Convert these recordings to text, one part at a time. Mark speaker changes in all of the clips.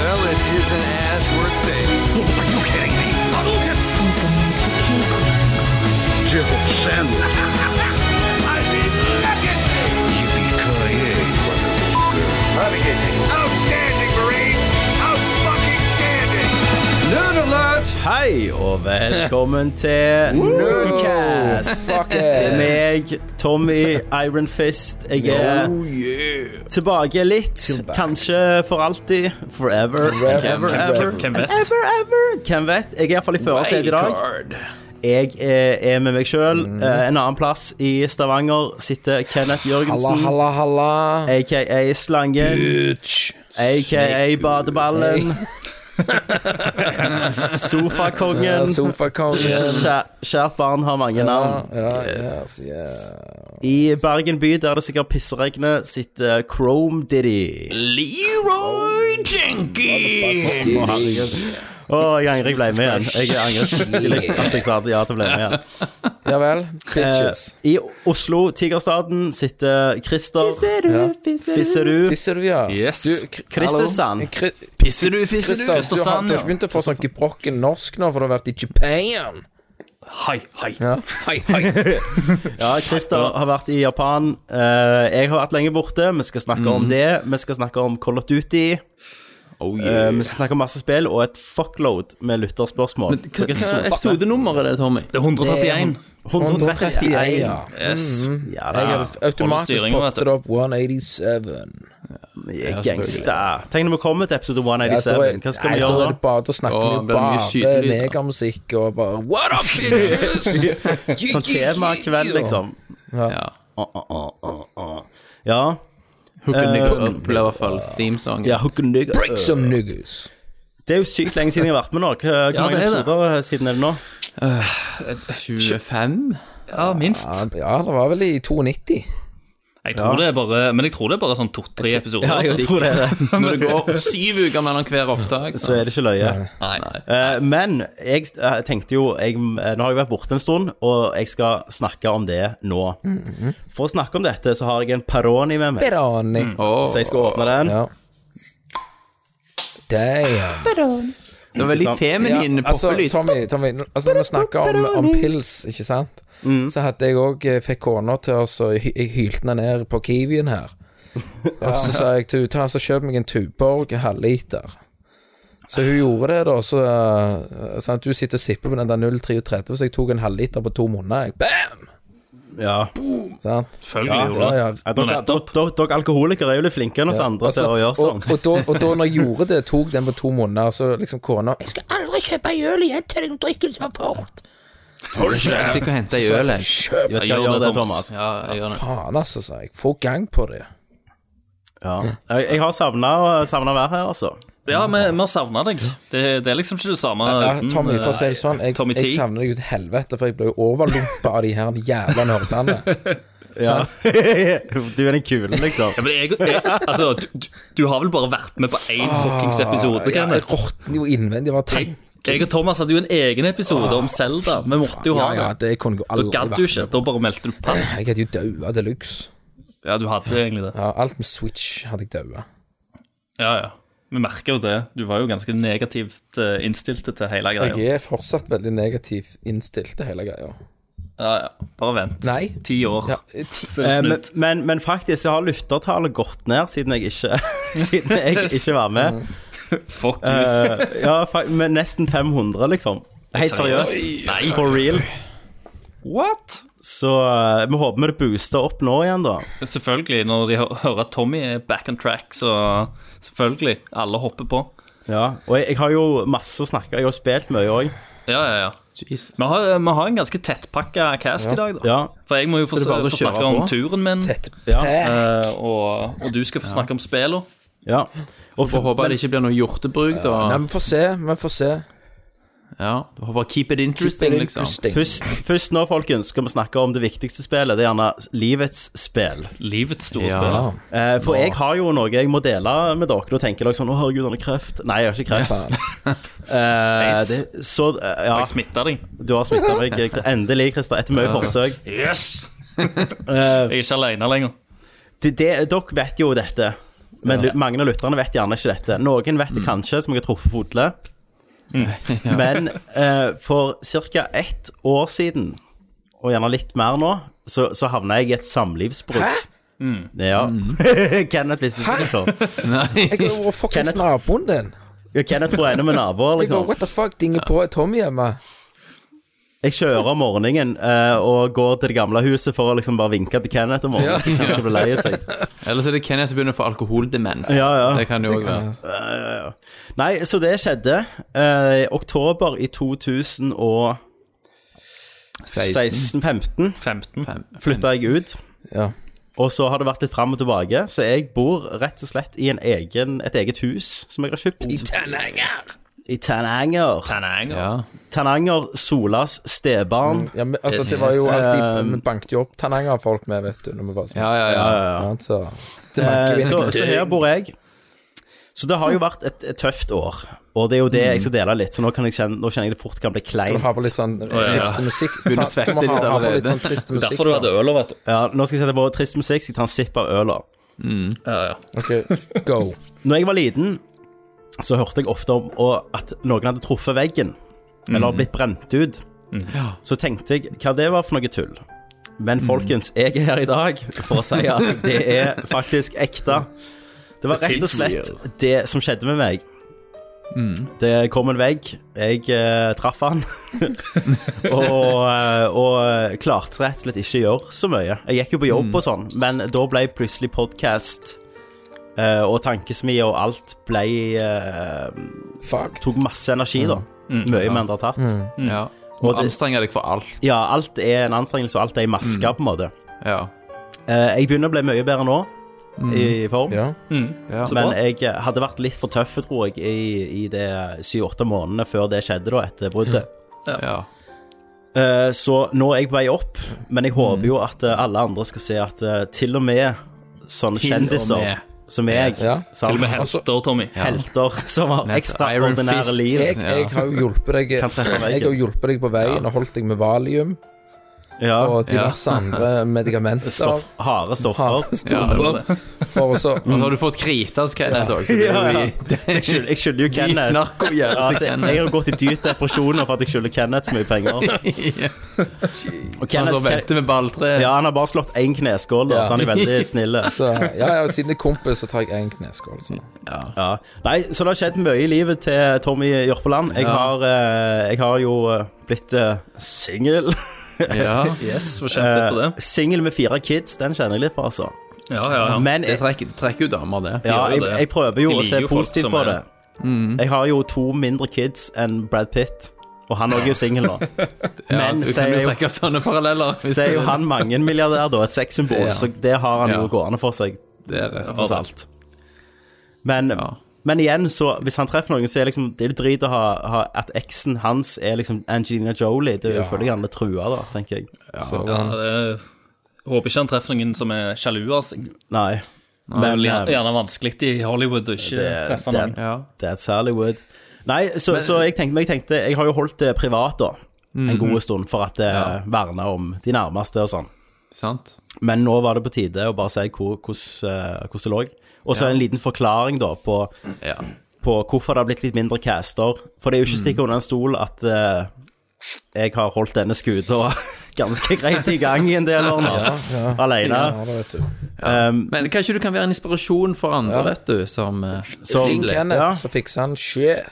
Speaker 1: is an ass worth saving.
Speaker 2: Are you kidding me? Jibble sandwich. I mean, nothing. Yippee-ki-yay, motherfucker. Outstanding, Marine. Outfucking standing. Nerd alert.
Speaker 3: Hei, og velkommen til Nerdcast. Det er meg, Tommy Iron Fist. Jeg er Oh, tilbake litt. Kanskje for alltid. Forever. Ever, ever.
Speaker 4: Hvem vet?
Speaker 3: Ever, ever. Hvem vet? Jeg er iallfall i førersetet i dag. Jeg er, er med meg sjøl. En annen plass i Stavanger sitter Kenneth Jørgensen.
Speaker 5: Halla, halla.
Speaker 3: AKA Slangen.
Speaker 6: Bitch.
Speaker 3: AKA Badeballen.
Speaker 5: Uh,
Speaker 3: Sofakongen.
Speaker 5: Sofakongen.
Speaker 3: Kjæ- Kjært barn har mange navn.
Speaker 5: Ja, yes, yeah.
Speaker 3: I Bergen by, der det sikkert pissregner, sitter Chrome Diddy.
Speaker 6: Leroy Jenkins.
Speaker 3: Å, herregud. Å, jeg angrer jeg ble med igjen. Jeg angrer skikkelig at jeg sa at ja til å bli med igjen.
Speaker 5: Ja vel. Bitches.
Speaker 3: I Oslo, Tigerstaden, sitter Christer.
Speaker 5: Ja.
Speaker 3: Fisserud.
Speaker 5: Pisser du, ja?
Speaker 4: Yes.
Speaker 5: Du, Kr-
Speaker 3: Kristersand.
Speaker 5: Hallo? Eh, Kri-
Speaker 6: Pisser du, fisser
Speaker 5: Kristian,
Speaker 6: du?
Speaker 5: du har
Speaker 4: Kristiansand,
Speaker 5: du har
Speaker 4: ja.
Speaker 5: ikke begynt å få sånn gebrokken norsk nå, for du har vært i Japan.
Speaker 4: Hei, hei.
Speaker 5: Ja.
Speaker 4: Hei, hei.
Speaker 3: Ja, Christer har vært i Japan. Eh, jeg har vært lenge borte. Vi skal snakke om det. Vi skal snakke om Call of Duty.
Speaker 6: Mhm. Oh,
Speaker 3: Eh,
Speaker 6: yeah.
Speaker 3: vi skal snakke om masse spill og et fuckload med lytterspørsmål.
Speaker 6: Hva hva episodenummer er det, Tommy?
Speaker 4: Det er 131.
Speaker 5: 131, ja.
Speaker 4: Yes.
Speaker 3: Ja,
Speaker 5: Jeg
Speaker 3: da.
Speaker 5: har automatisk
Speaker 4: styringen, vet
Speaker 5: poppet
Speaker 4: du.
Speaker 5: det opp 187.
Speaker 3: Jeg er gangsta. Tenk når vi kommer til episode
Speaker 5: Ja, da er,
Speaker 3: 197. Hva skal
Speaker 5: nei,
Speaker 3: vi
Speaker 5: da
Speaker 3: gjøre
Speaker 5: er det
Speaker 3: da?
Speaker 5: bare til å snakke
Speaker 6: Å,
Speaker 5: mye
Speaker 6: blir det mye
Speaker 5: bare
Speaker 6: skytelyd, da?
Speaker 5: negermusikk og bare What up, bitches?
Speaker 3: Sånn temakveld, liksom.
Speaker 6: Ja.
Speaker 3: Å, å, å, å, å. Ja.
Speaker 6: Hooken Eh, ble i hvert fall themesongen.
Speaker 3: ja hooken dig-
Speaker 5: Break some niggas.
Speaker 3: Det er jo sykt lenge siden jeg har vært med nå. Hvor hvor
Speaker 6: Ja,
Speaker 3: mange
Speaker 6: det er det.
Speaker 3: episoder eh, siden er det nå?
Speaker 6: 25?
Speaker 4: Ja, minst.
Speaker 5: Ja, det var vel i 92.
Speaker 4: Jeg tror det er bare, men jeg tror det er bare sånn to-tre episoder.
Speaker 6: Ja,
Speaker 4: altså.
Speaker 6: jeg tror det er det. Når det går syv uker mellom hver opptak.
Speaker 3: Så er det ikke løye.
Speaker 4: Nei.
Speaker 3: Eh, men jeg eh, tenkte jo jeg, eh, Nå har jeg vært borte en stund, og jeg skal snakke om det nå.
Speaker 6: Mm,
Speaker 3: For å snakke om dette, så har jeg en Peroni med meg.
Speaker 5: Berani.
Speaker 4: Mm.
Speaker 6: Åh,
Speaker 3: Så jeg skal åpne den.
Speaker 5: Ja. Damn.
Speaker 6: det var veldig feminin
Speaker 5: Altså,
Speaker 6: poppelyd.
Speaker 5: Tommy, Tommy n- altså, når vi snakker om, om pils, ikke sant,
Speaker 4: Mm.
Speaker 5: så hadde jeg òg fikk kona til å så hy- Jeg hylte henne ned på Kiwien her. Og så sa jeg til henne ta så kjøp meg en Tuborg halvliter. Så hun gjorde det, da. Så, eh, sånn at hun sitter og sipper på den der 033, så jeg tok en halvliter på to måneder. Jeg. Bam!
Speaker 3: Ja.
Speaker 5: Sant?
Speaker 4: Selvfølgelig
Speaker 3: Ja,
Speaker 4: gjorde det.
Speaker 5: ja, ja.
Speaker 3: Ja, dere, dere,
Speaker 4: Nettopp.
Speaker 3: dere, dere alkoholikere er jo litt flinkere enn oss andre
Speaker 5: Altså,
Speaker 3: til å gjøre sånn.
Speaker 5: Og, og, da, og da når jeg gjorde det, tok den på to måneder, så liksom kona 'Jeg skal aldri kjøpe øl igjen til deg, du drikker det så fort'.
Speaker 6: Jeg stikker og henter i øl, jeg.
Speaker 3: Jeg vet hva jeg gjør det, Thomas.
Speaker 4: Ja, jeg gjør det.
Speaker 5: Faen, altså, sa jeg. Få gang på det.
Speaker 3: Ja. Jeg, jeg har savna å være her, altså.
Speaker 4: Ja, vi vi har savna deg. Det, det er liksom ikke det samme
Speaker 5: Ja,
Speaker 4: uten, eh,
Speaker 5: Tommy, for å si det sånn, jeg,
Speaker 4: Tommy
Speaker 5: jeg
Speaker 4: T.
Speaker 5: savner deg ut helvete, for jeg ble jo overlumpa av de her jævla nerdene.
Speaker 3: Ja. du er den kule,
Speaker 4: Ja,
Speaker 3: liksom.
Speaker 4: men jeg, jeg, altså, du, du- du har vel bare vært med på én fuckings
Speaker 5: Ah,
Speaker 4: episode,
Speaker 5: Ja, jeg
Speaker 4: Kenneth?
Speaker 5: råtner jo innvendig. Hva
Speaker 4: Jeg, jeg og Thomas hadde jo en egen episode om Selda. Vi måtte jo ha
Speaker 5: ja, ja,
Speaker 4: det.
Speaker 5: det kunne jo
Speaker 4: Da
Speaker 5: aldri
Speaker 4: gadd du
Speaker 5: vært
Speaker 4: ikke. Da bare meldte du pass.
Speaker 5: Jeg hadde jo daua de luxe.
Speaker 4: Ja, du hadde egentlig det.
Speaker 5: Ja, alt med Switch hadde jeg daua.
Speaker 4: Ja, ja. Vi merker jo det. Du var jo ganske negativt eh, innstilt til hele greia.
Speaker 5: Jeg er fortsatt veldig negativt innstilt til hele greia.
Speaker 4: Ja, ja. Bare vent.
Speaker 5: Nei.
Speaker 4: Ti år,
Speaker 5: Ja, ti-
Speaker 4: så er
Speaker 3: Eh,
Speaker 4: det
Speaker 3: Men,
Speaker 4: slutt.
Speaker 3: men, men faktisk så har lyttertallet gått ned siden jeg ikke, siden jeg ikke var med.
Speaker 4: Fuck you.
Speaker 3: Eh, ja, fa- med nesten 500, liksom. Helt seriøst.
Speaker 4: Nei.
Speaker 3: For real.
Speaker 4: What?
Speaker 3: Så eh, vi håper vi det booster opp nå igjen, da.
Speaker 4: Selvfølgelig, når de hø- hører at Tommy er back on track, så selvfølgelig, alle hopper på.
Speaker 3: Ja. Og jeg, jeg har jo masse å snakke Jeg har jo spilt mye òg.
Speaker 4: Ja, ja, ja. Vi har, vi har en ganske tettpakka cast i dag, da.
Speaker 3: Ja.
Speaker 4: For jeg må jo få,
Speaker 6: det er bare
Speaker 4: få
Speaker 6: å kjøre
Speaker 4: snakke om
Speaker 6: på?
Speaker 4: turen min,
Speaker 5: Tett
Speaker 3: Ja.
Speaker 5: pæ.
Speaker 4: eh, og, og du skal få snakke om spela.
Speaker 3: ja. Og
Speaker 6: Får håpe det ikke blir noe hjortebruk,
Speaker 5: Nei,
Speaker 6: da.
Speaker 5: vi får se, vi får se.
Speaker 6: Ja, du får bare keep it interesting, liksom.
Speaker 3: Først, først nå, folkens, skal vi snakke om det viktigste spillet. Det er gjerne livets spill.
Speaker 4: Livets store
Speaker 6: Ja.
Speaker 4: spill.
Speaker 3: Eh, for jeg har jo noe jeg må dele med dere. Da tenker dere sånn 'Å, herregud, han har kreft'. Nei, jeg har ikke kreft.
Speaker 5: Faen.
Speaker 3: Eh,
Speaker 4: Aids.
Speaker 3: det, så eh, Ja,
Speaker 4: Har jeg smitta deg?
Speaker 3: du har smitta meg. eh, Endelig, Christer. Etter mye forsøk.
Speaker 4: Yes! jeg er ikke aleine lenger.
Speaker 3: Det, det, dere vet jo dette. Men lu- mange av lytterne vet gjerne ikke dette. Noen vet det kanskje, som jeg har truffet fotle. Men eh, for ca. ett år siden, og gjerne litt mer nå, så, så havna jeg i et samlivsbrudd. Ja. Kenneth visste ikke det sånn.
Speaker 5: Jeg har jo vært fuckings naboen din.
Speaker 3: Ja, Kenneth tror jeg er ennå med naboer,
Speaker 5: Jeg bare,
Speaker 3: liksom.
Speaker 5: what the fuck, dinger på er Tom hjemme?
Speaker 3: Jeg kjører om morgenen eh, og går til det gamle huset for å liksom bare vinke til Kenneth om morgenen, så ikke han skal bli lei seg.
Speaker 6: Ellers er det Kenneth som begynner å få alkoholdemens.
Speaker 3: Ja, ja.
Speaker 6: Det kan jo òg være.
Speaker 3: Nei, så det skjedde eh, i oktober i 2016-15
Speaker 4: 15.
Speaker 6: Fem.
Speaker 3: flytta jeg ut.
Speaker 5: Ja.
Speaker 3: Og så har det vært litt fram og tilbake, så jeg bor rett og slett i en egen, et eget hus som jeg har kjøpt. I Tananger! I Tananger.
Speaker 4: Tananger.
Speaker 6: Ja.
Speaker 3: Tananger, Solas stebarn.
Speaker 5: ja men, altså, det var jo alltid Vi banket jo opp Tananger-folk med, vet du, når vi var små.
Speaker 6: Ja, ja, ja.
Speaker 5: Sant, Så det banker
Speaker 3: Eh,
Speaker 5: jo
Speaker 3: så,
Speaker 5: inn.
Speaker 3: så her bor jeg. Så det har jo vært et, et tøft år, og det er jo det jeg skal dele litt, så nå, kan jeg kjenne, nå kjenner jeg det fort kan bli
Speaker 5: Skal
Speaker 3: kleint.
Speaker 5: du ha på litt sånn trist musikk?
Speaker 6: Begynner å svette
Speaker 5: Du må ha- ha
Speaker 6: litt
Speaker 5: på
Speaker 6: allerede.
Speaker 5: Litt sånn trist musikk
Speaker 4: Derfor du
Speaker 5: da.
Speaker 4: hadde øl over et
Speaker 3: Ja, nå skal jeg sette på trist musikk, skal jeg ta en sipp av øla.
Speaker 4: ja, ja.
Speaker 5: Ok, go.
Speaker 3: Når jeg var liten, så hørte jeg ofte om å- at noen hadde truffet veggen, eller blitt brent ut. Så tenkte jeg hva det var for noe tull. Men folkens, jeg er her i dag for å si at det er faktisk ekte. Det var
Speaker 4: Det
Speaker 3: rett og
Speaker 4: finnes
Speaker 3: slett det som skjedde med meg. Det kom en vegg, jeg eh, traff han, og, eh, og klarte rett og slett ikke å gjøre så mye. Jeg gikk jo på jobb og sånn, men da ble plutselig podkast Eh, og tankesmi og alt ble eh,
Speaker 5: Fuck.
Speaker 3: Tok masse energi, da. Mye mer enn det har tatt.
Speaker 4: Mm.
Speaker 6: ja.
Speaker 3: Og det-
Speaker 6: Anstrenge deg for alt.
Speaker 3: Ja, alt er en anstrengelse, og alt er i maske, på en måte.
Speaker 6: Ja.
Speaker 3: Eh, jeg begynner å bli mye bedre nå, i form.
Speaker 5: Ja.
Speaker 6: ja.
Speaker 3: Men jeg eh, hadde vært litt for tøff, tror jeg, i, i det syv-åtte månedene før det skjedde, da, etter bruddet.
Speaker 6: ja.
Speaker 3: Eh, så nå er jeg på vei opp, men jeg håper jo at eh, alle andre skal se at eh, til og med sånne
Speaker 6: Til og
Speaker 3: kjendiser
Speaker 6: med.
Speaker 3: som jeg,
Speaker 5: Ja.
Speaker 3: sant?
Speaker 4: Til og med
Speaker 5: Altså-
Speaker 4: helter, Tommy.
Speaker 3: helter som har ekstraordinære
Speaker 6: Iron
Speaker 3: liv
Speaker 5: Jeg, jeg har jo hjulpet deg
Speaker 3: Kan treffe veggen.
Speaker 5: Jeg har hjulpet deg på veien og holdt deg med valium
Speaker 3: ja,
Speaker 5: og diverse andre medikamenter.
Speaker 3: stoff, harde stoffer.
Speaker 5: Harde
Speaker 6: Ja, det var
Speaker 5: stoffer.
Speaker 6: det.
Speaker 5: For å så
Speaker 6: Og så har du fått krita hos Kenneth òg, så det
Speaker 3: Ja,
Speaker 6: er jo
Speaker 3: ja.
Speaker 6: i
Speaker 3: Så Jeg skylder, jeg skylder jo
Speaker 6: dyp
Speaker 3: Kenneth. Ja,
Speaker 6: narkohjelp
Speaker 3: altså,
Speaker 6: til
Speaker 3: jeg
Speaker 6: Kenneth.
Speaker 3: har gått i dyp depresjon for at jeg skylder Kenneth så mye penger. Og
Speaker 6: Han som
Speaker 3: Kenneth, Ken-
Speaker 6: venter med balltreet.
Speaker 3: ja, han har bare slått én kneskål, da,
Speaker 5: Ja.
Speaker 3: så han er veldig snill.
Speaker 5: Så, ja, ja, siden jeg er kompis, så tar jeg én kneskål. Så.
Speaker 3: Ja. Nei, så det har skjedd mye i livet til Tommy Jørpeland. Jeg, har, eh, jeg har jo eh, blitt eh, singel.
Speaker 6: Ja.
Speaker 4: Yes, får kjent litt på det.
Speaker 3: Eh, singel med fire kids, den kjenner jeg litt på, altså.
Speaker 4: Ja, ja, ja.
Speaker 3: Men
Speaker 6: Det
Speaker 3: jeg,
Speaker 6: trekker, det trekker jo damer, det.
Speaker 3: ja,
Speaker 4: gjør jo
Speaker 3: jeg,
Speaker 4: det.
Speaker 3: jeg prøver jo
Speaker 4: De
Speaker 3: å
Speaker 4: liker
Speaker 3: se
Speaker 4: jo folk
Speaker 3: positivt
Speaker 4: som
Speaker 3: på
Speaker 4: er-
Speaker 3: det. Jeg har jo to mindre kids enn Brad Pitt, og han òg er jo singel nå.
Speaker 6: Ja,
Speaker 3: Men
Speaker 6: du kan
Speaker 3: sier
Speaker 6: jo
Speaker 3: jo
Speaker 6: trekke sånne paralleller. hvis
Speaker 3: Så er
Speaker 6: du
Speaker 3: jo
Speaker 6: vil.
Speaker 3: han mangemilliardær, da. Et sexsymbol.
Speaker 6: Ja.
Speaker 3: Så det har han jo
Speaker 6: Ja.
Speaker 3: gående for seg,
Speaker 6: Det er det.
Speaker 3: tross alt. Men,
Speaker 6: Ja.
Speaker 3: men igjen, så hvis han treffer noen, så er liksom, det er jo drit å ha, ha at eksen hans er liksom Angelina Jolie. Det er jo
Speaker 5: Ja.
Speaker 3: føler jeg han er trua, da, tenker jeg.
Speaker 5: Så,
Speaker 4: Ja, det er... Håper ikke han treffer noen som er sjalu av seg.
Speaker 3: Nei.
Speaker 4: Det er
Speaker 3: Men
Speaker 4: vel
Speaker 3: eh,
Speaker 4: gjerne vanskelig i Hollywood å ikke
Speaker 3: det-
Speaker 4: treffe noen.
Speaker 3: det-
Speaker 6: Ja.
Speaker 3: That's Hollywood. Nei, så, så jeg tenkte, men jeg tenkte Jeg har jo holdt det privat, da. En god stund, for at det verner om de nærmeste og sånn.
Speaker 6: Sant?
Speaker 3: Men nå var det på tide å bare si hvor- hvordan eh, hvordan det lå. Og så en liten forklaring, da, på
Speaker 6: Ja.
Speaker 3: på hvorfor det har blitt litt mindre caster. For det er jo ikke stikk under en stol at eh, jeg har holdt denne skuta ganske greit i gang i en del år nå, alene.
Speaker 5: ja, det vet du.
Speaker 6: Men kanskje du kan være en inspirasjon for andre, vet du, som eh,
Speaker 3: Som-
Speaker 5: Ring
Speaker 6: Ring
Speaker 5: Kenneth,
Speaker 6: Kenneth.
Speaker 3: Ja.
Speaker 5: så fikser han shit.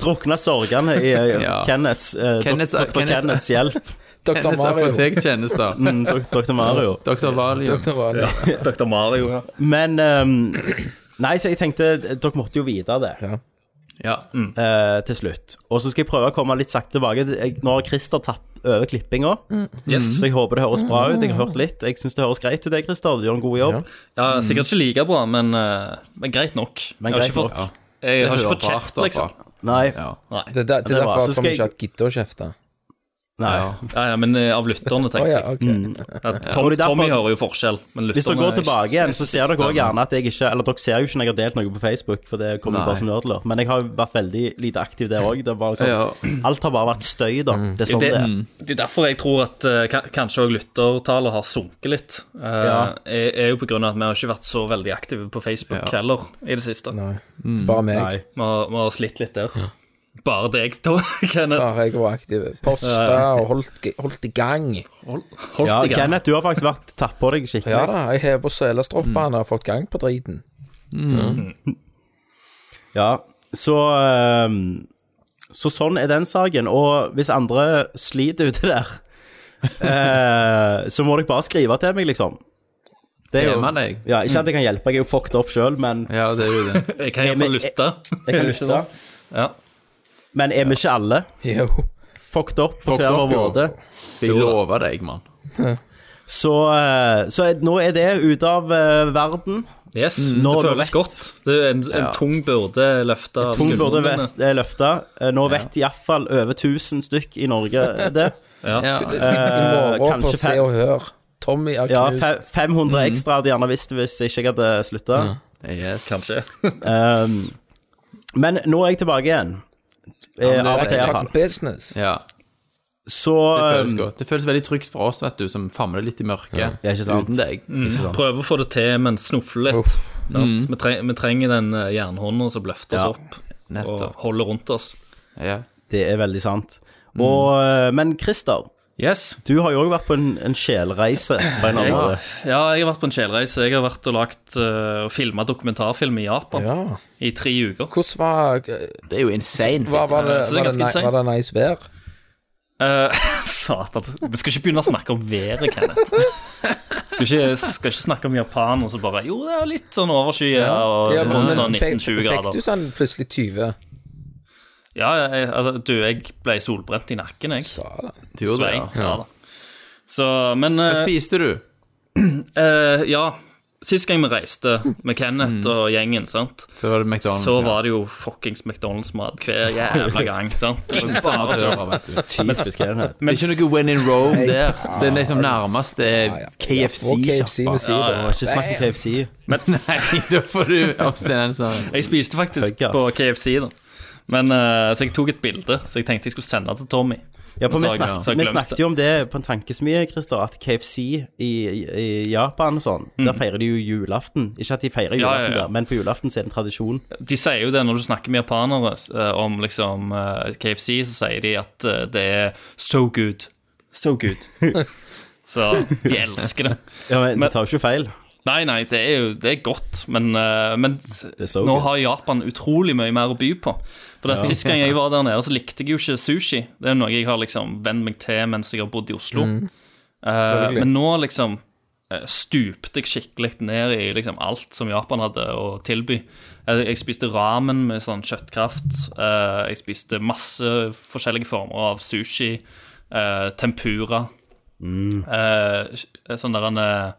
Speaker 3: Drukna sorgene i eh,
Speaker 6: Ja.
Speaker 3: Kenneths, eh, dok-
Speaker 6: Kenneths-
Speaker 3: Dr.
Speaker 6: Kenneths-
Speaker 3: Kenneths hjelp.
Speaker 5: Dr.
Speaker 6: Hennes
Speaker 5: Mario.
Speaker 6: apotektjenester.
Speaker 3: Mm, dok- Dr. Mario.
Speaker 6: Dr. Valium.
Speaker 5: Dr. Mario.
Speaker 4: Dr. Mario, ja.
Speaker 3: Men ehm, Nei, så jeg tenkte eh, dere måtte jo vite det
Speaker 5: Ja.
Speaker 6: Ja.
Speaker 3: eh, til slutt. Og så skal jeg prøve å komme litt sakte tilbake. Jeg, nå har Christer tatt over klippinga, så jeg håper det høres bra ut. Jeg har hørt litt. Jeg syns det høres greit ut, det, Christer. Du gjør en god jobb.
Speaker 4: ja sikkert ikke like bra, men, eh, men greit nok.
Speaker 3: Men
Speaker 4: jeg har
Speaker 3: greit
Speaker 4: ikke fått,
Speaker 3: nok.
Speaker 4: jeg har
Speaker 6: Det
Speaker 4: ikke
Speaker 6: hører
Speaker 4: fått
Speaker 6: rart,
Speaker 4: kjeft,
Speaker 6: da,
Speaker 4: liksom.
Speaker 6: fra.
Speaker 3: Nei.
Speaker 6: Ja.
Speaker 4: Nei.
Speaker 5: Det, er der, det
Speaker 3: er
Speaker 5: er
Speaker 3: bra.
Speaker 5: derfor
Speaker 3: Så
Speaker 5: at vi
Speaker 3: skal jeg- Mm,
Speaker 5: ikke har giddet å kjefte.
Speaker 3: Nei.
Speaker 4: Ja, ja, men eh, av
Speaker 5: Å
Speaker 4: lytterne, tenker
Speaker 5: ja,
Speaker 4: jeg.
Speaker 5: ok.
Speaker 3: mm,
Speaker 4: Ja, Tom,
Speaker 3: Og det er derfor-
Speaker 4: Tommy hører jo forskjell, men lytterne
Speaker 3: Hvis dere går
Speaker 4: er ikke-
Speaker 3: tilbake igjen, så ser dere
Speaker 4: stemmer.
Speaker 3: også gjerne at jeg ikke Eller dere ser jo ikke når jeg har delt noe på Facebook, for det kommer jo bare som nerdler. Men jeg har jo vært veldig lite aktiv der òg. Sånn,
Speaker 6: Ja.
Speaker 3: Alt har bare vært støy, da. Det er sånn
Speaker 4: Det,
Speaker 3: det
Speaker 4: mm,
Speaker 3: er.
Speaker 4: det er derfor jeg tror at eh, ka- kanskje òg lyttertallet har sunket litt. Eh, er, er jo på grunn av at vi har ikke vært så veldig aktive på Facebook heller i det siste.
Speaker 5: Nei. Bare meg.
Speaker 3: mm, Nei.
Speaker 4: Vi har, vi har slitt litt der. Bare deg, da, Kenneth.
Speaker 5: Bare jeg var aktiv. Posta og holdt, holdt i gang.
Speaker 4: Hold, hold
Speaker 3: Ja,
Speaker 4: deg igjen.
Speaker 3: Kenneth, du har faktisk vært tatt på deg skikkelig.
Speaker 5: Ja da, jeg hever på
Speaker 3: Mm.
Speaker 5: selestroppene og har fått gang på driten.
Speaker 3: Ja, så ehm, Så sånn er den saken. Og hvis andre sliter ute der, eh, så må dere bare skrive til meg, liksom. Det
Speaker 6: Det er med deg.
Speaker 3: Ja, ikke at jeg kan hjelpe, jeg er jo fucked opp sjøl, men
Speaker 6: Ja, det er jo det.
Speaker 4: Jeg kan iallfall
Speaker 3: men- eh,
Speaker 4: lytte.
Speaker 3: jeg kan lytte.
Speaker 4: Ja.
Speaker 3: Men er vi ikke alle
Speaker 5: Jo.
Speaker 3: fucked opp på
Speaker 6: Fucked
Speaker 3: hver vår
Speaker 6: opp, jo.
Speaker 3: måte?
Speaker 6: Skal jeg love deg, mann.
Speaker 3: Så, eh, så er- nå er det ute av eh, verden.
Speaker 4: Yes,
Speaker 3: Nå
Speaker 4: det
Speaker 3: er det
Speaker 4: føles godt. Det er en, en tung byrde løfta av
Speaker 3: Tung burde
Speaker 4: skuldrene.
Speaker 3: løfta. Nå vet iallfall over 1000 stykk i Norge eh, det.
Speaker 6: Ja.
Speaker 5: I, i morgen på
Speaker 3: Eh, kanskje
Speaker 5: Se
Speaker 3: fe-
Speaker 5: og Hør. Tommy er
Speaker 3: Ja,
Speaker 5: knust.
Speaker 3: fe- 500
Speaker 6: Mhm.
Speaker 3: ekstra hadde gjerne visst det hvis ikke jeg hadde slutta.
Speaker 6: Yes.
Speaker 4: Kanskje.
Speaker 3: Um, men nå er jeg tilbake igjen. Eh,
Speaker 6: men
Speaker 3: av
Speaker 6: det
Speaker 3: og
Speaker 6: er
Speaker 3: til, iallfall.
Speaker 5: Fucking business.
Speaker 6: Ja,
Speaker 3: Så
Speaker 6: det føles
Speaker 3: um,
Speaker 6: godt. Det føles veldig trygt for oss, vet du, som famler litt i mørket
Speaker 3: Ja, ikke sant?
Speaker 6: uten deg. Mm.
Speaker 4: Prøve å få det til, men snufle litt. sant?
Speaker 5: Mm.
Speaker 4: Vi, tre vi trenger den eh, jernhånda som løfter oss
Speaker 3: Ja.
Speaker 4: opp og
Speaker 6: Nettopp.
Speaker 4: holder rundt oss.
Speaker 6: Ja.
Speaker 3: det er veldig sant.
Speaker 6: Mm.
Speaker 3: Og, eh, men Christer,
Speaker 4: Yes.
Speaker 3: du har jo òg vært på en, en sjelreise. På en annen måte.
Speaker 4: Ja, jeg har vært på en kjelreise. Jeg har vært og lagt eh, og filma dokumentarfilm i Japan
Speaker 5: Ja.
Speaker 4: i tre uker.
Speaker 5: Hvordan var
Speaker 6: Det er jo insane.
Speaker 5: hva, var, det,
Speaker 4: Så det
Speaker 5: var, det,
Speaker 4: er ganske
Speaker 5: nei,
Speaker 4: insane.
Speaker 5: var det nice vær?
Speaker 4: Eh, Satan. Vi skal ikke begynne å snakke om været, Kenneth. Skal ikke, skal ikke snakke om Japan og så bare Jo, det er litt sånn overskyet og
Speaker 5: Ja, men-
Speaker 4: rundt
Speaker 5: men
Speaker 4: sånn
Speaker 5: fikk-
Speaker 4: 19-20
Speaker 5: Fikk du
Speaker 4: grader.
Speaker 5: sånn plutselig 20?
Speaker 4: Ja, jeg, altså, du, jeg ble solbrent i nakken, jeg.
Speaker 5: Sa det.
Speaker 6: Du gjorde det,
Speaker 4: Svein.
Speaker 6: ja.
Speaker 4: Ja da. Så, men eh,
Speaker 6: Hva spiste du?
Speaker 4: eh, Ja. Sist gang vi reiste med Kenneth og gjengen, sant,
Speaker 6: Så var det Mm. McDonald's.
Speaker 4: så var det jo fuckings McDonald's-mat hver jævla gang. sant? Og
Speaker 6: ja.
Speaker 4: samme
Speaker 6: Amatører, vet du.
Speaker 3: Typisk er det.
Speaker 6: Det er ikke noe when in Rome der. Så det er liksom nærmest det er
Speaker 5: Og KFC med
Speaker 6: KFC-sjappa.
Speaker 5: sida.
Speaker 3: Ikke snakk om KFC.
Speaker 6: Nei, da får du abstinenser.
Speaker 4: Jeg spiste faktisk
Speaker 3: Høy, ass.
Speaker 4: på KFC, da. Men, eh, så jeg tok et bilde, så jeg tenkte jeg skulle sende det til Tommy.
Speaker 3: Ja, for
Speaker 4: Men
Speaker 3: vi
Speaker 4: så har jeg- så
Speaker 3: snakket,
Speaker 4: har jeg
Speaker 3: vi
Speaker 4: glemt
Speaker 3: snakket jo om det på en tankesmie, Christer, at KFC i, i- i Japan og sånn, der feirer de jo julaften. Ikke at de feirer
Speaker 4: Mm. Ja, ja,
Speaker 3: julaften
Speaker 4: ja.
Speaker 3: der, men på julaften så er det en tradisjon.
Speaker 4: De sier jo det når du snakker med japanere eh, om liksom eh, KFC, så sier de at eh, det er so good. So good. så de elsker det.
Speaker 3: Ja, men,
Speaker 4: Men-
Speaker 3: Det tar jo ikke feil.
Speaker 4: Nei, nei, det er jo det er godt, men, eh, men
Speaker 3: so
Speaker 4: nå
Speaker 3: good.
Speaker 4: har Japan utrolig mye mer å by på. For det Sist gang jeg var der nede, så likte jeg jo ikke sushi. Det er noe jeg har liksom vent meg til mens jeg har bodd i Oslo. Eh, men nå liksom eh, stupte jeg skikkelig ned i liksom alt som Japan hadde å tilby. Jeg, jeg spiste ramen med sånn kjøttkraft. eh, jeg spiste masse forskjellige former av sushi. eh, tempura. eh, sånn der en eh,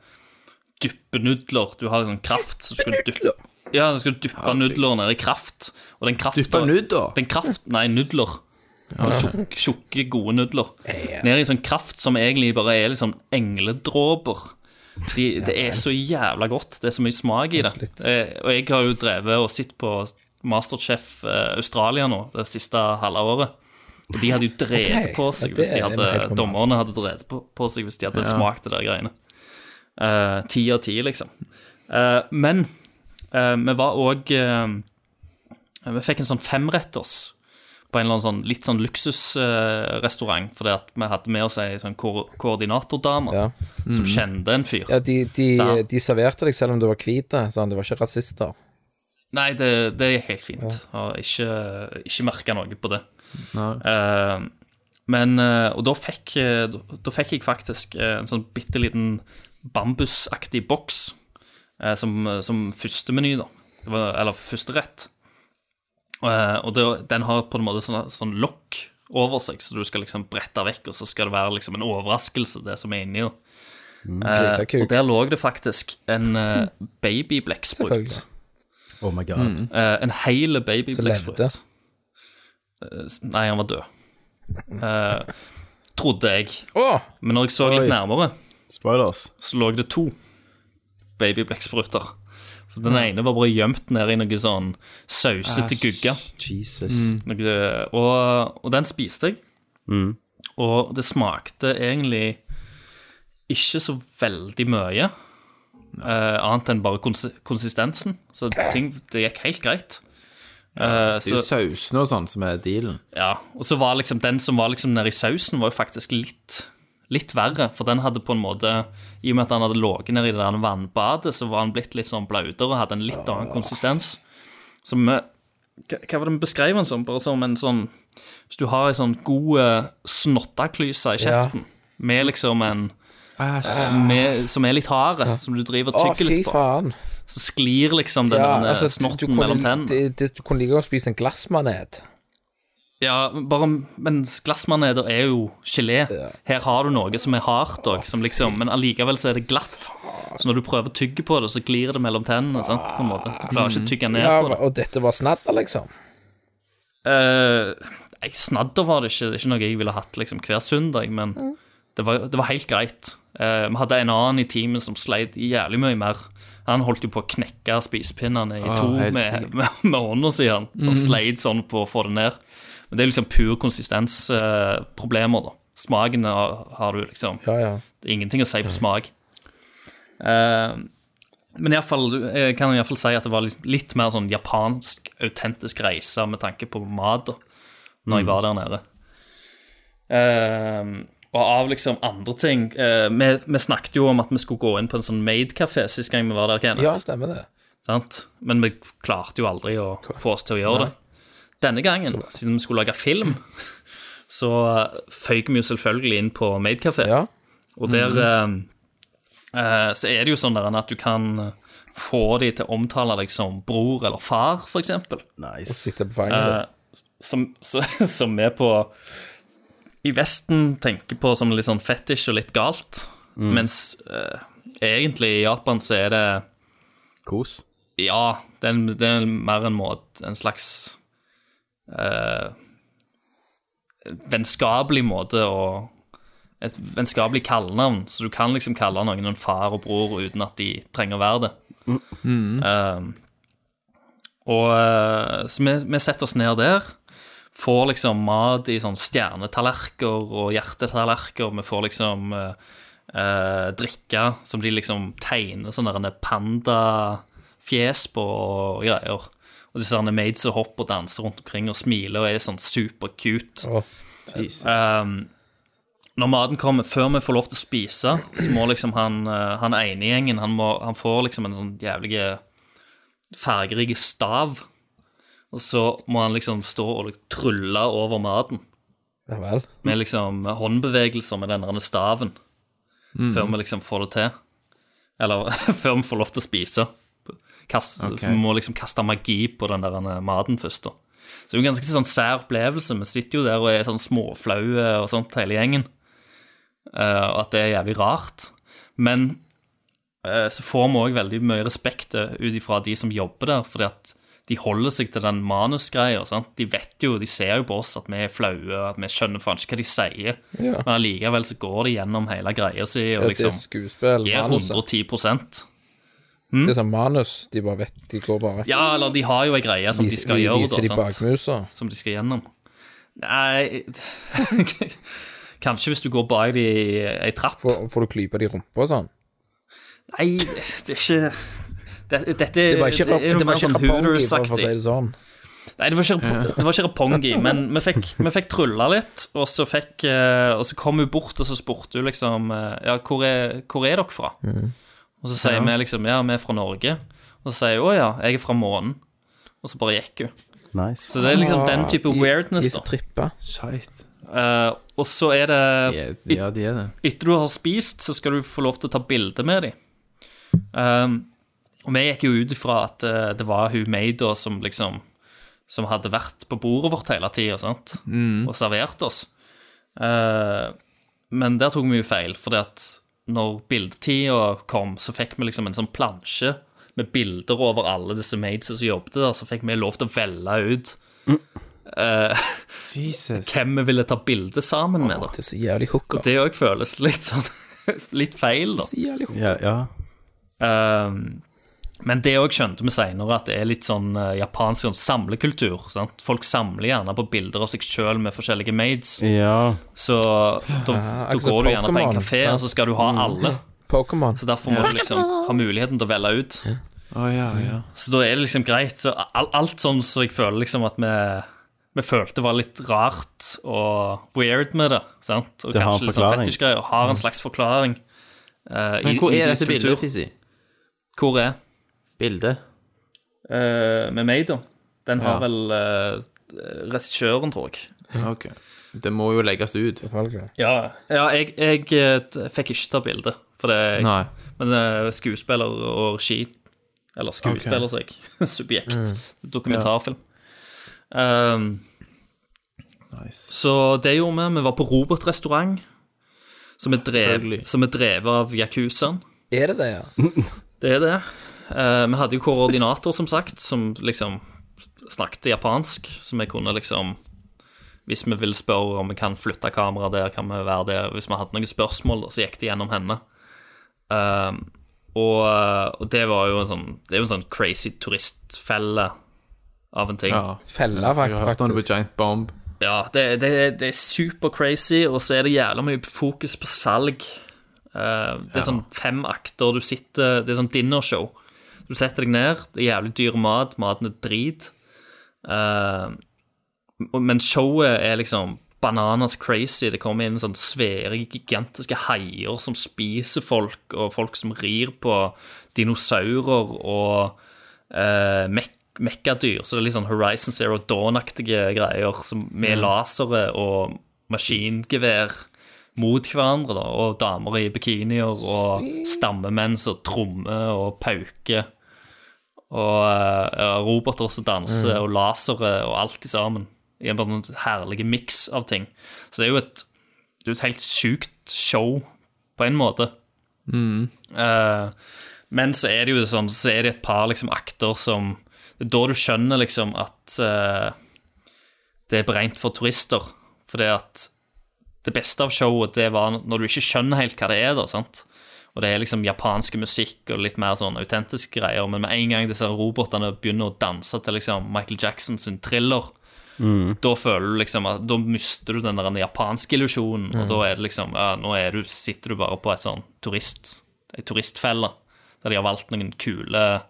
Speaker 4: duppenudler. Du har sånn kraft. Så skal du dyppe, ja, så skal du dyppe nudler ned i kraft. Og den kraften
Speaker 6: Dyppe nudler?
Speaker 4: Den kraft, nei, nudler. Ja, tjukk- Tjukke, gode nudler. Ned i sånn kraft som egentlig bare er liksom engledråper. De, det er så jævla godt. Det er så mye smak i det. Eh, og jeg har jo drevet og sett på Masterchef eh, Australia nå det siste halve året. Og de hadde jo drevet
Speaker 5: Ok,
Speaker 4: på seg
Speaker 5: ja,
Speaker 4: hvis
Speaker 5: det
Speaker 4: de
Speaker 5: er en helt
Speaker 4: hadde,
Speaker 5: normal.
Speaker 4: dommerne hadde drevet på, på seg hvis de hadde smakt det der greiene. Eh, Ti av ti, liksom. Eh, men eh, vi var òg Vi fikk en sånn femretters på en eller annen sånn litt sånn luksusrestaurant, fordi at vi hadde med oss ei sånn ko koordinatordame
Speaker 5: Ja. Mm.
Speaker 4: som kjente en fyr.
Speaker 5: Ja, de, de,
Speaker 4: Så-
Speaker 5: de serverte deg selv om du var hvit. Sånn, det var ikke rasister.
Speaker 4: Nei, det, det er helt fint. Har ikke, ikke merka noe på det.
Speaker 6: Nei.
Speaker 4: Eh, men eh, Og da fikk, eh, da, da fikk jeg faktisk eh, en sånn bitte liten bambusaktig boks eh, som, som første meny, da. Det var, eller første rett. Eh, og det, den har på en måte sånn, sånn lokk over seg, så du skal liksom brette vekk, og så skal det være liksom en overraskelse, det som er inni. da. Eh,
Speaker 5: grisekuk.
Speaker 4: og der lå det faktisk en eh, babybleksprut.
Speaker 5: Selvfølgelig.
Speaker 3: Oh my god.
Speaker 4: Eh, en hel
Speaker 5: Så levde.
Speaker 4: babybleksprut. Eh, s- nei, han var død. Eh, trodde jeg.
Speaker 5: Å!
Speaker 4: Men når jeg så litt
Speaker 7: Oi.
Speaker 4: nærmere,
Speaker 7: Spoilers.
Speaker 4: så lå det to babyblekkspruter. For Den ene var bare gjemt ned i noe sånn sausete gugge.
Speaker 7: Jesus.
Speaker 4: Noe, og, og den spiste jeg. Og det smakte egentlig ikke så veldig mye. eh, annet enn bare konsi konsistensen. Så ting, det gikk helt greit. Eh,
Speaker 8: Det er jo
Speaker 4: så,
Speaker 8: sausene og sånn som er dealen.
Speaker 4: ja. Og så var liksom den som var liksom nedi sausen, var jo faktisk litt, litt verre. For den hadde på en måte I og med at han hadde ligget nedi det der vannbadet, så var han blitt litt sånn blautere og hadde en litt
Speaker 5: Ah.
Speaker 4: annen konsistens. Som eh, hva, hva var det vi beskrev den som? Bare som en sånn Hvis du har ei sånn god eh, snotteklyse i kjeften, med liksom en eh, med, Som er litt hard, som du driver og
Speaker 5: Å, fy
Speaker 4: tygger litt på.
Speaker 5: faen.
Speaker 4: Så sklir liksom den der, eh,
Speaker 5: altså, du- du
Speaker 4: snotten
Speaker 5: kunne-
Speaker 4: mellom tennene.
Speaker 5: det- det- Du kunne like godt spise en glassmanet.
Speaker 4: Ja, bare, men glassmaneter er jo gelé. Her har du noe som er hardt òg, som liksom, men allikevel så er det glatt. Så når du prøver å tygge på det, så glir det mellom tennene. sant, på en måte. Du klarer ikke å tygge ned
Speaker 5: Ja,
Speaker 4: på det.
Speaker 5: og dette var snadder, liksom.
Speaker 4: Eh, nei, snadder var det ikke. Det er ikke noe jeg ville hatt liksom, hver søndag, men det, var, det var helt greit. Eh, vi hadde en annen i teamet som sleit jævlig mye mer. Han holdt jo på å knekke spisepinnene i to
Speaker 8: helt
Speaker 4: med, med, med hånda si, han. Og sleit sånn på å få det ned. Men det er liksom pur konsistensproblemer, da. Smaken har, har du liksom
Speaker 5: Ja, ja.
Speaker 4: det er ingenting å si på smak. Eh, men i alle fall, jeg kan i alle fall si at det var litt, litt mer sånn japansk, autentisk reise med tanke på mat da, når
Speaker 5: Mm.
Speaker 4: jeg var der nede. Eh, og av liksom andre ting eh, vi, vi snakket jo om at vi skulle gå inn på en sånn maid-kafé sist gang vi var der, Kenneth.
Speaker 5: Ja, stemmer det.
Speaker 4: Sant? Men vi klarte jo aldri å få oss til å gjøre det. Denne gangen,
Speaker 5: Sånn.
Speaker 4: siden vi skulle lage film, så eh, føyk vi jo selvfølgelig inn på Maidkafé.
Speaker 5: Ja.
Speaker 4: Og der eh, eh, så er det jo sånn der at du kan få de til å omtale deg som bror eller far, for eksempel. Eh,
Speaker 7: Nice.
Speaker 5: Sitte på fanget.
Speaker 4: Som, så, som vi på i Vesten tenker på som litt sånn fetisj og litt galt. Mens eh, egentlig i Japan så er det
Speaker 7: Kos.
Speaker 4: ja, det er, en- det er mer en måte En slags eh, Vennskapelig måte å Et vennskapelig kallenavn. Så du kan liksom kalle noen en far og bror uten at de trenger å være det. Eh, og eh, Så vi, vi setter oss ned der. Får liksom mat i sånn stjernetallerker og hjertetallerker. Vi får liksom eh, eh, drikke som de liksom tegner sånne der pandafjes på og greier. Og disse herne maids som hopper og danser rundt omkring og smiler og er sånn supercute.
Speaker 5: Å,
Speaker 4: Um, når maten kommer, før vi får lov til å spise, så må liksom han, eh, han ene i gjengen han, må, han får liksom en sånn jævlig fargerik stav. Og så må han liksom stå og trylle over maten
Speaker 5: Ja vel.
Speaker 4: med liksom håndbevegelser med den der staven før vi liksom får det til. Eller før vi får lov til å spise. Kast,
Speaker 8: Ok.
Speaker 4: Vi må liksom kaste magi på den der maten først. da. Så det er jo en ganske sånn sær opplevelse. Vi sitter jo der og er sånn småflaue og sånt, hele gjengen. Eh, og at det er jævlig rart. Men eh, så får vi òg veldig mye respekt eh, ut ifra de som jobber der, fordi at de holder seg til den manusgreia. sant? De vet jo, de ser jo på oss at vi er flaue, at vi skjønner faen ikke hva de sier.
Speaker 5: Ja.
Speaker 4: Men allikevel så går de gjennom hele greia si og
Speaker 5: Ja, det er
Speaker 4: liksom
Speaker 5: skuespill.
Speaker 4: gir
Speaker 5: manuset.
Speaker 4: 110
Speaker 5: Det er sånn manus. De bare vet De går bare
Speaker 4: Ja, eller de har jo ei greie som de skal
Speaker 5: vi
Speaker 4: gjøre,
Speaker 5: viser de
Speaker 4: da. sant?
Speaker 5: bakmusa.
Speaker 4: Som de skal gjennom. Nei Kanskje hvis du går bak de i ei trapp.
Speaker 5: Får, får du klype de i rumpa og sånn?
Speaker 4: Nei, det er ikke det, Dette
Speaker 5: Det var ikke,
Speaker 4: det er jo
Speaker 5: det var
Speaker 4: mer
Speaker 5: ikke
Speaker 4: sånn
Speaker 5: Rapongi, for, for å
Speaker 4: Hooters-aktig.
Speaker 5: si det sånn.
Speaker 4: Nei, det var ikke, det var ikke Rapongi, men vi fikk, vi fikk trylla litt, og så, fikk, eh, og så kom hun bort, og så spurte hun liksom eh, Ja, hvor er, hvor er dere fra?
Speaker 5: Mm.
Speaker 4: Og så sier vi liksom Ja, vi er fra Norge. Og så sier hun Å ja, jeg er fra månen. Og så bare gikk hun.
Speaker 7: Nice.
Speaker 4: Så det er liksom den
Speaker 5: Ah,
Speaker 4: type
Speaker 5: de- De
Speaker 4: weirdness,
Speaker 5: som
Speaker 4: da.
Speaker 5: tripper.
Speaker 8: Shit.
Speaker 4: Eh, og så er det
Speaker 8: Ja, ja, de er det.
Speaker 4: Etter du har spist, så skal du få lov til å ta bilde med dem. Um, og vi gikk jo ut ifra at eh, det var hun maida som liksom Som hadde vært på bordet vårt hele tida og servert oss. Eh, men der tok vi jo feil, fordi at når bildetida kom, så fikk vi liksom en sånn plansje med bilder over alle disse maidsa som jobbet der, så fikk vi lov til å velge ut eh,
Speaker 6: Jesus.
Speaker 4: hvem vi ville ta bilde sammen med. da
Speaker 5: Det er så jævlig hooker.
Speaker 4: Og det òg føles litt sånn Litt feil, da.
Speaker 5: Så jævlig hooker.
Speaker 7: Ja, ja.
Speaker 4: Um, men det òg skjønte vi seinere, at det er litt sånn eh, japansk sånn samlekultur. Sant? Folk samler gjerne på bilder av seg sjøl med forskjellige maids.
Speaker 7: ja.
Speaker 4: Så da, da
Speaker 7: altså
Speaker 5: akkurat
Speaker 4: går du gjerne på en
Speaker 5: Pokémon,
Speaker 4: kafé,
Speaker 5: sant?
Speaker 4: og så skal du
Speaker 7: Mm.
Speaker 4: ha alle.
Speaker 5: Pokémon.
Speaker 4: Så derfor må du liksom ha muligheten til å velge ut.
Speaker 6: Å ja, ja.
Speaker 4: Så da er det liksom greit. Så alt, alt sånn som jeg føler liksom at vi, vi følte var litt rart og weird med det. sant? Og
Speaker 7: Det har en
Speaker 4: kanskje litt sånn
Speaker 7: forklaring. Mm.
Speaker 4: fetisjgreier. Har en slags forklaring. eh, i-
Speaker 8: Men hvor
Speaker 4: i
Speaker 8: er
Speaker 4: deres
Speaker 8: dette
Speaker 4: kultur.
Speaker 8: bildet, Fizzy?
Speaker 4: Hvor er
Speaker 8: Bildet?
Speaker 4: eh, Med meg, da. Den
Speaker 8: Ja.
Speaker 4: har vel eh, regissøren, tror jeg.
Speaker 8: Ok. Det må jo legges ut.
Speaker 5: Selvfølgelig.
Speaker 4: Ja, ja jeg, jeg eh, t- fikk ikke ta bilde, for det
Speaker 8: Nei.
Speaker 4: Men eh, skuespiller og regi Eller skuespiller, sa jeg. Subjekt.
Speaker 8: Mm.
Speaker 4: Dokumentarfilm. Um, Så det gjorde vi. Vi var på Robert restaurant, som er, drev,
Speaker 8: Selvfølgelig.
Speaker 4: som er drevet av Yakuzaen.
Speaker 5: Er det det, ja?
Speaker 4: Det er det. Eh, vi hadde jo koordinator, som sagt, som liksom snakket japansk, så vi kunne liksom Hvis vi vil spørre om vi kan flytte kameraet der, kan vi være der. Hvis vi hadde noen spørsmål, da, så gikk det gjennom henne. Eh, og, eh, og det var jo en sånn Det er jo en sånn crazy turistfelle av en ting.
Speaker 6: ja.
Speaker 5: Fella,
Speaker 6: Jeg
Speaker 5: fakt-
Speaker 6: har hørt om det på
Speaker 5: faktisk.
Speaker 6: Giant Bomb.
Speaker 4: Ja, det, det, det er super crazy, og så er det jævla mye fokus på salg. Eh, det er sånn fem akter, du sitter Det er sånn dinnershow. Du setter deg ned, det er jævlig dyr mat, maten er drit. Eh, og- men showet er liksom bananas crazy. Det kommer inn sånn svære, gigantiske haier som spiser folk, og folk som rir på dinosaurer og eh, mek mekkadyr. Så det er litt sånn Horizon Zero Dawn-aktige greier som, med lasere og maskingevær mot hverandre, da, og damer i bikinier og stammemenn som trommer og pauker. Og eh, roboter som danser, og lasere, og alt i sammen. I en sånn herlig miks av ting. Så det er jo et, det er jo et helt sjukt show, på en måte. Eh, men så er det jo sånn, så er det et par liksom, akter som Det er da du skjønner liksom at eh, det er beregnet for turister. For det at det beste av showet, det var når du ikke skjønner helt hva det er, da, sant. Og det er liksom japanske musikk og litt mer sånn autentiske greier, men med en gang disse robotene begynner å danse til liksom Michael Jackson sin thriller, da føler du liksom at da mister du den der japanske illusjonen, og da er det liksom ja, Nå er du, sitter du bare på et sånn turist, ei turistfelle, der de har valgt noen kule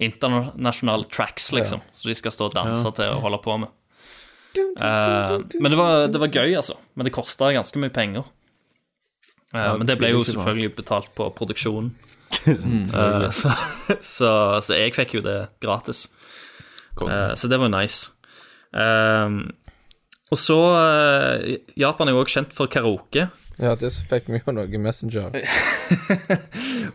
Speaker 4: internasjonale tracks, liksom, som de skal stå og danse til og holde på med. Eh, men det var, det var gøy, altså. Men det kosta ganske mye penger. Eh, men det ble jo selvfølgelig betalt på produksjonen. Eh, så, så, så jeg fikk jo det gratis. Eh, så det var nice. Eh, og så eh, Japan er jo også kjent for karaoke.
Speaker 5: Ja, det fikk vi jo noe i Messenger.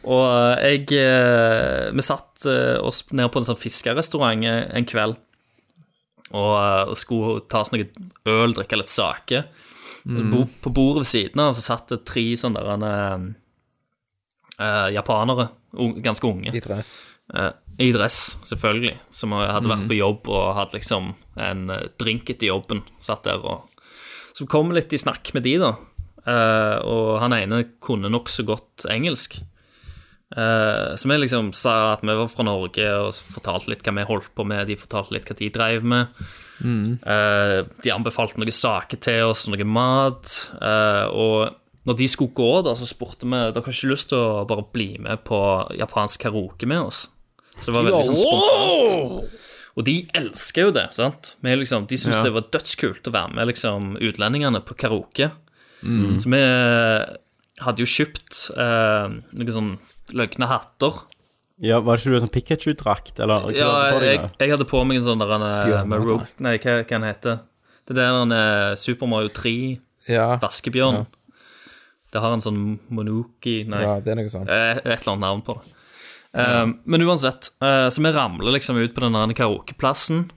Speaker 4: Og eh, jeg eh, Vi satt eh, oss ned på en sånn fiskerestaurant eh, en kveld og, eh, og skulle ta oss noe øl, drikke litt sake. Bo, på bordet ved siden av så satt det tre sånne der, eh, eh, japanere, un, ganske unge,
Speaker 5: I dress.
Speaker 4: eh, i dress, selvfølgelig, som hadde vært på jobb og hadde liksom en eh, drink etter jobben. Satt der og Som kom litt i snakk med de, da. Eh, og han ene kunne nokså godt engelsk. Eh, Så vi liksom sa at vi var fra Norge og fortalte litt hva vi holdt på med. De fortalte litt hva de drev med. Eh, De anbefalte noen saker til oss, noe mat. eh, Og når de skulle gå, da, så spurte vi Dere har ikke lyst til å bare bli med på japansk karaoke med oss? Så det var veldig sånn spontant. Og de elsker jo det, sant? Vi liksom, de syntes det var dødskult å være med liksom, utlendingene på karaoke. Så vi hadde jo kjøpt eh, noen sånn løgne hatter.
Speaker 7: ja var det ikke du sånn Pikachu-drakt, eller? hva
Speaker 4: Ja,
Speaker 7: var det på deg
Speaker 4: jeg,
Speaker 7: da?
Speaker 4: jeg hadde på meg en sånn der en, eh,
Speaker 5: Bjørn,
Speaker 4: med
Speaker 5: hva
Speaker 4: Rogue Nei, hva, hva den heter Det der en eh, Super Mario 3-vaskebjørn.
Speaker 5: Ja,
Speaker 4: Det har en sånn Monoki Nei.
Speaker 5: ja, det er noe sånt.
Speaker 4: Eh, Et eller annet navn på det. Eh, Men uansett, eh, så vi ramler liksom ut på den der karaokeplassen.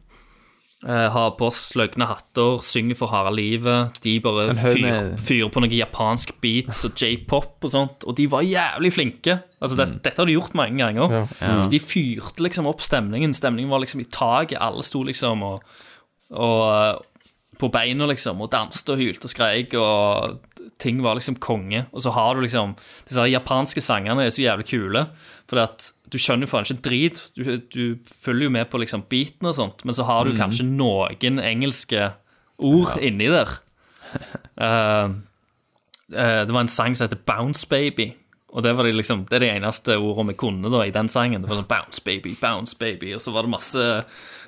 Speaker 4: eh, Har på oss løgne hatter, synger for harde livet. De bare
Speaker 6: haug
Speaker 4: fyrer
Speaker 6: med-
Speaker 4: fyrer på noe japansk beats og j-pop og sånt. Og de var jævlig flinke. Altså,
Speaker 6: Mm.
Speaker 4: det, Dette har de gjort mange ganger. Så de fyrte liksom opp stemningen. Stemningen var liksom i taket. Alle sto liksom og Og eh, på beina, liksom, og danset og hylte og skreik, og ting var liksom konge. Og så har du liksom Disse her japanske sangene er så jævlig kule, for at du skjønner jo faen ikke en drit. Du, du følger jo med på liksom beaten og sånt, men så har du kanskje noen engelske ord inni der. Eh, eh, det var en sang som heter Bounce Baby. Og det var det liksom, det er det eneste ordet vi kunne da i den sangen. Det var sånn Bounce Baby, Bounce Baby. Og så var det masse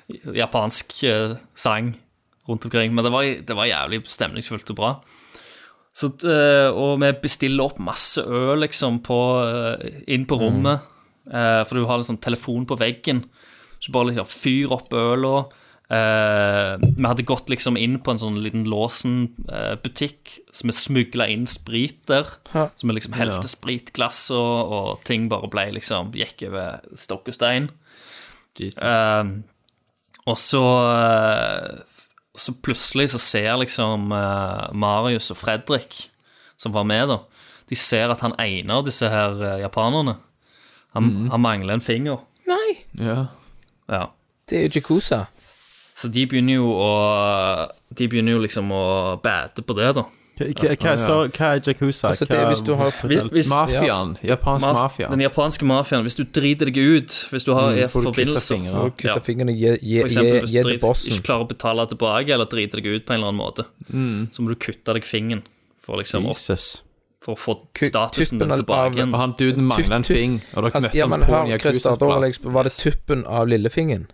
Speaker 4: japansk eh, sang rundt omkring. Men det var, det var jævlig stemningsfullt og bra. Så, eh, og vi bestiller opp masse øl liksom på, eh, inn på rommet. eh, for du har liksom telefon på veggen. Så bare liksom fyr opp øla. Eh, vi hadde gått liksom inn på en sånn liten Låsen-butikk, så vi smugla inn sprit der. Så vi liksom helte spritglass, og, og ting bare ble liksom Gikk over stokk og stein. Eh, og så eh, Så plutselig så ser liksom eh, Marius og Fredrik, som var med, da De ser at han ene av disse her eh, japanerne han, han mangler en finger.
Speaker 5: Nei,
Speaker 6: Ja.
Speaker 4: Ja.
Speaker 5: det er jo Jakuza.
Speaker 4: Så de begynner jo å De begynner jo liksom å bæte på det, da.
Speaker 3: Hva, hva, hva, står, hva er Jakuza?
Speaker 5: Altså, det er hvis du har
Speaker 4: Hvis, hvis
Speaker 6: Mafiaen. Japansk
Speaker 4: maf-
Speaker 6: mafia.
Speaker 4: Den japanske mafiaen, hvis du driter deg ut, hvis du har
Speaker 6: får du
Speaker 4: forbindelser
Speaker 6: kuttefingre.
Speaker 5: Når du kutter
Speaker 4: ja.
Speaker 5: fingrene, gi gi-
Speaker 4: For
Speaker 5: gi-
Speaker 4: eksempel hvis
Speaker 5: gi
Speaker 4: du
Speaker 5: til
Speaker 4: drit-
Speaker 5: bossen.
Speaker 4: ikke klarer å betale tilbake eller driter deg ut på en eller annen måte, så må du kutte deg fingeren for, liksom, opp,
Speaker 3: Jesus.
Speaker 4: for å få
Speaker 5: Ku-
Speaker 4: statusen
Speaker 5: tuppen
Speaker 4: din
Speaker 5: av-
Speaker 4: tilbake igjen.
Speaker 6: Og han duden mangler en
Speaker 5: Tutt, tutt.
Speaker 6: fing, og dere
Speaker 5: Altså,
Speaker 6: møtte
Speaker 5: ja,
Speaker 6: ham
Speaker 5: men
Speaker 6: på en
Speaker 5: hør, Christer,
Speaker 6: Yakuza's
Speaker 5: da var, det
Speaker 6: plass.
Speaker 5: liksom, var det tuppen av lillefingeren?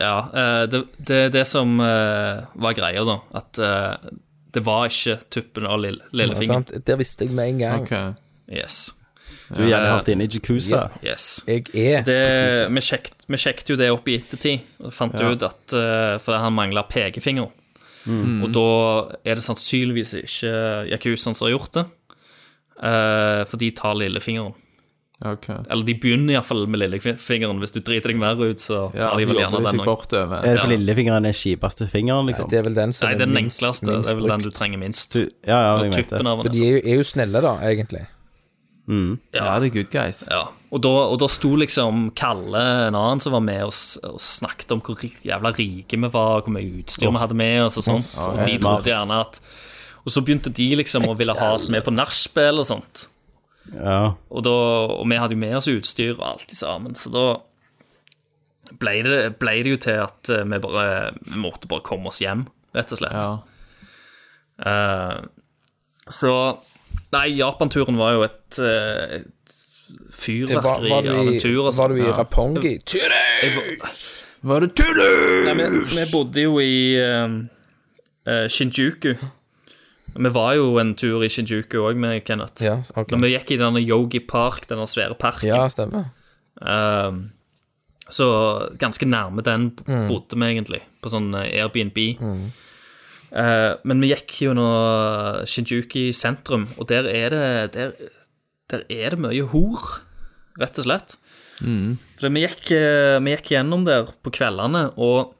Speaker 4: Ja, eh, det, det er det som eh, var greia, da. At eh, det var ikke tuppen av lille,
Speaker 5: Ja,
Speaker 4: lillefingeren.
Speaker 5: sant? Der visste jeg med en gang.
Speaker 6: Ok.
Speaker 4: Yes.
Speaker 3: Du er gjerne hardt inne i Jakuza.
Speaker 4: yes.
Speaker 5: Jeg er
Speaker 4: Det, vi, sjekket, vi sjekket jo det opp i ettertid, og fant ut at eh, fordi han mangla pekefinger. Og da er det sannsynligvis ikke Yakuzaen som har gjort det, eh, for de tar lillefingeren.
Speaker 6: ok.
Speaker 4: Eller de begynner iallfall med lillefingeren. Hvis du driter deg mer ut, så
Speaker 6: Ja,
Speaker 4: tar
Speaker 6: de
Speaker 4: de vel
Speaker 6: jobber
Speaker 4: gjerne
Speaker 6: seg
Speaker 4: den òg.
Speaker 6: bortover.
Speaker 3: Er det for
Speaker 4: Ja.
Speaker 3: lillefingeren er kjipeste fingeren, liksom?
Speaker 5: Det er vel den som
Speaker 4: Nei, det er den
Speaker 5: minst-
Speaker 4: enkleste.
Speaker 5: minst
Speaker 4: Det er vel den
Speaker 5: brukt.
Speaker 4: du trenger minst.
Speaker 3: Du, ja, ja, jeg mente
Speaker 4: Tuppen
Speaker 3: det.
Speaker 4: av
Speaker 5: Så
Speaker 4: den.
Speaker 5: de er jo, er jo snille, da, egentlig.
Speaker 6: Ja, det er good guys.
Speaker 4: Ja. Og, da, og da sto liksom Kalle, en annen som var med oss, og snakket om hvor ri- jævla rike vi var, hvor mye utstyr vi hadde med oss og sånt. Og de trodde gjerne at Og så begynte de liksom å ville ha oss med på nachspiel og sånt.
Speaker 3: Ja.
Speaker 4: Og, da, og vi hadde jo med oss utstyr og alt i sammen, så da ble det, ble det jo til at eh, vi bare vi måtte bare komme oss hjem, rett og slett.
Speaker 6: Ja.
Speaker 4: Eh, så Nei, Japan-turen var jo et, eh, et
Speaker 5: Var,
Speaker 4: fyrverkeri
Speaker 5: Eh, var du
Speaker 4: av en
Speaker 5: i,
Speaker 4: tur. og sånn. sånt.
Speaker 5: var du i Rapongi?
Speaker 6: Var det tullus?
Speaker 4: Nei, vi, vi bodde jo i ehm, eh, Shinjuku. Vi var jo en tur i Shinjuku òg med Kenneth.
Speaker 5: Ja, ok.
Speaker 4: Når vi gikk i denne Yogi Park, denne svære parken,
Speaker 5: Ja, stemmer.
Speaker 4: ehm, så ganske nærme den b-
Speaker 5: Mm.
Speaker 4: bodde vi egentlig, på sånn eh, Airbnb. Eh, men vi gikk jo nå Shinjuki sentrum, og der er det Der, der er det mye hor, rett og slett.
Speaker 5: Mm.
Speaker 4: For vi gikk, eh, vi gikk gjennom der på kveldene, og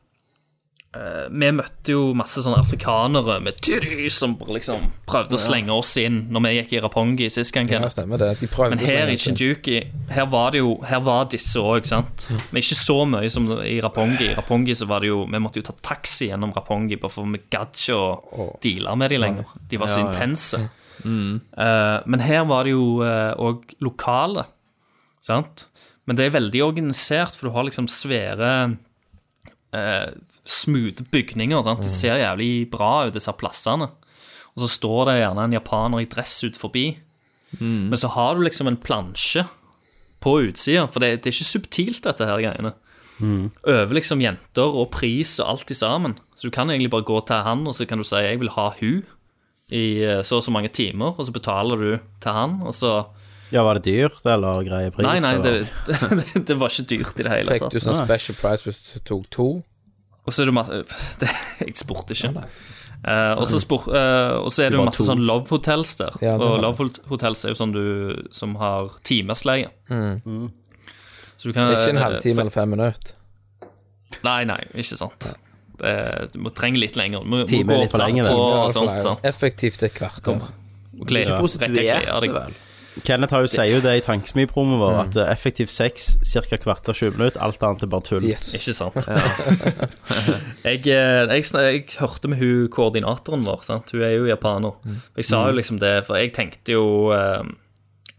Speaker 4: eh, vi møtte jo masse sånne afrikanere med tyri som bare liksom prøvde å slenge oss inn når vi gikk i Rapongi sist gang.
Speaker 5: Ja,
Speaker 4: Kenneth.
Speaker 5: stemmer det. De prøvde
Speaker 4: Men
Speaker 5: å slenge
Speaker 4: her i
Speaker 5: seg.
Speaker 4: Shinjuki, her var det jo Her var disse òg, sant? Men ikke så mye som i Rapongi. I Rapongi så var det jo Vi måtte jo ta taxi gjennom Rapongi, bare for vi gadd ikke å deale med de lenger. De var så
Speaker 6: Ja, ja.
Speaker 4: intense. Eh, men her var det jo òg lokale, sant? Men det er veldig organisert, for du har liksom svære eh, Smoothe bygninger. Sant? De
Speaker 6: Mm.
Speaker 4: ser jævlig bra ut, disse plassene. Og så står det gjerne en japaner i dress ut forbi. Men så har du liksom en plansje på utsida, for det, det er ikke subtilt, dette her greiene. Over liksom jenter og pris og alt i sammen. Så du kan egentlig bare gå til han, og så kan du si 'jeg vil ha hun' i eh, så og så mange timer, og så betaler du til han, og så
Speaker 3: ja, var det dyrt, eller greie pris?
Speaker 4: Nei, nei,
Speaker 3: eller?
Speaker 4: det, det, det var ikke dyrt i det hele
Speaker 5: Fikk
Speaker 4: tatt.
Speaker 5: du sånn special price hvis du tok to?
Speaker 4: Og så er det masse det, Jeg spurte ikke. Eh, og, så spor, eh, og så er det jo masse sånn Love Hotels der.
Speaker 5: Ja, det var
Speaker 4: og
Speaker 5: det.
Speaker 4: Love hot- Hotels er jo sånn du som har timesleie. Så du kan
Speaker 5: Ikke en
Speaker 4: eh,
Speaker 5: halvtime eller fem minutter.
Speaker 4: Nei, nei, ikke sant. Det, du må trenge litt lenger. Du må, må
Speaker 3: Time
Speaker 4: gå
Speaker 3: er litt
Speaker 4: opp
Speaker 3: for lenge,
Speaker 4: trappa
Speaker 3: det.
Speaker 5: Ja,
Speaker 4: og
Speaker 5: for
Speaker 4: sånt.
Speaker 5: det er
Speaker 4: sant?
Speaker 5: Effektivt et kvarter.
Speaker 4: Og kle- rekke klær deg.
Speaker 6: vel?
Speaker 3: Kenneth har jo, sier jo det i tankesmipromoen vår, at eh, effektiv sex ca. kvarter 20 minutter. Alt annet er bare tull.
Speaker 5: Yes.
Speaker 4: Ikke sant? jeg, eh, jeg, sn- jeg hørte med hun koordinatoren vår, sant? hun er jo japaner. Jeg sa jo liksom det, for jeg tenkte jo eh,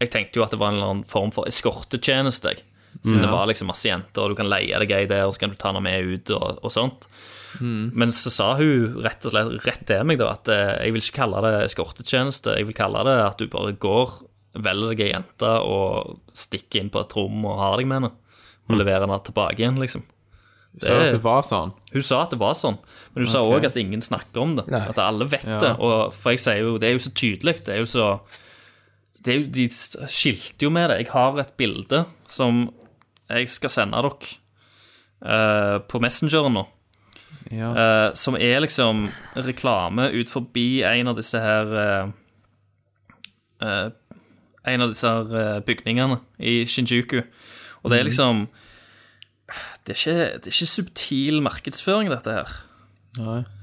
Speaker 4: Jeg tenkte jo at det var en eller annen form for eskortetjeneste. jeg. Siden
Speaker 6: Mm,
Speaker 4: det var liksom masse jenter, og du kan leie deg ei der, og så kan du ta henne med ut og, og sånt.
Speaker 6: Mm.
Speaker 4: Men så sa hun rett og slett rett til meg da at eh, jeg vil ikke kalle det eskortetjeneste. Jeg vil kalle det at du bare går, velger deg ei jente og stikker inn på et rom og har deg med henne. Og leverer henne tilbake igjen, liksom.
Speaker 6: Så Mm. at det var sånn.
Speaker 4: Hun sa at det var sånn, men hun sa òg at ingen snakker om det. At alle vet det. Og for jeg sier jo, det er jo så tydelig. Det er jo så det er jo, De skilte jo med det. Jeg har et bilde som jeg skal sende dere eh, på Messenger nå. Eh, som er liksom reklame ut forbi en av disse her eh, eh, En av disse her eh, bygningene i Shinjuku. Og det er liksom det er, ikke, det er ikke subtil markedsføring, dette her.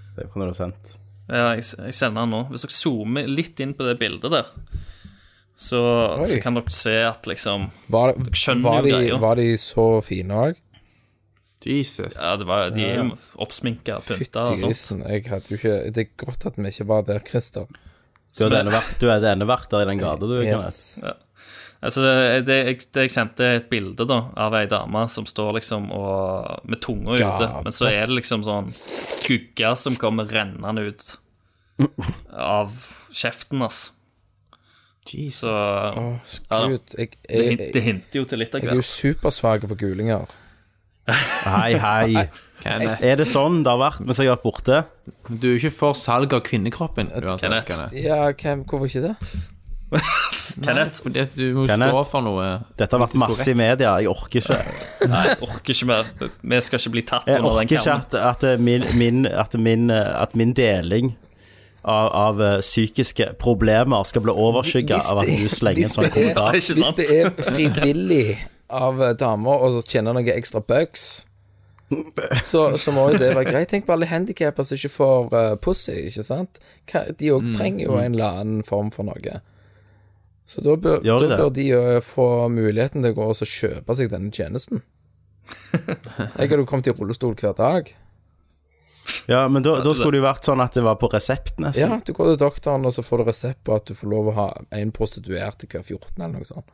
Speaker 3: Se på når det er sendt.
Speaker 4: Ja, jeg, jeg sender den nå. Hvis dere zoomer litt inn på det bildet der, så, så kan dere se at liksom
Speaker 5: Var,
Speaker 4: skjønner
Speaker 5: var,
Speaker 4: jo
Speaker 5: de,
Speaker 4: greia.
Speaker 5: var de så fine òg?
Speaker 6: Jesus.
Speaker 4: Ja, det var, de er jo oppsminka, pynta
Speaker 5: Fytti
Speaker 4: og sånt.
Speaker 5: grisen. Jeg hadde jo ikke Det er godt at vi ikke var der, Christer.
Speaker 3: Du er det ene vært- du er det ene vært der i den gata, du. Kenneth.
Speaker 5: Yes.
Speaker 4: Altså, det, det, jeg, det jeg sendte er et bilde da, av ei dame som står liksom og, med tunga ute,
Speaker 5: Gapet.
Speaker 4: men så er det liksom sånn skugger som kommer rennende ut av kjeften, ass.
Speaker 6: Jesus.
Speaker 4: Så
Speaker 5: Åh,
Speaker 4: Ja da.
Speaker 5: Gud, jeg,
Speaker 4: det,
Speaker 5: jeg,
Speaker 4: hin- det
Speaker 5: jeg,
Speaker 4: hinter jo til litt av
Speaker 5: jeg er jo
Speaker 4: hvert.
Speaker 5: supersvak for gulinger.
Speaker 3: Hei, hei.
Speaker 6: Kenneth.
Speaker 3: Er det sånn det har vært mens jeg har vært borte?
Speaker 6: Du er ikke for salg av kvinnekroppen. Uansett,
Speaker 4: Kenneth.
Speaker 6: Kenneth.
Speaker 5: Ja, hvem, hvorfor ikke det?
Speaker 4: Kenneth,
Speaker 6: Fordi at du må
Speaker 3: Kenneth.
Speaker 6: stå for noe.
Speaker 3: Dette har vært
Speaker 6: Politisk
Speaker 3: masse i media. Jeg orker ikke.
Speaker 4: Jeg orker ikke mer. Vi skal ikke bli tatt
Speaker 3: Jeg
Speaker 4: under
Speaker 3: orker
Speaker 4: den
Speaker 3: ikke at,
Speaker 4: kammen.
Speaker 3: at, min, min, at, min, at min deling av, av eh, psykiske problemer skal bli overskygga
Speaker 5: Hvis
Speaker 3: av at
Speaker 5: det-
Speaker 3: du slenger en
Speaker 5: hvis
Speaker 3: sånn
Speaker 5: det er-
Speaker 3: kommentar.
Speaker 4: Ikke sant?
Speaker 5: Hvis det er frivillig av eh, damer å tjene noen ekstra bucks, så, så må jo det være greit. Tenk på alle handikapper som ikke får eh, pussy, ikke sant? Hva, de
Speaker 3: Mm,
Speaker 5: òg trenger jo en eller annen form for noe. Så da bør,
Speaker 3: Gjør de
Speaker 5: da
Speaker 3: det?
Speaker 5: bør de jo få muligheten til å gå og så kjøpe seg denne tjenesten. Jeg hadde jo kommet i rullestol hver dag.
Speaker 3: Ja, men da, da skulle det jo vært sånn at det var på resept,
Speaker 5: Ja,
Speaker 3: nesten.
Speaker 5: du går til doktoren, og så får du resept på at du får lov å ha en prostituert til hver 14, eller noe sånt.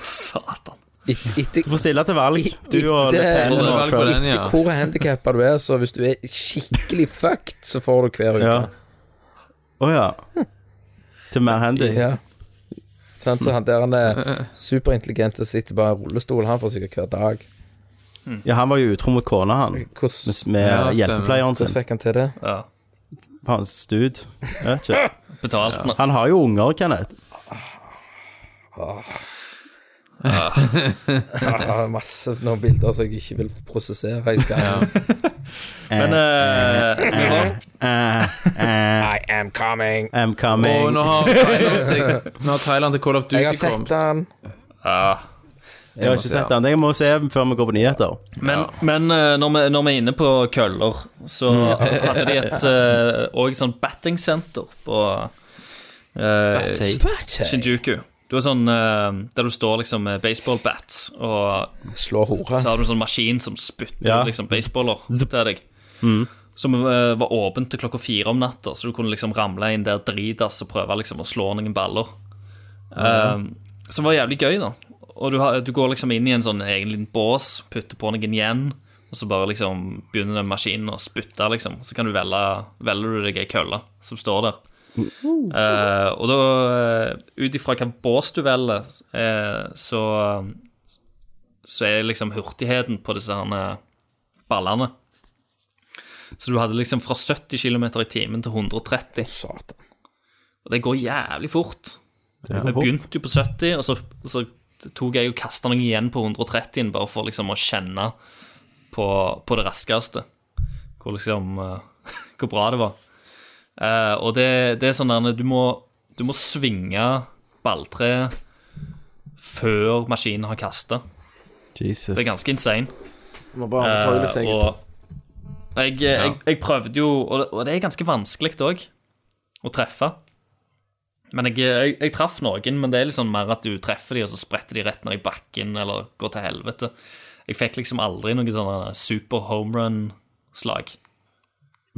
Speaker 4: Satan.
Speaker 5: Et, etter,
Speaker 3: Du får stille til valg, du og
Speaker 5: Det-
Speaker 3: Lepene
Speaker 6: Stille
Speaker 3: og
Speaker 6: valg på
Speaker 3: Trump.
Speaker 6: den. ja.
Speaker 5: Ikke hvor handikappa du er, så hvis du er skikkelig fucked, så får du hver uke.
Speaker 3: Ja.
Speaker 5: Ja.
Speaker 3: Å ja. Til mer handy.
Speaker 5: Sant, så han der han er superintelligent og sitter bare i rullestol, han får sikkert hver dag.
Speaker 3: Ja, han var jo utro mot kona, han.
Speaker 5: Hvordan,
Speaker 3: Med, med
Speaker 6: Ja,
Speaker 3: hjelpepleieren
Speaker 6: stemmer.
Speaker 5: hvordan
Speaker 3: sin.
Speaker 5: fikk han til det?
Speaker 4: Ja.
Speaker 3: Hans stud. Jeg vet ikke.
Speaker 4: Betalt nå.
Speaker 3: Han har jo unger, Kenneth.
Speaker 5: Jeg har masse noen bilder som jeg ikke vil prosessere i skallen.
Speaker 4: Men eh, vi var
Speaker 5: I am coming!
Speaker 3: eh, I'm
Speaker 6: Og
Speaker 3: coming.
Speaker 6: nå har traileren til, nå har traileren til Call of
Speaker 5: Jeg har
Speaker 6: Duty
Speaker 5: sett
Speaker 6: kommet.
Speaker 5: han.
Speaker 4: ja.
Speaker 3: Jeg har ikke sett den. Jeg må se den før vi går på nyheter.
Speaker 4: Men, men eh, når, vi, når vi er inne på køller, så hadde de et eh, òg sånn batting center på eh, Shinjuku. Du har sånn eh, der du står liksom med baseball bats, og
Speaker 5: Slå hore.
Speaker 4: så har du en sånn maskin som spytter
Speaker 3: Ja.
Speaker 4: liksom baseballer til deg. Som eh, var åpent til klokka fire om natta, så du kunne liksom ramle inn der dritass og prøve liksom å slå noen baller. Um, som var jævlig gøy, da. Og du, har, du går liksom inn i en sånn egen liten bås, putter på noen igjen, og så bare liksom begynner den maskinen å spytte, liksom. Så kan du velge, velger du deg ei kølle som står der. Eh, og da, eh, ut ifra hvilken bås du velger, eh, så Så er liksom hurtigheten på disse herne ballene. Så du hadde liksom fra 70 km i timen til 130.
Speaker 5: Satan.
Speaker 4: Og det går jævlig fort. Vi
Speaker 3: fort.
Speaker 4: begynte jo på 70, og så, så tok jeg og kasta noe igjen på 130, bare for liksom å kjenne på, på det raskeste hvor liksom eh, Hvor bra det var. Eh, og det, det er sånn der du må, du må svinge balltreet før maskinen har kasta.
Speaker 3: Jesus.
Speaker 4: Det er ganske insane.
Speaker 5: Må bare ta ut litt, egentlig.
Speaker 4: Eh, og jeg, jeg, jeg prøvde jo, og det, og det er ganske vanskelig òg, å treffe. Men jeg, jeg, jeg traff noen, men det er liksom mer at du treffer de, og så spretter de rett ned i bakken, eller går til helvete. Jeg fikk liksom aldri noen sånne super home run-slag.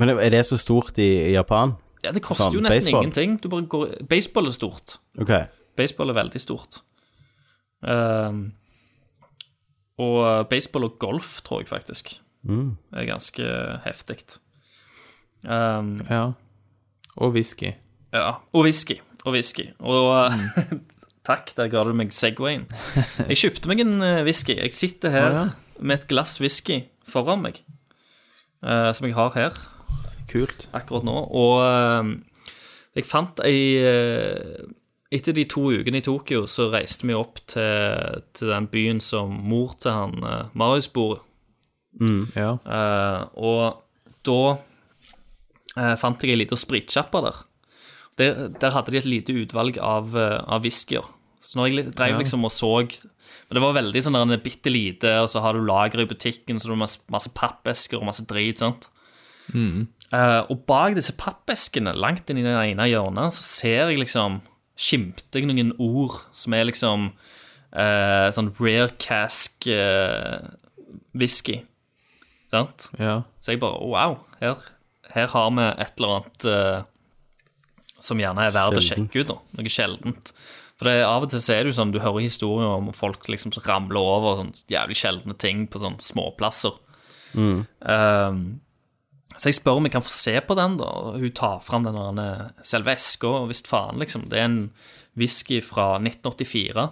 Speaker 3: Men er det så stort i Japan?
Speaker 4: Ja, det koster
Speaker 3: Sånn,
Speaker 4: jo nesten
Speaker 3: baseball.
Speaker 4: ingenting. Du bare går Baseball er stort.
Speaker 3: Ok.
Speaker 4: Baseball er veldig stort. Ehm, og baseball og golf, tror jeg faktisk, er ganske heftig. Ehm,
Speaker 6: Ja. Og whisky.
Speaker 4: ja. Og whisky. Og whisky. Og takk, der ga du meg Segwayen. Jeg kjøpte meg en eh, whisky. Jeg sitter her med et glass whisky foran meg, eh, som jeg har her
Speaker 6: Kult.
Speaker 4: akkurat nå. Og eh, jeg fant ei eh, Etter de to ukene i Tokyo så reiste vi opp til, til den byen som mor til han eh, Marius bor i.
Speaker 6: Ja.
Speaker 4: Eh, og da eh, fant jeg ei lita spritsjappe der. der. Der hadde de et lite utvalg av, uh, av whiskyer. Så når jeg li- drev liksom og så Men det var veldig sånn der, bitte lite, og så har du lager i butikken, så du har masse, masse pappesker og masse drit. sant? Eh, og bak disse pappeskene, langt inn i det ene hjørnet, så ser jeg liksom Skimter jeg noen ord som er liksom eh, sånn rare cask eh, whisky. Sant?
Speaker 6: ja.
Speaker 4: Så jeg bare wow, her, her har vi et eller annet eh, som gjerne er verdt å sjekke ut. da, Noe sjeldent. For det, er- av og til så er det jo sånn, du hører historier om folk liksom som ramler over sånn jævlig sjeldne ting på sånne småplasser. Ehm, så jeg spør om jeg kan få se på den, da. og Hun tar fram den der eh, selve eska, og visst faen, liksom. Det er en whisky fra 1984,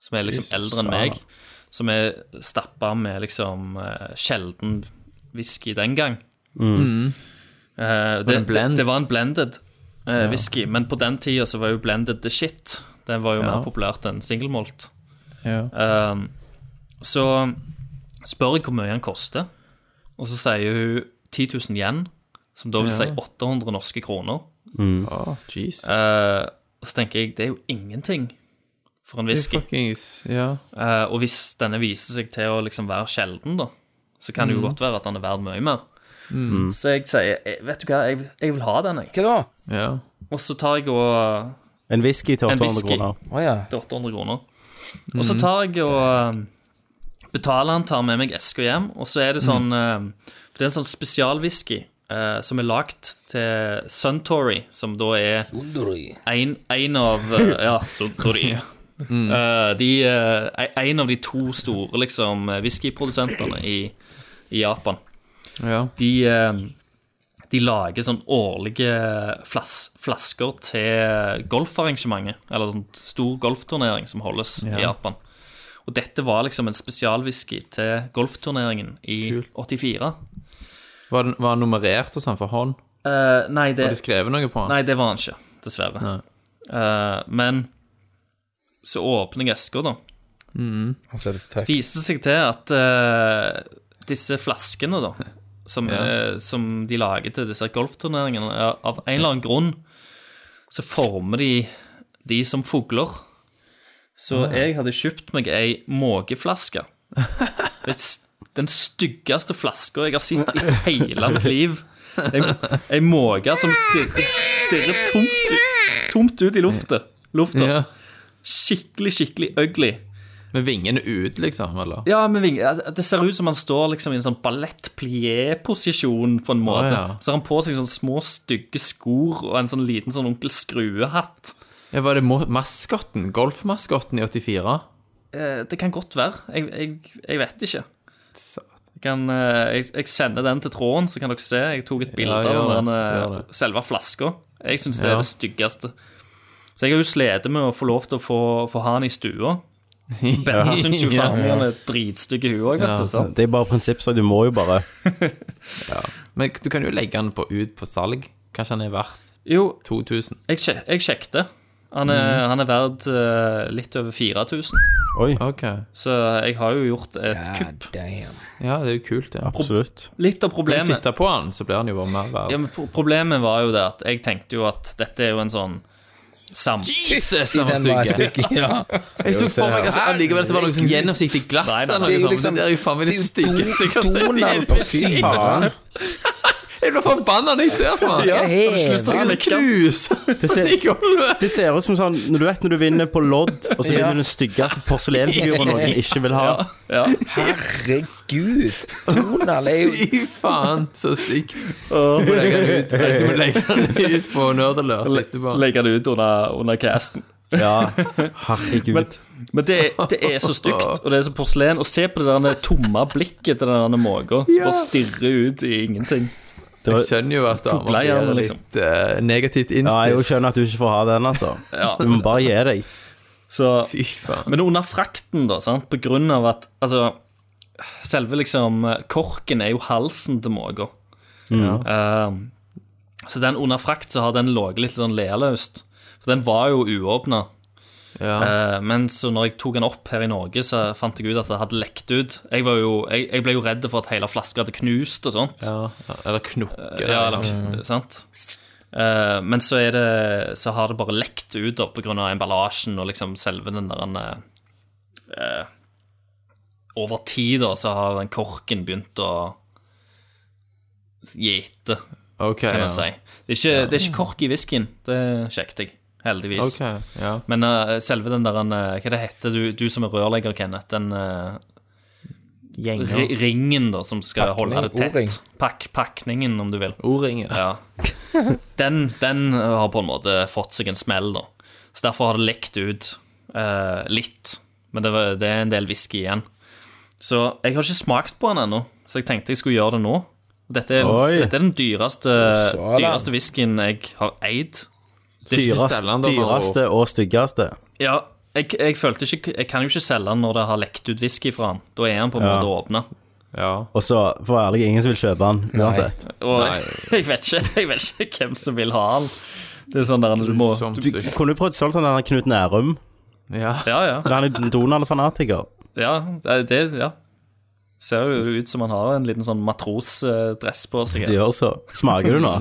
Speaker 4: som er liksom eldre enn meg, som er stappa med liksom eh, sjelden whisky den gang. Eh, det,
Speaker 6: Mm. en blend?
Speaker 4: det, det var en blended eh, whisky, men på den tida så var jo blended the shit. Den var jo mer populært enn single malt.
Speaker 6: Ja.
Speaker 4: Um, så spør jeg hvor mye han koster, og så sier hun 10 000 yen, som da vil si 800 norske kroner. Mm.
Speaker 6: Å, jeez.
Speaker 4: Eh, og så tenker jeg, det er jo ingenting for en whisky.
Speaker 6: Fuckings Ja.
Speaker 4: Eh, og hvis denne viser seg til å liksom være sjelden, da, så kan det jo godt være at den er verd mye mer. Så jeg sier, eh, vet du hva, jeg, jeg vil ha den, jeg.
Speaker 5: Hva da?
Speaker 6: ja.
Speaker 4: Og så tar jeg og
Speaker 3: En whisky til
Speaker 4: En
Speaker 3: 800
Speaker 4: whisky.
Speaker 3: kroner.
Speaker 5: Å ja.
Speaker 4: til 800 kroner. Og så tar jeg og eh, betaler han, tar med meg eska hjem, og så er det sånn eh, For det er en sånn spesialwhisky eh, som er lagd til Suntory, som da er en, en av eh, Ja, Suntory. Eh, de, eh, en av de to store liksom, whiskyprodusentene i, i Japan.
Speaker 6: ja.
Speaker 4: De, eh, de lager sånn årlige flas flasker til golfarrangementet, eller sånn stor golfturnering som holdes i Japan. Og dette var liksom en spesialwhisky til golfturneringen i 84.
Speaker 6: Var den, var den nummerert og sånn for hånd?
Speaker 4: Eh, nei, det,
Speaker 6: Har de skrevet noe på den?
Speaker 4: nei, det var han ikke, dessverre. Eh, men så åpner jeg eska, da.
Speaker 5: Altså, det er
Speaker 4: Viste seg til at eh, disse flaskene, da, som, eh, som de lager til disse golfturneringene, er av en eller annen grunn så former de de som fugler. Så jeg hadde kjøpt meg ei måkeflaske. Det er s- Den styggeste flaska jeg har sett i hele mitt liv. Ei, ei måke som stirrer, stirrer tomt, ut- tomt ut i lufta. Lufta.
Speaker 6: Ja.
Speaker 4: Skikkelig, skikkelig ugly.
Speaker 6: Med vingene ut, liksom? Eller?
Speaker 4: Ja, men Vinge, altså, det ser ut som han står liksom i en sånn ballett-plié-posisjon på en måte.
Speaker 6: Å, ja.
Speaker 4: Så har han på seg sånne små, stygge skor og en sånn liten sånn onkel Skrue-hatt.
Speaker 6: Ja, var det mo- maskotten? Golfmaskotten i 84?
Speaker 4: Eh, det kan godt være. Jeg, jeg, jeg vet ikke.
Speaker 6: Satan.
Speaker 4: Jeg, kan, eh, jeg, jeg sender den til tråden, så kan dere se. Jeg tok et bilde
Speaker 6: gjør
Speaker 4: av
Speaker 6: det,
Speaker 4: den, eh,
Speaker 6: gjør
Speaker 4: selve flaska. Jeg syns det
Speaker 6: Ja.
Speaker 4: er det styggeste. Så jeg har jo slitt med å få lov til å få, få ha den i stua. Bente syns jo faen meg han er dritstygg i huet òg, vet du. sant?
Speaker 3: Det er bare prinsippsak, du må jo bare
Speaker 6: Men du kan jo legge den på, ut på salg. Kanskje den er verdt
Speaker 4: Jo,
Speaker 6: 2000?
Speaker 4: Jeg, sjek jeg sjekket. Han er, han er verd eh, litt over 4000,
Speaker 3: Oi,
Speaker 6: Ok.
Speaker 4: så jeg har jo gjort et kupp.
Speaker 5: Ah, damn.
Speaker 6: Ja, det er jo kult, det.
Speaker 3: absolutt.
Speaker 4: Litt av
Speaker 6: Hvis du
Speaker 4: problemet
Speaker 6: sitter på den, så blir den jo bare mer verdt.
Speaker 4: ja, men pro- Problemet var jo det at jeg tenkte jo at dette er jo en sånn sam...
Speaker 6: Jesus, den
Speaker 5: Den var
Speaker 6: var
Speaker 5: et
Speaker 6: stygg!
Speaker 5: stykke, ja.
Speaker 6: Jeg så for meg at allikevel at det var noe sånn gjennomsiktig glass eller
Speaker 5: Det er
Speaker 6: noe
Speaker 5: jo
Speaker 6: sånt.
Speaker 5: liksom-
Speaker 6: Det er jo faen meg det
Speaker 5: Det er jo
Speaker 6: styggeste jeg har sett i
Speaker 5: Donald
Speaker 6: hele
Speaker 5: på
Speaker 6: mitt liv.
Speaker 5: fyren.
Speaker 6: Jeg blir forbanna når jeg ser på han. Jeg
Speaker 5: Helt.
Speaker 6: har lyst til å knuse
Speaker 3: Det ser,
Speaker 6: han i gulvet.
Speaker 3: det ser ut som sånn Når du vet når du vinner på lodd, og så vinner du den styggeste porselenfiguren noen ikke vil ha.
Speaker 4: Ja.
Speaker 5: Herregud. Donald er jo
Speaker 6: Fy faen, så stygt. Du må legge den ut. Du må legge den ut på Nerdalert etterpå.
Speaker 4: Legge det ut under, under casten.
Speaker 3: Ja, herregud.
Speaker 4: Men det, det er så stygt, og det er så porselen. Og se på det der tomme blikket til den der måka som bare stirrer ut i ingenting.
Speaker 6: Jeg skjønner jo at damer
Speaker 4: Fugleier,
Speaker 6: blir
Speaker 4: liksom.
Speaker 6: litt eh, negativt
Speaker 3: ja, jeg
Speaker 6: innstilt.
Speaker 3: skjønner at du ikke får ha den, altså.
Speaker 4: Ja.
Speaker 3: Du må bare gi deg.
Speaker 4: Så
Speaker 6: Fy faen.
Speaker 4: Men under frakten, da, sant? på grunn av at Altså, selve liksom eh, Korken er jo halsen til måka. Eh, så den under frakt så har den ligget litt sånn lealøst. For den var jo uåpna. Eh,
Speaker 6: Ja.
Speaker 4: men så når jeg tok den opp her i Norge, så fant jeg ut at det hadde lekt ut. Jeg, var jo, jeg, jeg ble jo redd for at hele flaska hadde knust og sånt.
Speaker 6: Ja. Eller knokke.
Speaker 4: Ja, eller,
Speaker 6: Mm.
Speaker 4: sant? Eh, men så, er det, så har det bare lekt ut da, på grunn av emballasjen og liksom selve den der eh, eh, Over tid da, så har den korken begynt å geite,
Speaker 6: Ok,
Speaker 4: kan
Speaker 6: ja.
Speaker 4: man si. Det er, ikke, det er ikke kork i whiskyen, det sjekket jeg, heldigvis.
Speaker 6: Ok, ja.
Speaker 4: Men eh, selve den der eh, Hva det heter du, du som er rørlegger, Kenneth? Den eh, ri- ringen da, som skal
Speaker 5: Pakning,
Speaker 4: holde det
Speaker 5: O-ring.
Speaker 4: tett. Pakk, pakningen, om du vil.
Speaker 6: O-ring, ja.
Speaker 4: Ja. Den, den har på en måte fått seg en smell, da. Så derfor har det lekt ut eh, litt. Men det, var, det er en del whisky igjen. Så jeg har ikke smakt på den ennå, så jeg tenkte jeg skulle gjøre det nå. Dette er,
Speaker 3: Oi.
Speaker 4: dette er den dyreste,
Speaker 5: Sådan.
Speaker 4: dyreste whiskyen jeg har eid. Det er ikke
Speaker 6: Dyrest.
Speaker 4: selv-
Speaker 6: selge den, da,
Speaker 3: dyreste og styggeste.
Speaker 4: Ja, jeg, jeg følte ikke Jeg kan jo ikke selge den når det har lekt ut whisky fra den. Da er den på en måte åpna.
Speaker 6: ja.
Speaker 3: Og så, for å være ærlig, ingen som vil kjøpe den uansett.
Speaker 4: Og jeg vet, ikke, jeg vet ikke hvem som vil ha den. Det er sånn der du må
Speaker 6: Som
Speaker 3: Du
Speaker 6: sykt.
Speaker 3: kunne jo prøvd solgt den der Knut Nærum.
Speaker 6: Ja.
Speaker 4: Ja, ja.
Speaker 3: Han er en Donald-fanatiker.
Speaker 4: Ja, det, det ja. ser jo ut som han har en liten sånn matrosdress på
Speaker 3: De
Speaker 4: seg.
Speaker 3: gjør så. Smaker du nå?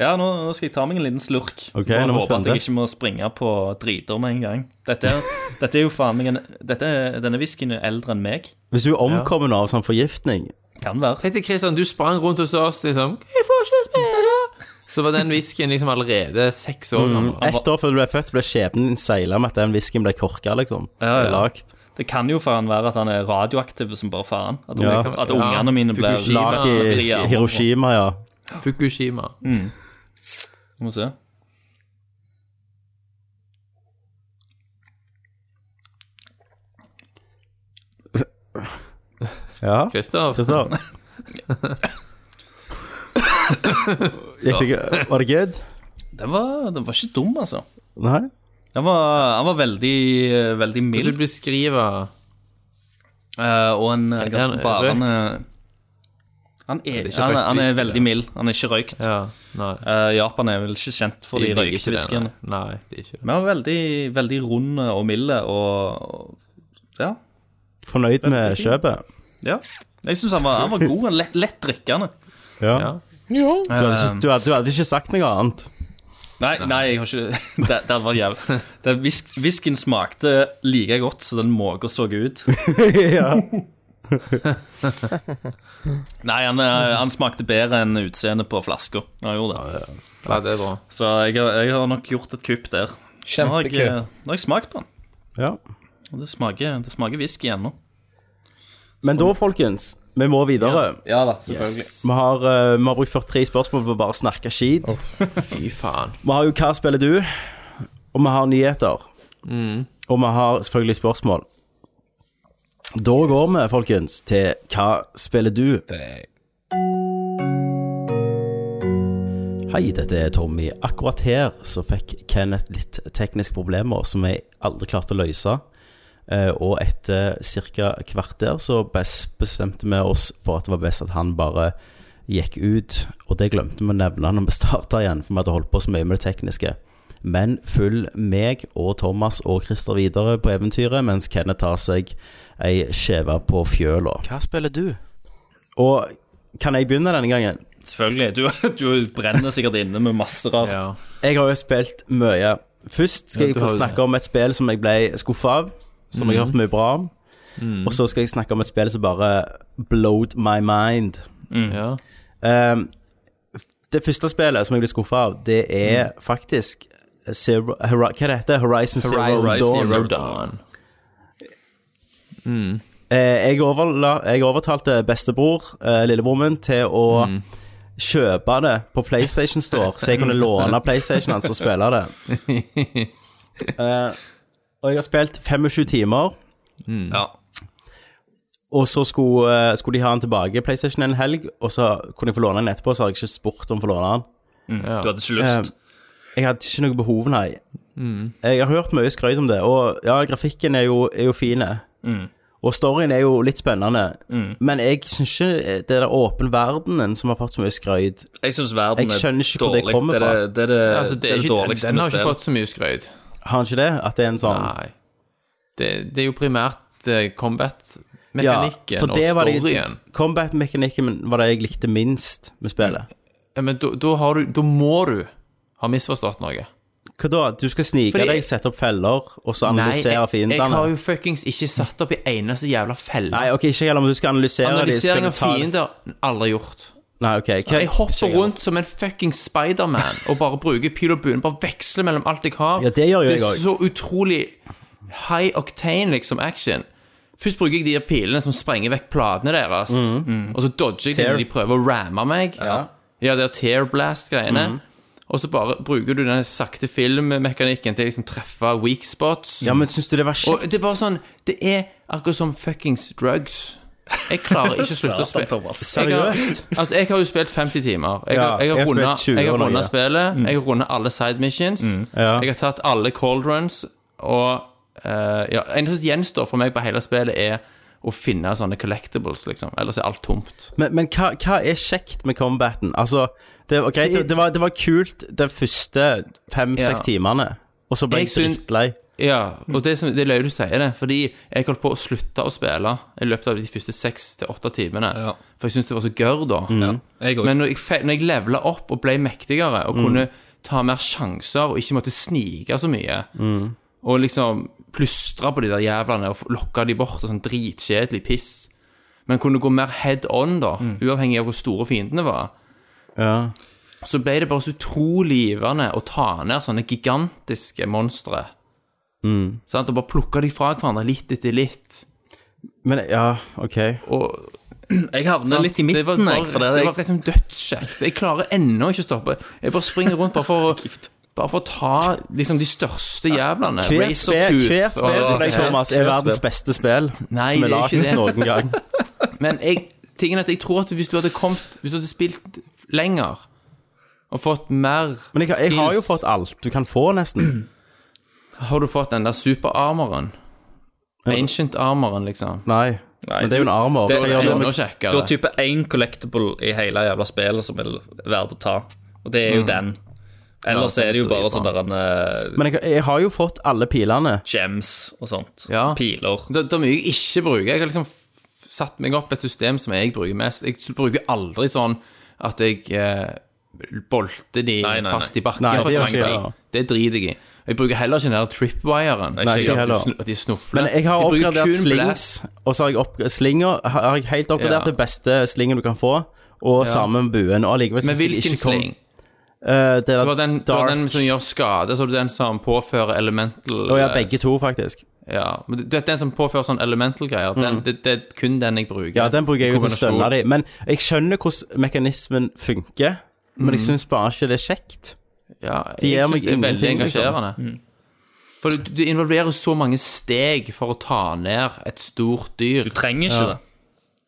Speaker 4: Ja, nå, nå skal jeg ta meg en liten slurk.
Speaker 3: Ok, nå
Speaker 4: så bare
Speaker 3: må
Speaker 4: håper
Speaker 3: spenne.
Speaker 4: at jeg ikke må springe på driter med en gang. Dette, er- dette er jo faen meg en dette, er- Denne whiskyen er eldre enn meg.
Speaker 3: Hvis du er omkommet av sånn forgiftning
Speaker 4: Kan være.
Speaker 6: Tenk deg, Christian, du sprang rundt hos oss liksom 'Jeg får ikke spille!' Så var den whiskyen liksom allerede seks år gammel.
Speaker 3: Ett år før du ble født, ble skjebnen din seila med at den whiskyen ble korka, liksom.
Speaker 4: Ja, ja.
Speaker 3: Lagt.
Speaker 4: Det kan jo faen være at han er radioaktiv som bare faen. At,
Speaker 3: Ja.
Speaker 4: at ungene mine blir
Speaker 6: Fukushima.
Speaker 4: laget
Speaker 3: Lagt
Speaker 4: med
Speaker 3: i
Speaker 4: tre armer.
Speaker 3: Hiroshima, ja.
Speaker 6: Fukushima.
Speaker 4: Skal vi se.
Speaker 3: Ja,
Speaker 6: Christer,
Speaker 3: Kristian. Gikk det gøy? Var det good?
Speaker 4: Den var, den var ikke dum, altså.
Speaker 3: Nei?
Speaker 4: Den var, han var veldig, eh, veldig
Speaker 6: vil
Speaker 4: mild.
Speaker 6: du beskrive
Speaker 4: Eh, og en eh,
Speaker 6: han
Speaker 4: ganske barende
Speaker 6: røykt?
Speaker 4: han er,
Speaker 6: ikke
Speaker 4: han, er-
Speaker 6: røykt
Speaker 4: han er
Speaker 6: whisky,
Speaker 4: veldig
Speaker 6: det.
Speaker 4: mild. Han er ikke røykt.
Speaker 6: Ja, nei.
Speaker 4: Eh, Japan er vel ikke kjent for de
Speaker 6: ligger ikke
Speaker 4: røykte
Speaker 6: det,
Speaker 4: whiskyene.
Speaker 6: Nei, Nei, det er ikke det.
Speaker 4: Men han er veldig, veldig rund og mild og Ja.
Speaker 3: Fornøyd med kjøpet?
Speaker 4: ja. Jeg syns han, var- han var god. Han lett, lett drikkende.
Speaker 3: Ja.
Speaker 5: Ja.
Speaker 3: Du, hadde ikke, du, hadde, du hadde ikke sagt noe annet.
Speaker 4: Nei, nei, jeg har ikke Det, det hadde vært jævlig. Den whisk- Whiskyen smakte like godt som den måka så ut.
Speaker 3: ja.
Speaker 4: Nei, han, eh, han smakte bedre enn utseendet på flaska. Han gjorde det.
Speaker 6: Ja, det er bra.
Speaker 4: Så jeg, har- jeg har nok gjort et kupp der. Nå har jeg,
Speaker 5: Kjempekupp.
Speaker 4: nå har jeg smakt på den.
Speaker 3: ja.
Speaker 4: Og det smaker, det smaker whisky ennå.
Speaker 3: Men da, folkens, vi må videre.
Speaker 4: Ja da, selvfølgelig.
Speaker 3: Vi, har, eh, vi har brukt 43 spørsmål på å bare snakke skit.
Speaker 6: Fy faen.
Speaker 3: Vi har jo 'Hva spiller du?' og vi har nyheter. Og vi har selvfølgelig spørsmål. Da går vi, folkens, til 'Hva spiller du?'
Speaker 5: Det-
Speaker 3: Hei, dette er Tommy. Akkurat her så fikk Kenneth litt tekniske problemer som jeg aldri klarte å løse. Eh, Og etter ca. kvarter så bes- bestemte vi oss for at det var best at han bare gikk ut. Og det glemte vi å nevne når vi starta igjen, for vi hadde holdt på så mye med det tekniske. Men følg meg og Thomas og Christer videre på eventyret, mens Kenneth tar seg ei skjeve på fjøla. Hva spiller du? Og kan jeg begynne denne gangen?
Speaker 4: selvfølgelig. Du, du brenner sikkert inne med masse rart.
Speaker 6: Ja.
Speaker 3: Jeg har jo spilt mye. Først skal
Speaker 6: Ja,
Speaker 3: jeg
Speaker 6: du
Speaker 3: få
Speaker 6: har jo det.
Speaker 3: snakke om et spill som jeg ble skuffa av, som jeg har hørt mye bra om. Og så skal jeg snakke om et spill som bare blowed my mind.
Speaker 6: Ja.
Speaker 3: Ehm, det første spillet som jeg ble skuffa av, det er
Speaker 6: Mm.
Speaker 3: faktisk Zero, Hora- Hva heter det? Horizon Zero
Speaker 6: Horizon
Speaker 3: Dawn.
Speaker 6: Zero Dawn.
Speaker 3: Eh, jeg, overla, jeg overtalte bestebror, eh, lillebror min, til å
Speaker 6: Mm.
Speaker 3: kjøpe det på PlayStation Store, så jeg kunne låne PlayStation hans og spille det. Eh, og jeg har spilt 25 timer,
Speaker 4: Ja.
Speaker 3: og så skulle, eh, skulle de ha den tilbake, PlayStation, en helg, og så kunne jeg få låne den etterpå, så har jeg ikke spurt om å få låne den.
Speaker 4: Du hadde ikke lyst.
Speaker 3: Eh, Jeg hadde ikke noe behov, nei.
Speaker 6: Mm.
Speaker 3: Jeg har hørt mye skrøyt om det, og ja, grafikken er jo, er jo fin.
Speaker 6: Mm.
Speaker 3: Og storyen er jo litt spennende, men jeg syns ikke eh, det er den åpen verdenen som har fått så mye skrøyt.
Speaker 4: Jeg syns verden
Speaker 3: Eh, Jeg skjønner ikke
Speaker 4: er
Speaker 3: hvor det
Speaker 4: dårlig.
Speaker 3: kommer
Speaker 4: det, er det, det, er det,
Speaker 6: Altså, det er
Speaker 4: det
Speaker 6: ikke,
Speaker 4: dårligste
Speaker 6: den har
Speaker 4: med
Speaker 6: ikke
Speaker 4: spill.
Speaker 6: fått så mye skrøyt.
Speaker 3: Har han ikke det? At det er en sånn
Speaker 6: Nei. Det, det er jo primært eh, combat-mekanikken
Speaker 3: for det var
Speaker 6: og
Speaker 3: det-
Speaker 6: storyen.
Speaker 3: Combat-mekanikken var det jeg likte minst med spillet.
Speaker 6: Ja, men da- da har du Da må du ha misforstått noe.
Speaker 3: Hva da? Du skal snike
Speaker 6: Fordi-
Speaker 3: deg, sette opp feller, og så analysere
Speaker 6: jeg, jeg
Speaker 3: fiendene?
Speaker 6: har jo fuckings ikke satt opp i eneste jævla felle.
Speaker 3: Nei, ok, ikke heller om du skal analysere dem.
Speaker 6: Analysering av fiender aldri gjort.
Speaker 3: Nei, ok. hva-
Speaker 6: Jeg hopper rundt som en fucking Spiderman og bare bruker pil og buen. Bare veksler mellom alt jeg har.
Speaker 3: Ja, det gjør jo jeg
Speaker 6: er
Speaker 3: også.
Speaker 6: så utrolig high octane liksom action. Først bruker jeg de her pilene som sprenger vekk platene deres. mm, Og så dodger jeg
Speaker 3: Mhm.
Speaker 6: dem
Speaker 3: Tear.
Speaker 6: når de prøver å ramme meg. Ja, det er tear blast-greiene.
Speaker 3: Mhm.
Speaker 6: Og så bare bruker du den sakte filmmekanikken til å liksom treffe weak spots.
Speaker 3: Ja, men syns du det var
Speaker 6: og
Speaker 3: kjekt?
Speaker 6: det er bare sånn Det er akkurat som fuckings drugs. Jeg klarer ikke å slutte å
Speaker 4: Satan,
Speaker 6: spille.
Speaker 4: Thomas.
Speaker 6: Jeg har,
Speaker 3: Seriøst?
Speaker 6: altså, jeg har jo spilt 50 timer. Jeg
Speaker 3: Ja,
Speaker 6: har,
Speaker 3: jeg
Speaker 6: jeg
Speaker 3: har
Speaker 6: har,
Speaker 3: spilt
Speaker 6: rundet-
Speaker 3: 20
Speaker 6: jeg har
Speaker 3: og noe,
Speaker 6: runda
Speaker 3: ja.
Speaker 6: spillet.
Speaker 3: Mm.
Speaker 6: Jeg har runda alle side missions. Jeg har tatt alle cold runs. Og eh, ja, eneste som gjenstår for meg på hele spillet, er å finne sånne collectibles, liksom. Ellers er alt tomt.
Speaker 3: Men, men hva, hva er kjekt med combaten? Altså, det var greit, det, det, var, det var kult de første fem-seks
Speaker 6: Ja.
Speaker 3: timene, og så ble
Speaker 6: Jeg
Speaker 3: jeg
Speaker 6: syn-
Speaker 3: drittlei.
Speaker 6: Ja,
Speaker 3: Mm.
Speaker 6: og det, som, det er løye du sier det, fordi jeg holdt på å slutte å spille i løpet av de første seks til åtte timene.
Speaker 4: Ja.
Speaker 6: For jeg syntes det var så gørr da.
Speaker 3: Mm.
Speaker 4: Jeg òg.
Speaker 6: Men når jeg, fe- når jeg levela opp og ble mektigere og kunne ta mer sjanser og ikke måtte snike så mye, og liksom plystre på de der jævlene og f- lokke de bort og sånn dritkjedelig piss, men kunne gå mer head on, da, uavhengig av hvor store fiendene var,
Speaker 3: Ja.
Speaker 6: så ble det bare så utrolig givende å ta ned sånne gigantiske monstre. Sant? Og bare plukke de fra hverandre litt etter litt.
Speaker 3: Men ja, OK.
Speaker 6: Og
Speaker 4: Jeg havner
Speaker 6: Sant?
Speaker 4: litt i midten,
Speaker 6: det var, bare,
Speaker 4: jeg. For det,
Speaker 6: det
Speaker 4: jeg,
Speaker 6: var liksom dødskjekt. Jeg klarer ennå ikke å stoppe. Jeg bare springer rundt bare for å bare for å ta liksom de største jævlene.
Speaker 3: Hvert
Speaker 6: Razor
Speaker 3: spill,
Speaker 6: Tooth
Speaker 3: hvert
Speaker 6: og
Speaker 3: spill for
Speaker 6: disse
Speaker 3: deg,
Speaker 6: her.
Speaker 3: Thomas, er verdens beste spill
Speaker 6: Nei,
Speaker 3: som
Speaker 6: det
Speaker 3: er
Speaker 6: er
Speaker 3: lagd
Speaker 6: ikke det.
Speaker 3: noen gang.
Speaker 6: Men jeg, tingen er at jeg tror at hvis du hadde kommet Hvis du hadde spilt lenger og fått mer
Speaker 3: Men jeg, har- jeg har jo
Speaker 6: skills,
Speaker 3: fått alt du kan få, nesten.
Speaker 6: Har du fått den der superarmoren? Ancient-armoren, liksom.
Speaker 3: Nei.
Speaker 4: Nei,
Speaker 3: Men det er jo en armor.
Speaker 6: Det
Speaker 3: Hva
Speaker 6: er
Speaker 3: gjør du
Speaker 6: enda
Speaker 3: med
Speaker 4: Du
Speaker 6: kjekkere.
Speaker 4: har type én collectible i hele jævla spillet som er verdt å ta, og det er jo den.
Speaker 6: Mm.
Speaker 4: Ellers
Speaker 6: Ja,
Speaker 4: er det jo bare
Speaker 6: dritbra.
Speaker 4: sånne der, eh,
Speaker 3: Men jeg, jeg har jo fått alle pilene.
Speaker 4: gems og sånt.
Speaker 6: Ja.
Speaker 4: Piler.
Speaker 6: Det, det er mye jeg ikke bruker. Jeg har liksom f- satt meg opp et system som jeg bruker mest. Jeg bruker aldri sånn at jeg eh, bolter de
Speaker 4: Nei, nei, nei.
Speaker 6: fast i bakken.
Speaker 3: Nei,
Speaker 6: for
Speaker 3: det gjør
Speaker 6: trang
Speaker 3: ikke
Speaker 6: tid.
Speaker 3: jeg.
Speaker 6: det driter jeg i. Jeg bruker heller ikke den der tripwiren.
Speaker 4: Nei, ikke
Speaker 6: at de
Speaker 3: heller.
Speaker 6: snu- At de snufler.
Speaker 3: Men jeg har
Speaker 6: bruker
Speaker 3: oppgradert
Speaker 6: kun
Speaker 3: slings,
Speaker 6: blast.
Speaker 3: og så har jeg opp, slinger har jeg helt oppgradert
Speaker 6: Ja.
Speaker 3: det beste slingen du kan få, og samme med buen. Og allikevel
Speaker 6: Men
Speaker 3: synes jeg
Speaker 6: hvilken
Speaker 3: ikke kom
Speaker 6: sling?
Speaker 3: Eh, det er
Speaker 6: Du har den, du har
Speaker 3: dark.
Speaker 6: den som gjør skade, så har du den som påfører elemental
Speaker 3: Å ja,
Speaker 6: eh,
Speaker 3: begge to, faktisk.
Speaker 6: Ja, men du du vet den som påfører sånn elemental-greier. Den- Det, det er kun den jeg bruker.
Speaker 3: Mm. Ja, den bruker jeg jo til å
Speaker 6: Kombinasjon.
Speaker 3: stønne dem. Men jeg skjønner hvordan mekanismen funker, men
Speaker 6: Mm.
Speaker 3: jeg syns bare ikke det er kjekt.
Speaker 6: Ja,
Speaker 3: De
Speaker 6: jeg
Speaker 3: gir meg
Speaker 6: synes det er veldig
Speaker 3: ingenting, liksom. Mm.
Speaker 6: engasjerende. For du, du involverer så mange steg for å ta ned et stort dyr.
Speaker 4: Du trenger ikke det.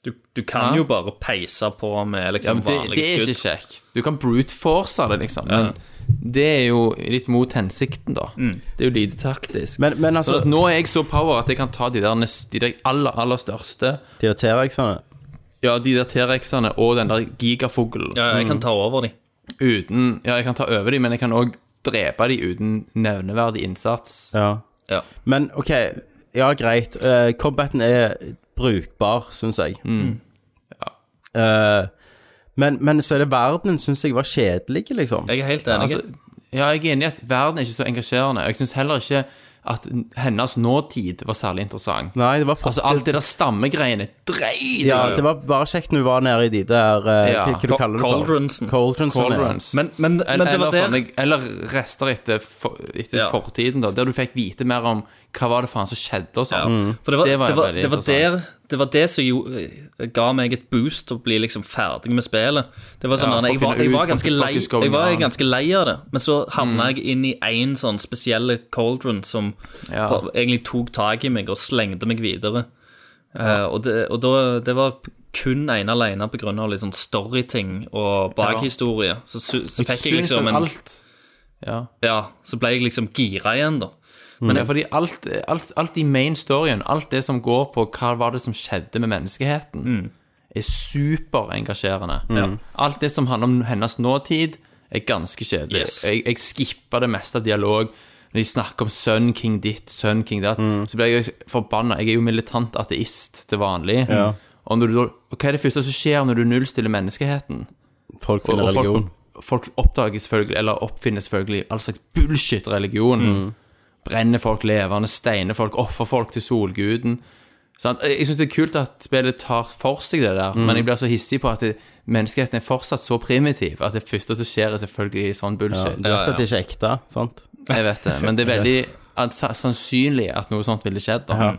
Speaker 4: Du, du kan
Speaker 6: Ja.
Speaker 4: jo bare peise på med
Speaker 6: Ja, men
Speaker 4: liksom
Speaker 6: det, det
Speaker 4: vanlige
Speaker 6: er ikke
Speaker 4: skudd.
Speaker 6: kjekt. Du kan brute-force det, liksom. Men det er jo litt mot hensikten, da. Det er jo lite
Speaker 3: Mm.
Speaker 6: taktisk.
Speaker 3: Men, men
Speaker 6: så
Speaker 3: altså
Speaker 6: at nå er jeg så power at jeg kan ta de der, nes- de der aller, aller største.
Speaker 3: Det irriterer jeg sånn.
Speaker 6: Ja, de der T-rexene og den der gigafuglen.
Speaker 4: Ja, jeg kan ta over de.
Speaker 6: Uten Ja, jeg kan ta over de, men jeg kan òg drepe de uten nevneverdig innsats.
Speaker 3: Ja.
Speaker 4: Ja.
Speaker 3: Men OK, ja, greit. Eh, combaten er brukbar, syns jeg.
Speaker 6: Mm.
Speaker 3: Eh, men, men så er det verdenen syns jeg var kjedelig, liksom.
Speaker 4: Jeg er helt enig.
Speaker 6: Altså, ja, jeg er enig i at verden er ikke så engasjerende. og Jeg syns heller ikke at hennes nåtid var særlig interessant.
Speaker 3: Nei, det var
Speaker 6: Altså,
Speaker 3: faktisk
Speaker 6: alt det der stammegreiene Dreit
Speaker 3: Ja, det var bare kjekt når hun var nede i de der eh,
Speaker 6: Ja.
Speaker 3: Hva, hva du kaller du det? for?
Speaker 4: Cauldronsen.
Speaker 3: Cauldronsen, ja.
Speaker 4: sånn Men, men, men
Speaker 6: eller,
Speaker 4: det var der
Speaker 6: sånne, eller rester etter, for, etter
Speaker 4: Ja.
Speaker 6: fortiden, da, der du fikk vite mer om hva var det faen som skjedde og
Speaker 4: Ja.
Speaker 6: sånn.
Speaker 4: For det var, det,
Speaker 6: Det var
Speaker 4: var, det, var,
Speaker 6: veldig
Speaker 4: der Det var det som jo eh, ga meg et boost til å bli liksom ferdig med spillet. Det var sånn
Speaker 6: Ja,
Speaker 4: at jeg,
Speaker 6: for å
Speaker 4: var,
Speaker 6: finne
Speaker 4: jeg
Speaker 6: ut
Speaker 4: var ganske
Speaker 6: hva som
Speaker 4: lei
Speaker 6: faktisk går Mm.
Speaker 4: Jeg var
Speaker 6: an.
Speaker 4: ganske lei av det, men så havna jeg inn i én sånn spesielle cauldron som
Speaker 6: Ja.
Speaker 4: på- egentlig tok tak i meg og slengte meg videre. Eh, og det, og da, det var kun ene alene på grunn av litt sånn storyting og bakhistorie. Så, su- så fikk jeg
Speaker 6: Syns
Speaker 4: liksom en,
Speaker 6: alt, ja.
Speaker 4: Ja, så ble jeg liksom gira igjen, da.
Speaker 6: Men det er fordi alt, alt, alt i main storyen, alt det som går på hva var det som skjedde med menneskeheten, er superengasjerende. Alt det som handler om hennes nåtid, er ganske kjedelig.
Speaker 4: Yes.
Speaker 6: Jeg, jeg skipper det meste av dialog. Når de snakker om sønn king ditt, sønn king datt, så blir jeg forbanna. Jeg er jo militant ateist til vanlig. Og, når du, da- og hva er det første som skjer når du nullstiller menneskeheten?
Speaker 9: Folk
Speaker 6: Og,
Speaker 9: finner
Speaker 6: og
Speaker 9: religion.
Speaker 6: folk, folk oppdager selvfølgelig, eller oppfinner selvfølgelig, all slags bullshit-religion. Brenner folk levende, steiner folk, offer folk til solguden. Sant? Jeg jeg synes det er kult at spillet tar for seg det der, men jeg blir så hissig på at det, menneskeheten er fortsatt så primitiv at det første som skjer, er selvfølgelig sånn bullshit.
Speaker 3: Du vet at det ikke er ekte, sant?
Speaker 6: Jeg vet det, men det er veldig at, sa- sannsynlig at noe sånt ville skjedd. Da.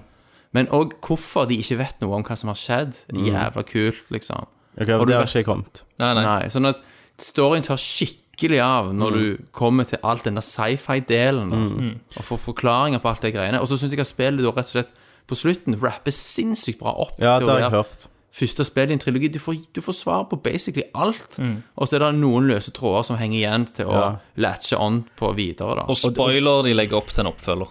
Speaker 6: Men òg hvorfor de ikke vet noe om hva som har skjedd. Jævla kult, liksom.
Speaker 3: Ok, og
Speaker 6: du
Speaker 3: det har
Speaker 6: vet-
Speaker 3: ikke jeg kommet.
Speaker 4: Nei, nei.
Speaker 6: Nei, sånn at storyen tar skikkelig av
Speaker 3: Mm.
Speaker 6: når du kommer til alt den der sci-fi-delen, da, og får forklaringer på alt det greiene. Og så syns jeg at spillet da rett og slett på slutten rapper sinnssykt bra opp
Speaker 3: Ja, det
Speaker 6: til å
Speaker 3: har jeg
Speaker 6: være
Speaker 3: hørt.
Speaker 6: første spill i en trilogi. Du får, du får svar på basically alt, og så er det noen løse tråder som henger igjen til å
Speaker 3: Ja.
Speaker 6: latche on på videre, da.
Speaker 4: Og spoiler de legger opp til en oppfølger.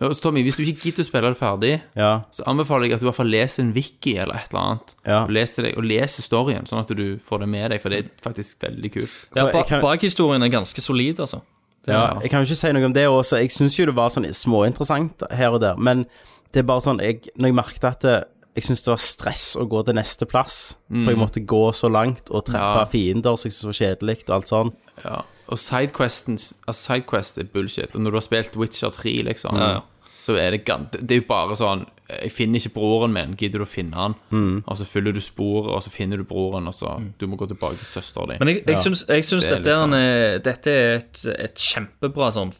Speaker 6: Og så, Tommy, hvis du ikke gidder å spille det ferdig,
Speaker 3: Ja.
Speaker 6: så anbefaler jeg at du i hvert fall leser en wiki eller et eller annet,
Speaker 3: Ja.
Speaker 6: og, leser det, og leser storyen, sånn at du får det med deg, for det er faktisk veldig kult.
Speaker 4: Ja,
Speaker 3: For jeg
Speaker 4: ba
Speaker 3: kan-
Speaker 4: Bakhistorien er ganske solid, altså.
Speaker 3: Ja, jeg kan jo ikke si noe om det også. Jeg syns jo det var sånn småinteressant her og der, men det er bare sånn jeg, Når jeg merket at det, jeg syntes det var stress å gå til neste plass, for jeg
Speaker 4: Mm.
Speaker 3: måtte gå så langt og treffe
Speaker 6: Ja.
Speaker 3: fiender som jeg syntes var kjedelig og alt sånn.
Speaker 6: Ja, og sidequesten altså Sidequest er bullshit. Og når du har spilt Witcher 3, liksom, så er det gan- Det er jo bare sånn Jeg finner ikke broren min, gidder du å finne han?
Speaker 4: Mm.
Speaker 6: Og så følger du sporet, og så finner du broren, og så Du må gå tilbake til søsteren din.
Speaker 4: Men jeg, jeg syns, jeg syns
Speaker 6: Det er
Speaker 4: dette,
Speaker 6: liksom-
Speaker 4: er, eh, dette er et, et kjempebra sånn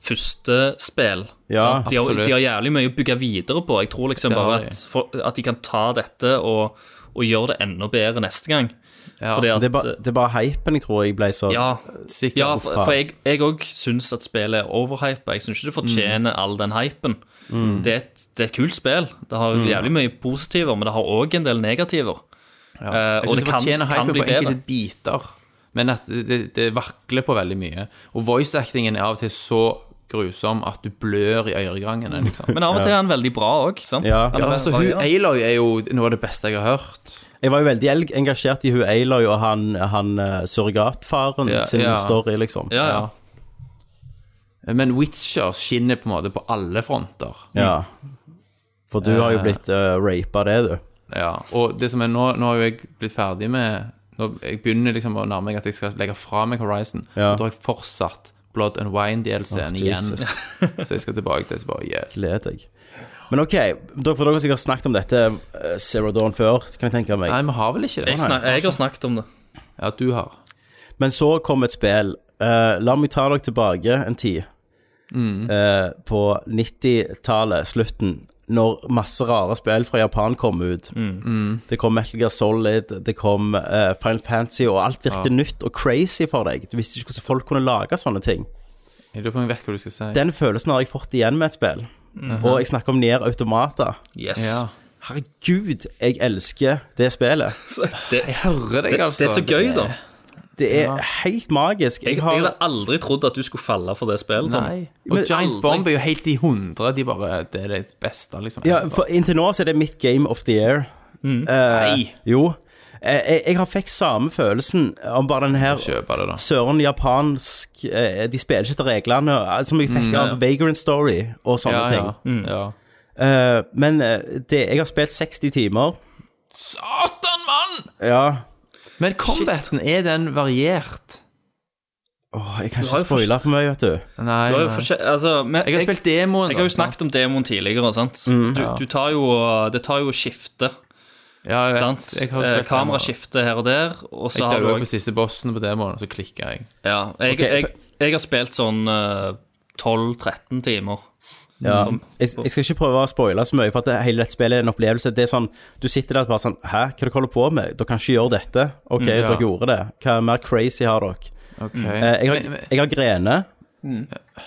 Speaker 4: førstespill.
Speaker 3: Ja,
Speaker 4: sant? de, har,
Speaker 6: absolutt.
Speaker 4: de har jævlig mye å bygge videre på. Jeg tror liksom
Speaker 6: Det har
Speaker 4: bare
Speaker 6: de.
Speaker 4: at, for, at de kan ta dette og, og gjøre det enda bedre neste gang.
Speaker 6: Ja,
Speaker 4: Fordi at eh,
Speaker 3: Det er, ba, det er bare hypen jeg tror jeg ble så
Speaker 4: ja,
Speaker 6: Sikkert.
Speaker 4: ja, for, for jeg- jeg òg syns at spillet er overhypa. Jeg syns ikke det fortjener all den hypen.
Speaker 6: Mm.
Speaker 4: Det, er et, det er et kult spill. Det har jævlig mye positiver, men det har òg en del negativer. Eh,
Speaker 6: Jeg
Speaker 4: og
Speaker 6: synes
Speaker 4: det
Speaker 6: det
Speaker 4: kan,
Speaker 6: fortjener
Speaker 4: kan
Speaker 6: hype
Speaker 4: bli
Speaker 6: på
Speaker 4: bedre.
Speaker 6: enkelte biter, men at det, det, det vakler på veldig mye. Og voice-actingen er av og til så grusom at du blør i øregrangene, liksom.
Speaker 4: Men av og til er han veldig bra òg, sant?
Speaker 3: Ja.
Speaker 4: Han
Speaker 6: ja,
Speaker 4: er
Speaker 6: altså,
Speaker 4: bra,
Speaker 6: hun
Speaker 4: ja.
Speaker 6: Aloy er jo noe av det beste jeg har hørt.
Speaker 3: Jeg var jo veldig el- engasjert i hun Aloy og han, han eh, surrogatfaren
Speaker 6: Ja,
Speaker 3: sin
Speaker 6: ja.
Speaker 3: story, liksom.
Speaker 4: ja, ja.
Speaker 6: Men Witcher skinner på en måte på alle fronter.
Speaker 3: Ja. For
Speaker 4: Eh.
Speaker 3: du har jo blitt uh, rapa, det, du.
Speaker 6: Ja, og det som er nå, nå har jo jeg blitt ferdig med nå, Jeg begynner liksom å nærme meg at jeg skal legge fra meg Horizon.
Speaker 3: Ja.
Speaker 6: Og da har jeg fortsatt Blood and Wine-DLC-en
Speaker 3: Åh,
Speaker 6: igjen.
Speaker 3: Jesus.
Speaker 6: så jeg skal tilbake til det, så bare yes.
Speaker 3: Gleder jeg. Men OK, dere, for dere har sikkert snakket om dette eh, Zero Dawn før, kan jeg tenke meg.
Speaker 6: Nei, vi har vel ikke det?
Speaker 4: Jeg, snak, jeg
Speaker 6: altså-
Speaker 4: har snakket om det.
Speaker 6: Ja, du har.
Speaker 3: Men så kom et spill. Eh, la meg ta dere tilbake en tid. Eh, på 90-tallet, slutten, når masse rare spill fra Japan kom ut. Det kom Metal Gear Solid, det kom eh, Final Fantasy, og alt virket nytt og crazy for deg. Du visste ikke hvordan folk kunne lage sånne ting.
Speaker 6: Jeg lurer på om jeg vet hva du skal si.
Speaker 3: Den følelsen har jeg fått igjen med et spill. Og jeg snakker om Nier Automata.
Speaker 4: Yes.
Speaker 6: Ja.
Speaker 3: Herregud, jeg elsker det spillet.
Speaker 4: Det,
Speaker 6: Jeg hører
Speaker 4: det,
Speaker 6: deg, altså.
Speaker 4: det er så gøy, da.
Speaker 3: Det er helt magisk.
Speaker 4: Jeg,
Speaker 3: Jeg
Speaker 4: jeg
Speaker 3: har
Speaker 4: hadde aldri trodd at du skulle falle for det spillet. Tom.
Speaker 6: Nei. Og
Speaker 3: Men
Speaker 6: Giant
Speaker 4: aldri-
Speaker 6: Bomb er jo helt i hundre. De bare Det er det beste, liksom.
Speaker 3: ja, for Inntil nå så er det mitt game of the year.
Speaker 6: Nei!
Speaker 3: Jo. Eh, Jeg, jeg har fikk samme følelsen om bare den her
Speaker 6: Kjøpe det, da.
Speaker 3: søren japansk eh, De spiller ikke etter reglene, eh, som jeg fikk av Vagrant Story og sånne
Speaker 6: Ja,
Speaker 3: ting. Mm.
Speaker 6: ja. ja.
Speaker 3: Eh, Men eh, det, jeg har spilt 60 timer.
Speaker 6: Satan, mann!
Speaker 3: Ja.
Speaker 6: Men combaten, er den variert?
Speaker 3: Åh, jeg kan ikke
Speaker 4: har jo
Speaker 3: spoile for mye, vet du.
Speaker 6: Nei,
Speaker 4: Du har jo
Speaker 6: nei.
Speaker 4: forskjell- altså, men,
Speaker 6: Eh, Jeg har spilt demoen.
Speaker 4: Jeg har jo
Speaker 6: da.
Speaker 4: snakket om demoen tidligere. Sant? du, du tar jo, det tar jo skifte.
Speaker 6: ja, jeg vet.
Speaker 4: Sant?
Speaker 6: Jeg har jo
Speaker 4: Eh,
Speaker 6: spilt demoen.
Speaker 4: Kameraskifte her og der. Og så
Speaker 6: Jeg
Speaker 4: har du
Speaker 6: daua på
Speaker 4: også-
Speaker 6: siste bossen på demoen, og så klikka jeg.
Speaker 4: ja, jeg,
Speaker 3: Ok,
Speaker 4: jeg, jeg har spilt sånn eh, 12-13 timer.
Speaker 3: Ja. Jeg, jeg skal ikke prøve å spoile så mye, for at det, hele dette spillet er en opplevelse. Det er sånn, Du sitter der og bare sånn Hæ, hva er det dere holder på med? Dere kan ikke gjøre dette. OK,
Speaker 6: Mm,
Speaker 3: dere gjorde det. Hva mer crazy har dere?
Speaker 6: Ok,
Speaker 3: Eh, Jeg
Speaker 6: Men-
Speaker 3: har,
Speaker 6: men-
Speaker 3: jeg har grene.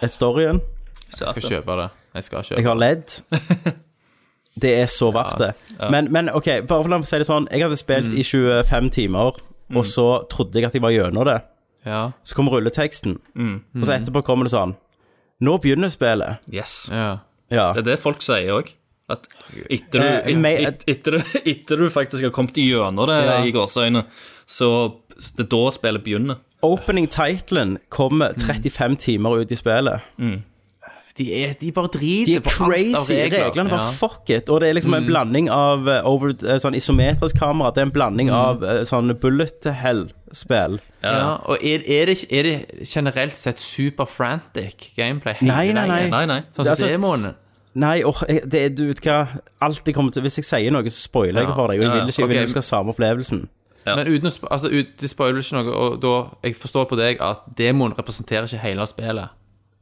Speaker 3: Et storyen.
Speaker 6: jeg skal kjøpe det. Jeg skal
Speaker 3: Jeg
Speaker 6: kjøpe det.
Speaker 3: har ledd. Det er så verdt det. Men, men OK, bare for la meg si det sånn. Jeg hadde spilt
Speaker 6: Mm.
Speaker 3: i 25 timer, og så trodde jeg at jeg var gjennom det.
Speaker 6: Ja,
Speaker 3: Så kom rulleteksten,
Speaker 6: Mm.
Speaker 3: og så etterpå kommer det sånn Nå begynner spillet.
Speaker 4: Yes.
Speaker 6: ja.
Speaker 3: Ja.
Speaker 4: Det er det folk sier òg. At etter du,
Speaker 3: Eh,
Speaker 4: et,
Speaker 3: me-
Speaker 4: et, etter, du- etter du faktisk har kommet gjennom det i gåseøyne, så det er da spillet begynner.
Speaker 3: Opening titlen kommer
Speaker 6: Mm.
Speaker 3: 35 timer ut i spillet.
Speaker 6: De, er, de bare driter
Speaker 3: De er
Speaker 6: på alt av
Speaker 3: crazy.
Speaker 6: regler.
Speaker 3: Reglene bare
Speaker 6: ja. Mm.
Speaker 3: fuck it. Og det er liksom en blanding av eh, over, eh, sånn isometrisk kamera. Det er en blanding
Speaker 6: Mm.
Speaker 3: av eh, sånn bullet hell-spill.
Speaker 6: Ja, og er, er, det, er det generelt sett super frantic gameplay? hele
Speaker 3: Nei, nei,
Speaker 6: veien?
Speaker 3: nei.
Speaker 4: Nei, nei.
Speaker 6: Sånn som
Speaker 3: Altså-
Speaker 6: demoen?
Speaker 3: Nei, åh, jeg- det er du vet hva Alt jeg kommer til Hvis jeg sier noe, så spoiler jeg
Speaker 6: Ja.
Speaker 3: for deg. Og jeg
Speaker 4: Ja,
Speaker 3: vil ikke jeg vil
Speaker 6: ok.
Speaker 3: at du skal ha samme opplevelsen.
Speaker 6: Men uten å sp- altså, ut, det spoiler ikke noe, og da Jeg forstår på deg at demoen representerer ikke hele spillet.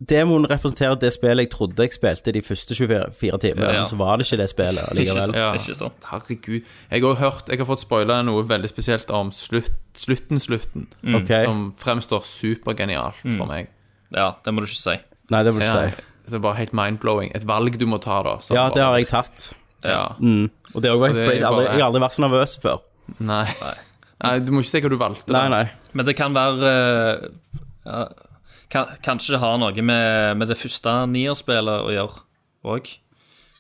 Speaker 3: Demoen representerer det spillet jeg trodde jeg spilte de første 24 timene,
Speaker 4: Ja.
Speaker 3: men så var det ikke det spillet allikevel.
Speaker 6: Ja.
Speaker 4: Ikke sant.
Speaker 6: Herregud. Jeg har hørt Jeg har fått spoila noe veldig spesielt om slutt, slutten, slutten,
Speaker 3: Ok.
Speaker 6: som fremstår supergenialt for meg.
Speaker 4: Ja, det må du ikke si.
Speaker 3: Nei, det vil du
Speaker 6: Ja,
Speaker 3: si.
Speaker 6: det er bare helt mind-blowing. Et valg du må ta, da. som
Speaker 3: Ja, det
Speaker 6: bare-
Speaker 3: har jeg tatt.
Speaker 6: Ja.
Speaker 3: Og det har jeg,
Speaker 6: det er
Speaker 3: jeg, har aldri,
Speaker 6: bare-
Speaker 3: jeg har aldri vært så nervøs før.
Speaker 6: Nei. Nei, du må ikke si hva du valgte. da.
Speaker 3: Nei, nei.
Speaker 4: Men det kan være eh, ja, kan, Kanskje det har noe med, med det første Nier-spillet å gjøre òg.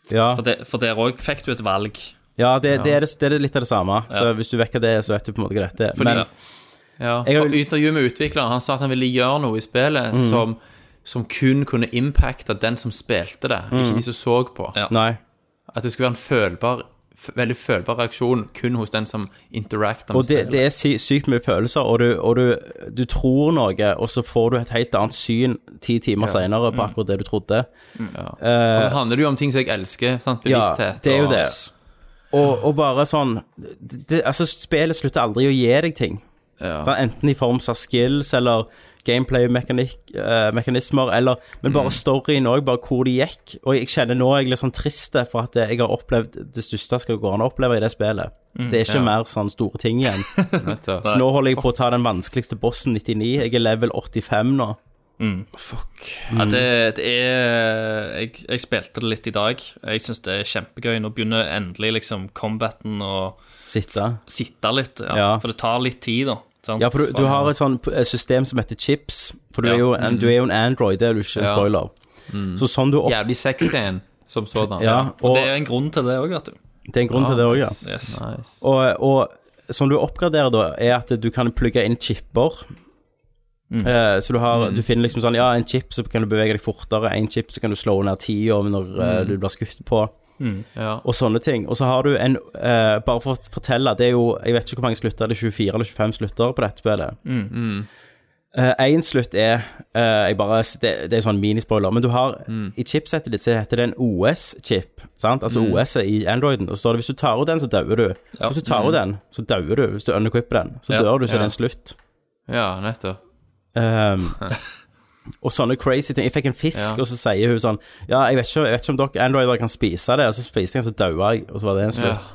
Speaker 3: Ja,
Speaker 4: For, det- for der òg fikk du et valg.
Speaker 3: ja, det, det, er det, det er litt av det samme. Så hvis du vekker det, så vet du på en måte hva dette er. Men
Speaker 4: Ja.
Speaker 6: Ja.
Speaker 3: Jeg har- Mhm.
Speaker 6: Og intervjuet med utvikleren, han sa at han ville gjøre noe i spillet som, som kun kunne impacte den som spilte det,
Speaker 3: Mhm.
Speaker 6: ikke de som så på.
Speaker 4: Ja.
Speaker 3: nei.
Speaker 6: At det skulle være en følbar f- veldig følbar reaksjon kun hos den som interacter med
Speaker 3: Og det,
Speaker 6: spillet.
Speaker 3: det er sy sykt mye følelser, og, du, og du, du tror noe, og så får du et helt annet syn ti timer senere på akkurat det du trodde.
Speaker 6: Og så handler det jo om ting som jeg elsker. Sant?
Speaker 3: eh, Ja,
Speaker 6: Bevissthet.
Speaker 3: det er jo
Speaker 6: og-
Speaker 3: det. Og, og bare sånn det, det- Altså, spillet slutter aldri å gi deg ting. Sånn, enten i form av skills eller gameplay-mekanismer, eller Men bare storyen òg, bare hvor det gikk. Og jeg kjenner nå jeg er litt sånn trist for at jeg har opplevd det største skal gå an å oppleve i det spillet. det er ikke mer sånn store ting igjen.
Speaker 6: Vet du.
Speaker 3: Så nå holder jeg på å ta den vanskeligste bossen 99. Jeg er level 85 nå.
Speaker 4: Ja, det, det er jeg, jeg spilte det litt i dag. Jeg syns det er kjempegøy. Nå begynner endelig liksom combaten å
Speaker 3: Sitte.
Speaker 4: sitte litt. Ja.
Speaker 3: Ja.
Speaker 4: For det tar litt tid, da. sant?
Speaker 3: Ja, for du, du har et sånn p- system som heter chips, for du,
Speaker 4: Ja.
Speaker 3: er, jo en, du er jo en Android, det er du ikke en
Speaker 6: Ja.
Speaker 3: spoiler. Så sånn du opp...
Speaker 6: Jævlig sexy en som sådan.
Speaker 3: Ja,
Speaker 4: Og
Speaker 3: og
Speaker 4: det er en grunn til det òg, vet du.
Speaker 3: det er en grunn til det òg, ja.
Speaker 4: Yes.
Speaker 6: Nice.
Speaker 3: Og, og sånn du oppgraderer da, er at du kan plugge inn chipper. Eh, så du har Du finner liksom sånn Ja, en chip, så kan du bevege deg fortere. En chip, så kan du slå ned tida når eh, du blir skutt på.
Speaker 6: Ja.
Speaker 3: Og sånne ting. Og så har du en eh, Bare for å fortelle, det er jo Jeg vet ikke hvor mange slutter, det er 24 eller 25 slutter på dette spillet.
Speaker 6: Mm.
Speaker 3: Én slutt er eh, jeg bare, det, det er sånn minispoiler, men du har
Speaker 6: Mm.
Speaker 3: I chipsettet ditt så heter det en OS-chip. sant? Altså
Speaker 6: Mm.
Speaker 3: OS er i Androiden. Og så står det hvis du tar ut den, så dauer du. Hvis du tar ut den, så dauer du. Hvis du unequipper den, så
Speaker 4: Ja,
Speaker 3: dør du, så
Speaker 6: Mm. ja.
Speaker 3: er det en slutt.
Speaker 6: ja, nettopp.
Speaker 3: Ehm, og sånne crazy ting. Jeg fikk en fisk,
Speaker 6: Ja.
Speaker 3: og så sier hun sånn Ja, jeg vet ikke, jeg vet ikke om dere Androider kan spise det. Og så spiste jeg, den, så daua jeg, og så var det en
Speaker 6: Ja.
Speaker 3: slutt.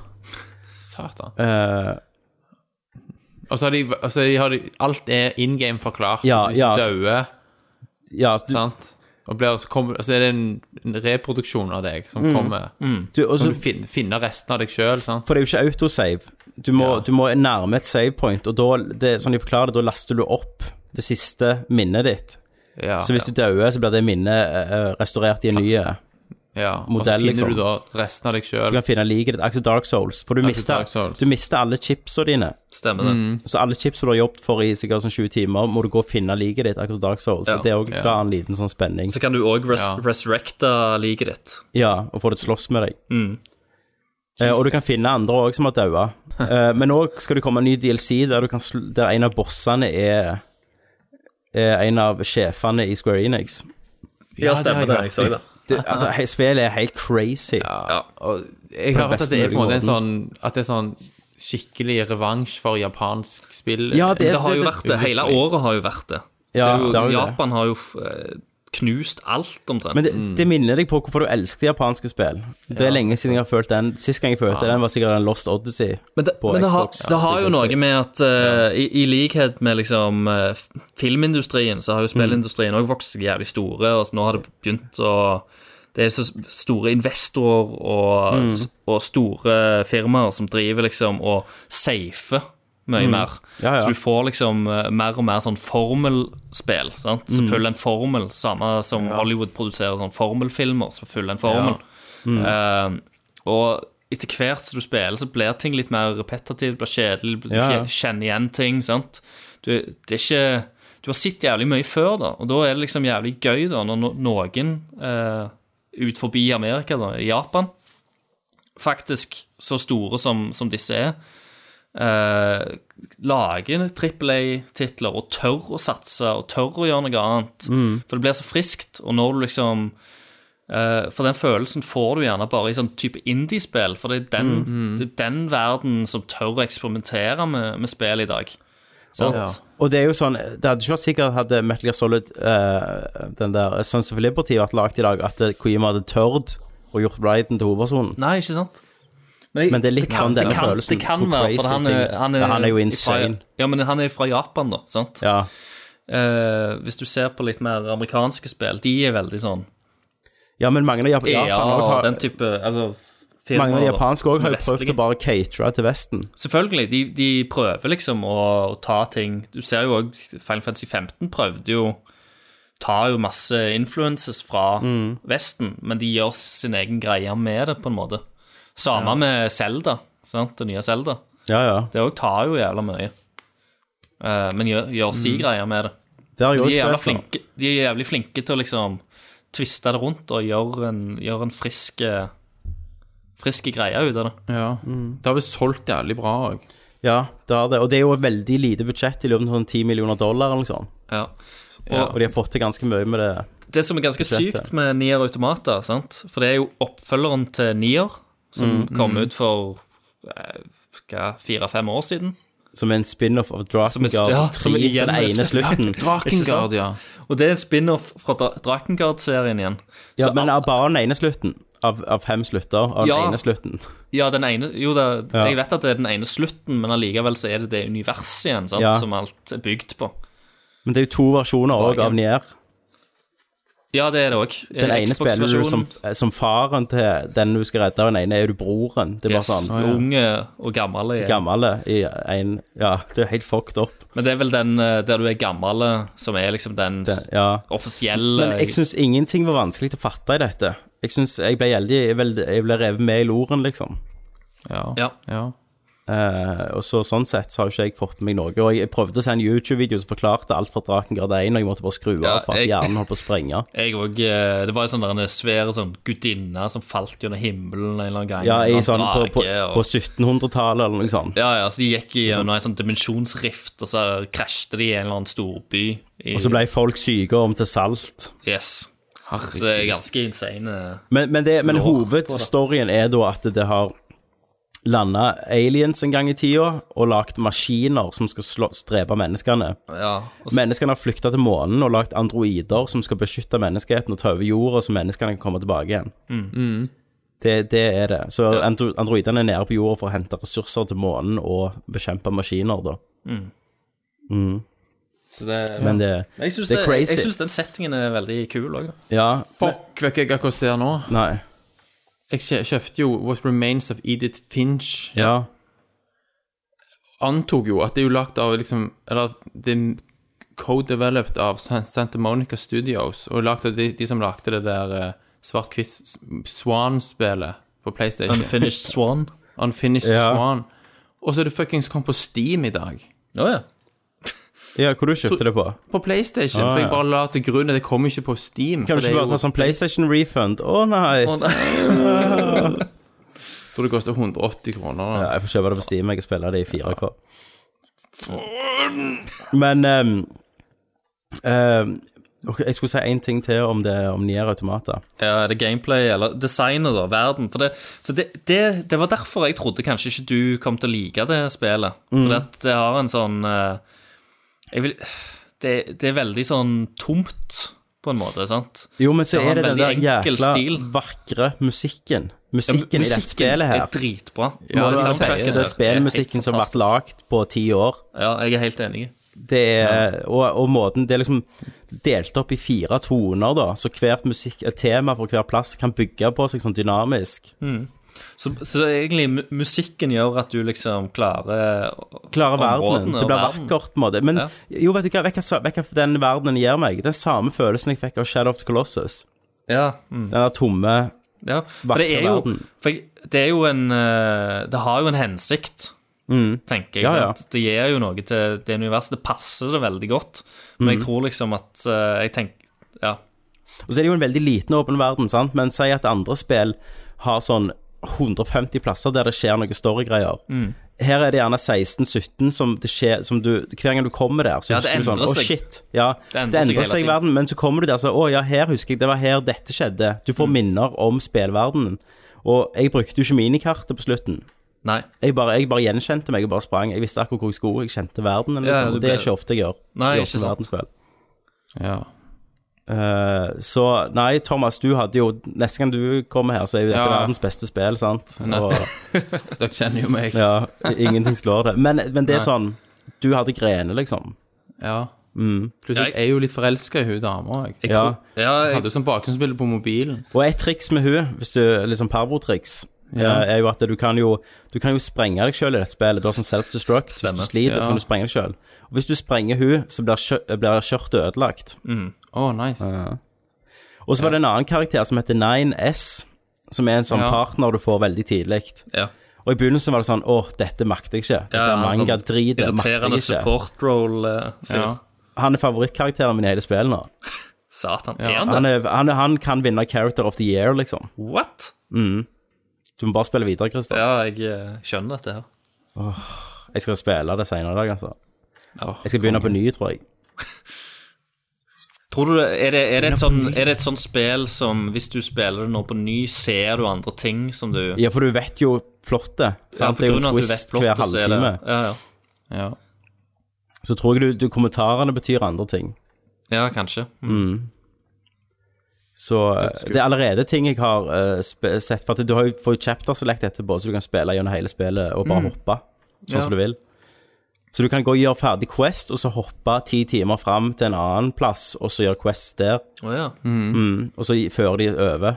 Speaker 6: Satan.
Speaker 3: Eh,
Speaker 6: Og så har de, altså, de, har de Alt er in game forklart.
Speaker 3: Ja,
Speaker 6: Hvis
Speaker 3: ja,
Speaker 6: du
Speaker 3: altså-
Speaker 6: dauer
Speaker 3: ja, altså, du,
Speaker 6: Sant? Og blir, så, kommer, så er det en, en reproduksjon av deg
Speaker 3: Mm.
Speaker 6: som kommer.
Speaker 3: du,
Speaker 6: Så
Speaker 3: også,
Speaker 6: kan sånn du fin, finne resten av deg sjøl.
Speaker 3: For det er jo ikke autosave. Du må,
Speaker 6: Ja.
Speaker 3: du må nærme et savepoint, og da, det, sånn de forklarer det, da laster du opp det siste minnet ditt.
Speaker 6: Ja,
Speaker 3: Så hvis du dauer, så blir det minnet eh, restaurert i en ny.
Speaker 6: ja. Og så
Speaker 3: modell,
Speaker 6: finner
Speaker 3: liksom.
Speaker 6: du da resten av deg
Speaker 3: Du
Speaker 6: sjøl.
Speaker 3: kan finne liket ditt. Akkurat Dark Souls. For du
Speaker 6: Akkurat
Speaker 3: mister,
Speaker 6: Dark Souls.
Speaker 3: du mister alle chipsa dine.
Speaker 4: Stemmer det.
Speaker 3: Så alle chips du har jobbet for i sikkert sånn 20 timer, må du gå og finne liket ditt. Akkurat som Dark Souls.
Speaker 4: Ja,
Speaker 3: Så det er også bare en liten sånn spenning.
Speaker 4: Så kan du òg res
Speaker 6: Ja.
Speaker 4: resurrecte liket ditt.
Speaker 3: Ja, og får det til å slåss med deg. Eh, og du kan finne andre òg som har daua. Eh, men nå skal det komme en ny DLC der, du kan sl der en av bossene er eh, en av sjefene i Square Enix.
Speaker 10: Ja, stemmer det. Jeg så det.
Speaker 3: Det, altså, he- spillet er helt crazy.
Speaker 6: Og jeg har hørt at det er på en måte en sånn At det er sånn skikkelig revansj for japansk spill.
Speaker 3: Ja, det,
Speaker 4: Det har jo vært det. Hele året har jo vært det.
Speaker 3: Ja,
Speaker 4: det,
Speaker 3: det har
Speaker 4: er jo,
Speaker 3: jo det.
Speaker 4: Japan har jo eh, knust alt, omtrent.
Speaker 3: Men det, det minner deg på hvorfor du elsker japanske spill. Det er lenge siden jeg har følt den. Sist gang jeg følte den, var sikkert en Lost Odyssey.
Speaker 4: Men det,
Speaker 3: på
Speaker 4: men det, har,
Speaker 3: Xbox,
Speaker 4: det har
Speaker 3: 360.
Speaker 4: jo noe med at eh, i, i likhet med liksom eh, filmindustrien, så har jo spillindustrien òg vokst seg jævlig store. og så nå har det begynt å Det er så store investorer og,
Speaker 3: Mm.
Speaker 4: og store firmaer som driver liksom og safer mye mer.
Speaker 3: Mm. Ja, ja.
Speaker 4: Så du får liksom eh, mer og mer sånn formelspill. sant?
Speaker 3: Mm.
Speaker 4: Som følger en formel, samme som Hollywood produserer sånn formelfilmer som følger en formel.
Speaker 3: Mm.
Speaker 4: Eh, og etter hvert som du spiller, så blir ting litt mer repetitivt, blir kjedelig, du
Speaker 3: Ja, ja.
Speaker 4: kjenner igjen ting, sant. Du, det er ikke Du har sett jævlig mye før, da, og da er det liksom jævlig gøy, da, når no- noen eh, ut forbi Amerika, da, i Japan, faktisk så store som, som disse er, eh, lager trippel A-titler og tør å satse og tør å gjøre noe annet.
Speaker 3: Mm.
Speaker 4: For det blir så friskt, og når du liksom Eh, For den følelsen får du gjerne bare i sånn type indiespill, for det er den, det er den verden som tør å eksperimentere med, med spill i dag. Sant?
Speaker 3: Og det er jo sånn Det hadde ikke vært sikkert hadde Metal Gear Solid eh, Den der Sons of Liberty vært lagd i dag, at eh, Kojima hadde tørt og gjort Bryden til hovedpersonen.
Speaker 4: Nei, ikke sant?
Speaker 3: Men det er litt sånn denne
Speaker 4: det kan,
Speaker 3: følelsen.
Speaker 4: det kan
Speaker 3: hvor
Speaker 4: være,
Speaker 3: crazy
Speaker 4: for han er,
Speaker 3: ting-
Speaker 4: han er,
Speaker 3: ja, han er jo insane.
Speaker 4: Fra, ja, men han er fra Japan, da. sant?
Speaker 3: Ja.
Speaker 4: Eh, hvis du ser på litt mer amerikanske spill, de er veldig sånn
Speaker 3: ja, men mange av Jap
Speaker 4: EA
Speaker 3: Japan også
Speaker 4: og
Speaker 3: har-
Speaker 4: den type altså, sånn
Speaker 3: mange av de
Speaker 4: da,
Speaker 3: japanske òg
Speaker 4: som er
Speaker 3: har jo prøvd
Speaker 4: vestlige.
Speaker 3: å bare catere til Vesten.
Speaker 4: Selvfølgelig, de, de prøver liksom å, å ta ting Du ser jo òg Final Fantasy 15 prøvde jo Tar jo masse influences fra Vesten, men de gjør sin egen greie med det, på en måte. Samme med Zelda, sant? det nye Zelda.
Speaker 3: Ja, ja.
Speaker 4: Det òg tar jo jævla mye. Eh, men gjør, gjør si greie med det.
Speaker 3: Det har jeg
Speaker 4: De er, altså.
Speaker 3: også
Speaker 4: jævla
Speaker 3: spilt for.
Speaker 4: flinke, de er jævlig flinke til å liksom tviste det rundt og gjøre en, gjøre en frisk eh, Friske greie ut av det.
Speaker 6: Ja.
Speaker 3: Mm.
Speaker 6: Det har visst solgt jævlig bra òg.
Speaker 3: Ja, det har det. Og det er jo et veldig lite budsjett, i løpet av sånn 10 millioner dollar eller noe sånt.
Speaker 4: Ja.
Speaker 3: Og de har fått til ganske mye med det.
Speaker 4: Det som er ganske
Speaker 3: Budsjettet.
Speaker 4: sykt med Nier Automata, sant? for det er jo oppfølgeren til Nier, som
Speaker 3: Mm,
Speaker 4: kom ut for eh, hva, fire-fem år siden.
Speaker 3: Som er en spin-off av
Speaker 4: Som er-
Speaker 3: Drakengard 3,
Speaker 4: ja, som igjen
Speaker 3: den
Speaker 4: er
Speaker 3: ene
Speaker 4: spin-
Speaker 3: slutten.
Speaker 6: Drakengard, ja.
Speaker 4: Og det er en spin-off fra Dra Drakengard-serien igjen.
Speaker 3: Ja,
Speaker 4: Så
Speaker 3: men
Speaker 4: al-
Speaker 3: er bare den ene slutten. Av, av fem slutter, av
Speaker 4: Ja.
Speaker 3: den ene slutten.
Speaker 4: ja, den ene, jo, det,
Speaker 3: Ja.
Speaker 4: jeg vet at det er den ene slutten, men allikevel så er det det universet igjen sant?
Speaker 3: Ja.
Speaker 4: som alt er bygd på.
Speaker 3: Men det er jo to versjoner òg
Speaker 4: Dragen.
Speaker 3: av Nier.
Speaker 4: Ja, det Eh, er det òg.
Speaker 3: Den ene spiller du som, som faren til den du skal redde, og den ene er du broren. Det er bare
Speaker 4: yes,
Speaker 3: sånn
Speaker 4: Unge og gammel. igjen.
Speaker 3: Gammel eh, i en Ja, det er helt fucked up.
Speaker 4: Men det er vel den eh, der du er gammel, som er liksom den
Speaker 3: Det, ja.
Speaker 4: offisielle
Speaker 3: Men jeg syns ingenting var vanskelig til å fatte i dette. Jeg synes jeg ble veldig Jeg vel- jeg ble revet med i loren, liksom.
Speaker 4: ja.
Speaker 3: Eh, og så Sånn sett så har jo ikke jeg fått med meg noe. Og jeg prøvde å se en YouTube-video som forklarte alt fra Drakengard 1, og jeg måtte bare skru
Speaker 4: Ja,
Speaker 3: av for at
Speaker 4: jeg-
Speaker 3: hjernen holdt på å sprenge.
Speaker 4: Jeg òg. Det var en sånn der en svær sånn gudinne som falt gjennom himmelen en eller annen gang.
Speaker 3: Ja,
Speaker 4: en
Speaker 3: i
Speaker 4: eller
Speaker 3: sånn på,
Speaker 4: annen
Speaker 3: på,
Speaker 4: drage, og-
Speaker 3: på 1700-tallet eller noe sånt.
Speaker 4: Ja, ja, så de gikk gjennom en sånn dimensjonsrift, og så krasjte de i en eller annen storby. i-
Speaker 3: Og så ble folk syke og om til salt.
Speaker 4: Yes. Så det er ganske insane. eh.
Speaker 3: Men, men, det, men
Speaker 4: Lår
Speaker 3: hovedstoryen er da at det har landa aliens en gang i tida og lagd maskiner som skal slå, drepe menneskene.
Speaker 4: Ja. Og så,
Speaker 3: Menneskene har flykta til månen og lagd androider som skal beskytte menneskeheten og ta over jorda, så menneskene kan komme tilbake igjen.
Speaker 4: Mm.
Speaker 3: Det, det er det. Så andro androidene er nede på jorda for å hente ressurser til månen og bekjempe maskiner, da.
Speaker 4: så det,
Speaker 3: Men det,
Speaker 4: jeg syns
Speaker 3: det er
Speaker 4: det-
Speaker 3: crazy.
Speaker 4: jeg syns den settingen er veldig kul òg.
Speaker 3: Ja,
Speaker 6: Fuck, vet ikke hva jeg ser nå.
Speaker 3: nei.
Speaker 6: Jeg kjø- kjøpte jo What Remains of Edith Finch.
Speaker 3: Ja.
Speaker 6: Antok jo at det er jo lagt av liksom Eller det er co-developed av San- Santa Monica Studios. Og lagt av de, de som lagde det der eh, svart-hvitt Swan-spelet på PlayStation.
Speaker 4: Unfinished Swan.
Speaker 6: Unfinished
Speaker 3: Ja.
Speaker 6: Swan. Og så er det fuckings kom på Steam i dag.
Speaker 4: Å ja.
Speaker 3: ja, hvor du kjøpte det på?
Speaker 6: På PlayStation.
Speaker 3: Ah,
Speaker 6: for jeg
Speaker 3: ja.
Speaker 6: bare la til grunn at det kom ikke på Steam.
Speaker 3: Kan
Speaker 6: for
Speaker 3: du ikke
Speaker 6: det er
Speaker 3: bare ta
Speaker 6: jo-
Speaker 3: sånn PlayStation refund? Å nei.
Speaker 4: Å, nei.
Speaker 6: Jeg tror det koster 180 kroner. Da.
Speaker 3: Ja, jeg får kjøpe det på Steam. Jeg kan spille det i 4K. Men ehm, Ehm, ok, jeg skulle si én ting til om, det, om Nier Automata.
Speaker 4: Ja, er det gameplay eller designet, da? Verden. For, det, for det, det, det var derfor jeg trodde kanskje ikke du kom til å like det spillet.
Speaker 3: Mm.
Speaker 4: For at det har en sånn eh, Jeg vil det, det er veldig sånn tomt, på en måte, sant?
Speaker 3: Jo, men så
Speaker 4: Det har
Speaker 3: er det
Speaker 4: en
Speaker 3: den der
Speaker 4: veldig enkel
Speaker 3: jækla
Speaker 4: stil.
Speaker 3: vakre musikken. Musikken i dette spillet
Speaker 4: er
Speaker 3: her.
Speaker 4: dritbra.
Speaker 3: Noe av
Speaker 4: det
Speaker 3: den
Speaker 4: soundtracket der
Speaker 3: beste
Speaker 4: er
Speaker 3: spillmusikken
Speaker 4: helt
Speaker 3: som har vært
Speaker 4: fantastisk.
Speaker 3: lagd på ti år.
Speaker 4: Ja, jeg er helt enig.
Speaker 3: Det er, og, og måten Det er liksom delt opp i fire toner, da, så hvert musikk, et tema for hver plass kan bygge på seg sånn dynamisk.
Speaker 4: Så, så egentlig mu- musikken gjør at du liksom klarer å-
Speaker 3: Klare
Speaker 4: områdene
Speaker 3: verdenen. Det
Speaker 4: og
Speaker 3: blir
Speaker 4: verden.
Speaker 3: vakkert, på en måte. Men
Speaker 4: Ja.
Speaker 3: jo, vet du hva, vet du hva- vet du hva den verdenen gir meg? Den samme følelsen jeg fikk av Shadow of the Colossus.
Speaker 4: Ja, mm.
Speaker 3: Den der tomme
Speaker 4: Ja, for det er jo,
Speaker 3: verden.
Speaker 4: for jeg- det er jo en eh, Det har jo en hensikt, tenker jeg.
Speaker 3: Mm. Ja, ja.
Speaker 4: Sant? Det gir jo noe til det universet. Det passer det veldig godt. Men
Speaker 3: Mm.
Speaker 4: jeg tror liksom at eh, Jeg tenker Ja.
Speaker 3: Og så er det jo en veldig liten åpen verden, sant? men si at andre spill har sånn 150 plasser der det skjer noe storygreier.
Speaker 4: Mm.
Speaker 3: Her er det gjerne 16-17 som det skjer som du, Hver gang du kommer der, så
Speaker 4: Ja, det
Speaker 3: husker du sånn
Speaker 4: endrer
Speaker 3: Å,
Speaker 4: seg.
Speaker 3: shit. Ja, det endrer, seg,
Speaker 4: hele tiden.
Speaker 3: verden, men så kommer du der og sier Å, ja, her husker jeg. Det var her dette skjedde. Du
Speaker 4: Mm.
Speaker 3: får minner om spillverdenen. Og jeg brukte jo ikke minikartet på slutten.
Speaker 4: Nei.
Speaker 3: Jeg bare, jeg bare gjenkjente meg og bare sprang. Jeg visste akkurat hvor jeg skulle. Jeg kjente verdenen.
Speaker 4: Ja,
Speaker 3: Liksom.
Speaker 4: du
Speaker 3: og det
Speaker 4: ble-
Speaker 3: er ikke ofte jeg gjør.
Speaker 4: Nei,
Speaker 3: i
Speaker 4: ikke
Speaker 3: åpne
Speaker 4: sant.
Speaker 3: verdensspill.
Speaker 6: Ja.
Speaker 3: Eh, så nei, Thomas, du hadde jo Neste gang du kommer her, så er jo dette
Speaker 6: Ja.
Speaker 3: verdens beste spill, sant? Og,
Speaker 6: Dere kjenner jo meg.
Speaker 3: ja, ingenting slår det. Men, men det er sånn Du hadde grener, liksom.
Speaker 6: Ja. Plutselig jeg er jo litt forelska i hun dama.
Speaker 3: Mm.
Speaker 6: Jeg
Speaker 3: Ja.
Speaker 4: Ja, jeg,
Speaker 6: hadde jo sånn bakgrunnsbilde på mobilen.
Speaker 3: Og et triks med hun, hvis du liksom parvotriks, eh, er jo at du kan jo Du kan jo sprenge deg sjøl i dette spillet. Du har sånn self-destruct. Hvis du sliter, så kan du sprenge deg sjøl. Og hvis du sprenger hun, så blir kjø- blir skjørtet ødelagt.
Speaker 6: Å, nice.
Speaker 3: Og så var det en annen karakter som heter 9S, som er en sånn
Speaker 6: Ja.
Speaker 3: partner du får veldig tidlig.
Speaker 4: Ja.
Speaker 3: Og i begynnelsen var det sånn Å, dette makter jeg ikke. Dette
Speaker 4: Ja,
Speaker 3: er
Speaker 4: han er
Speaker 3: manga
Speaker 4: sånn
Speaker 3: drit, det makter jeg
Speaker 4: irriterende
Speaker 3: ikke.
Speaker 4: support eh, roll-fyr.
Speaker 6: Ja.
Speaker 3: Han er favorittkarakteren min i hele spillet nå.
Speaker 4: Satan, er han det?
Speaker 3: Han, er, han, er, han kan vinne Character of the Year, liksom.
Speaker 4: What?
Speaker 3: Du må bare spille videre, Christer.
Speaker 4: Ja, jeg eh, skjønner dette her.
Speaker 3: Jeg skal spille det senere i dag, altså.
Speaker 6: Åh,
Speaker 3: Jeg skal begynne på ny, tror jeg.
Speaker 4: Tror du, det- er det, er det, et, sånn, er det et sånt spill som hvis du spiller det nå på ny, ser du andre ting som du
Speaker 3: Ja, for du vet jo plottet.
Speaker 4: Ja,
Speaker 3: sant? det er jo en twist hver
Speaker 4: plottet, så er det-
Speaker 3: halvtime.
Speaker 4: Ja, ja.
Speaker 6: Ja.
Speaker 3: Så tror jeg du, du kommentarene betyr andre ting.
Speaker 4: ja, kanskje. Mm.
Speaker 3: Så eh, det er allerede ting jeg har eh, spe- sett. For at du har jo, får jo chapter select etterpå, så du kan spille gjennom hele spillet og
Speaker 4: Mm.
Speaker 3: bare hoppe sånn som du vil. Så du kan gå og gjøre ferdig Quest, og så hoppe ti timer fram til en annen plass, og så gjøre Quest der, Mm.
Speaker 4: Å ja.
Speaker 3: og så gi- fører de over.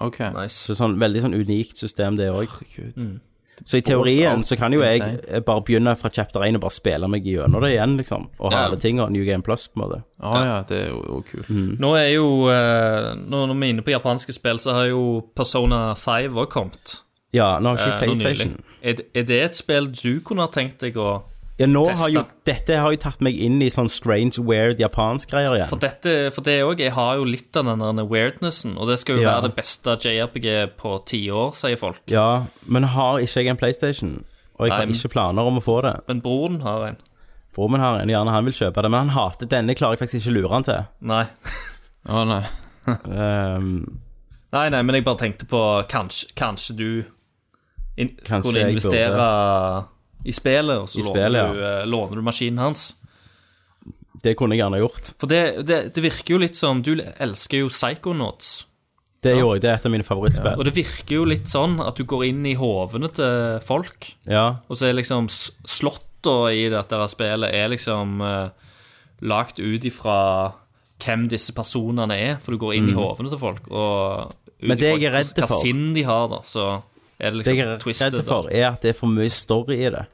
Speaker 6: OK.
Speaker 4: Nice.
Speaker 3: Så det er sånn veldig sånn unikt system, det
Speaker 4: Ah,
Speaker 3: òg.
Speaker 6: Herregud.
Speaker 3: Så i teorien
Speaker 6: alt
Speaker 3: så kan jo jeg
Speaker 6: insane.
Speaker 3: eh, bare begynne fra chapter 1 og bare spille meg gjennom det igjen, liksom. Og ha
Speaker 4: Ja.
Speaker 3: alle tinga. New Game Plus, på en måte.
Speaker 6: Å ja, Mm. det er jo, jo kult.
Speaker 4: Nå er jo eh, Når når vi er inne på japanske spill, så har jo Persona 5 også kommet.
Speaker 3: Ja, nå har jeg
Speaker 4: eh,
Speaker 3: ikke
Speaker 4: nå
Speaker 3: PlayStation.
Speaker 4: nylig. Er, det- er det et spill du kunne ha tenkt deg å
Speaker 3: Ja, nå har
Speaker 4: Testa.
Speaker 3: jo, dette har jo tatt meg inn i sånn strange, weird japansk-greier igjen.
Speaker 4: For, dette, for det òg. Jeg har jo litt av den der weirdnessen, og det skal jo
Speaker 3: Ja.
Speaker 4: være det beste JRPG på ti år, sier folk.
Speaker 3: Ja, men har ikke jeg en PlayStation? Og jeg har
Speaker 4: Nei, men-
Speaker 3: ikke planer om å få det.
Speaker 4: Men broren har en.
Speaker 3: Broren min har en, gjerne han vil kjøpe det, men han hater denne, klarer jeg faktisk ikke lure han til.
Speaker 4: Nei.
Speaker 6: Å nei.
Speaker 3: Ehm,
Speaker 4: Nei, nei, men jeg bare tenkte på Kanskje, kanskje du in
Speaker 3: Kanskje
Speaker 4: kunne
Speaker 3: jeg
Speaker 4: investere i spillet, og så
Speaker 3: I spillet,
Speaker 4: låner, du, eh, låner du maskinen hans.
Speaker 3: det kunne jeg gjerne gjort.
Speaker 4: For det, det, det virker jo litt som Du elsker jo Psychonauts.
Speaker 3: Det gjorde jeg, det er et av mine favorittspill.
Speaker 4: Og det virker jo litt sånn at du går inn i hovene til folk,
Speaker 3: Ja,
Speaker 4: og så er liksom slåtta i dette her spillet er liksom uh, lagt ut ifra hvem disse personene er, for du går inn i hovene til folk, og ut
Speaker 3: Mm. Men det
Speaker 4: ifra
Speaker 3: jeg er redd
Speaker 4: hva
Speaker 3: for-
Speaker 4: sinn de har, da, så er det
Speaker 3: det
Speaker 4: liksom
Speaker 3: jeg er
Speaker 4: twisted.
Speaker 3: redd for, er at det er for mye story i det.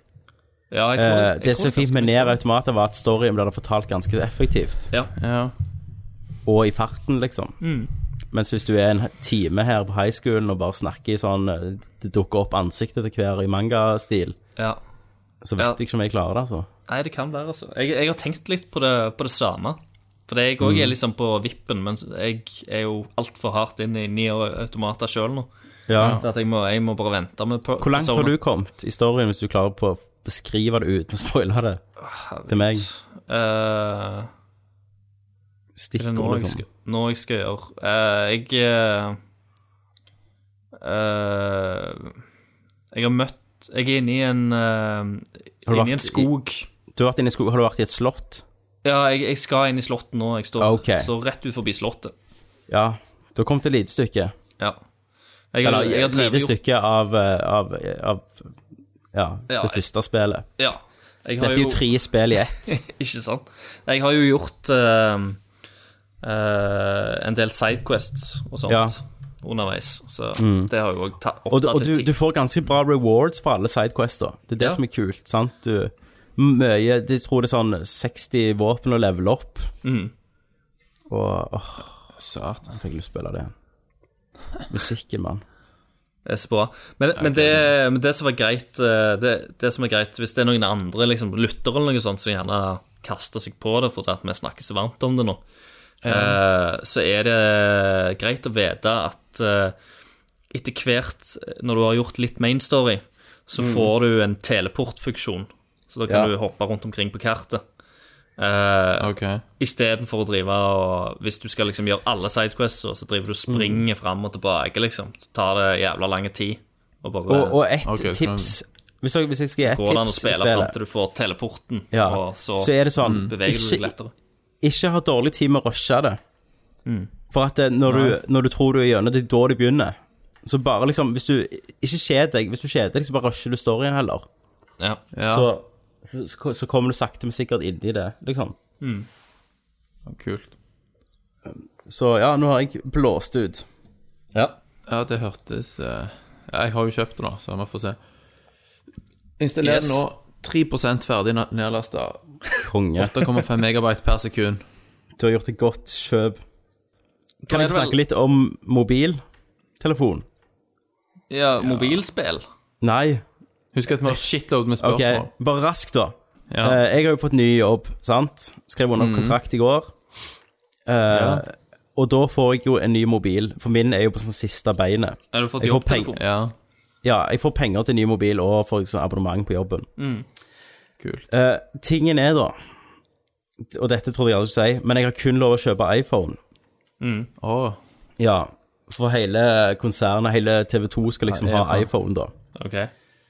Speaker 4: Ja, jeg tror,
Speaker 3: Eh,
Speaker 4: jeg
Speaker 3: det
Speaker 4: tror
Speaker 3: som er fint med
Speaker 4: ganske mye
Speaker 3: Ned Automater, var at storyen ble fortalt ganske effektivt.
Speaker 4: Ja.
Speaker 6: Ja.
Speaker 3: Og i farten, liksom. Mens hvis du er en time her på high schoolen og bare snakker i sånn eh, Det dukker opp ansiktet til hver i mangastil,
Speaker 4: sånn. Ja.
Speaker 3: så vet
Speaker 4: Ja.
Speaker 3: jeg ikke om jeg klarer det, altså.
Speaker 4: Nei, det kan være, altså. Jeg, jeg har tenkt litt på det, på det samme. For jeg òg
Speaker 3: Mm.
Speaker 4: er liksom på vippen, men jeg er jo altfor hardt inn i Nier Automata sjøl nå.
Speaker 3: Ja.
Speaker 4: Så at jeg må, jeg må bare vente med per-
Speaker 3: Hvor langt har
Speaker 4: Persona.
Speaker 3: du kommet i storyen, hvis du klarer på å beskrive det uten å spoile det til meg?
Speaker 4: Eh, Er det nå
Speaker 3: stikkord,
Speaker 4: jeg
Speaker 3: liksom.
Speaker 4: skal, nå jeg skal gjøre? Eh, jeg eh, eh, Jeg har møtt Jeg er inne i en uh,
Speaker 3: Har du
Speaker 4: Inne i en
Speaker 3: vært i-
Speaker 4: skog.
Speaker 3: Du har vært inne i skog, har du vært i et slott?
Speaker 4: Ja, jeg, jeg skal inn i slottet nå. Jeg står,
Speaker 3: Ok.
Speaker 4: står rett ut forbi slottet.
Speaker 3: Ja. Du har kommet et lite stykke.
Speaker 4: Ja. Jeg har,
Speaker 3: Eller
Speaker 4: jeg har
Speaker 3: et lite
Speaker 4: drevet gjort
Speaker 3: stykke av, eh, av, av ja, det
Speaker 4: Ja, jeg-
Speaker 3: første spillet.
Speaker 4: Ja. Jeg
Speaker 3: Dette
Speaker 4: har
Speaker 3: er jo
Speaker 4: jo
Speaker 3: tre spill i ett.
Speaker 4: Ikke sant? Jeg har jo gjort eh, eh, en del sidequests og sånt
Speaker 3: Ja. Mm.
Speaker 4: underveis, så det har jo òg tatt
Speaker 3: Og, du- og
Speaker 4: opptatt
Speaker 3: du,
Speaker 4: litt
Speaker 3: du
Speaker 4: tid.
Speaker 3: får ganske bra rewards for alle sidequests, da. Det er det
Speaker 4: Ja.
Speaker 3: som er kult, sant? Du, mye, de tror det er sånn 60 våpen å levele opp. Og åh,
Speaker 6: Satan.
Speaker 3: jeg fikk lyst til å spille det igjen. Musikken, mann.
Speaker 4: Det er så bra. Men, men, det, men det som var greit eh, det, det som er greit, hvis det er noen andre liksom, lyttere eller noe sånt som gjerne kaster seg på det fordi at vi snakker så varmt om det nå, eh, så er det greit å vite at eh, etter hvert, når du har gjort litt main story, så får du en teleportfunksjon. Så da kan
Speaker 3: Ja.
Speaker 4: du hoppe rundt omkring på kartet. Uh,
Speaker 6: Ok.
Speaker 4: Istedenfor å drive og Hvis du skal liksom gjøre alle sidequests, så driver du og springer fram og tilbake, liksom. Så tar det jævla lang tid. Og bare
Speaker 3: Og, og ett
Speaker 6: Ok, så kan-
Speaker 3: tips hvis jeg, hvis jeg skal gi
Speaker 4: så
Speaker 3: ett
Speaker 4: går det an å
Speaker 3: tips i
Speaker 4: spille fram
Speaker 3: spillet
Speaker 4: til du får teleporten,
Speaker 3: ja,
Speaker 4: og så, Mm.
Speaker 3: så er det sånn
Speaker 4: beveger du deg
Speaker 3: ikke,
Speaker 4: lettere.
Speaker 3: ikke ha dårlig tid med å rushe det. For at det, når, du, når du tror du er gjennom, det er da det begynner. Så bare liksom, hvis du ikke kjeder deg, hvis du kjeder deg, så bare rusher du storyen heller.
Speaker 4: Ja.
Speaker 3: Så, så, så, så kommer du sakte, men sikkert inn i det, liksom.
Speaker 6: Kult.
Speaker 3: Så ja, nå har jeg blåst ut.
Speaker 6: Ja, det hørtes eh, ja, Jeg har jo kjøpt det, da, så vi får se. Installer
Speaker 4: Yes.
Speaker 6: nå 3 ferdig na- nedlasta.
Speaker 3: Konge.
Speaker 6: 8,5 megabyte per sekund.
Speaker 3: Du har gjort et godt kjøp. Kan
Speaker 4: Da er
Speaker 3: jeg
Speaker 4: det
Speaker 3: få
Speaker 4: vel-
Speaker 3: snakke litt om mobiltelefon?
Speaker 4: ja, mobilspill.
Speaker 3: Nei.
Speaker 6: Husk at vi har shitload med
Speaker 3: Ok,
Speaker 6: spørsmål.
Speaker 3: bare raskt, da.
Speaker 6: Ja.
Speaker 3: Eh, jeg har jo fått ny jobb, sant? Skrev
Speaker 4: Mhm.
Speaker 3: under kontrakt i går. Eh, Og da får jeg jo en ny mobil, for min er jo på sånn siste beinet.
Speaker 4: Har du fått
Speaker 3: Jeg får
Speaker 4: jobbtelefon?
Speaker 6: Ja,
Speaker 3: Ja, jeg får penger til ny mobil og får sånn abonnement på jobben.
Speaker 6: kult.
Speaker 3: Eh, tingen er da Og dette trodde jeg aldri skulle si, men jeg har kun lov å kjøpe iPhone.
Speaker 6: Å,
Speaker 3: Ja, for hele konsernet, hele TV2 skal liksom ha iPhone, da.
Speaker 4: Ok.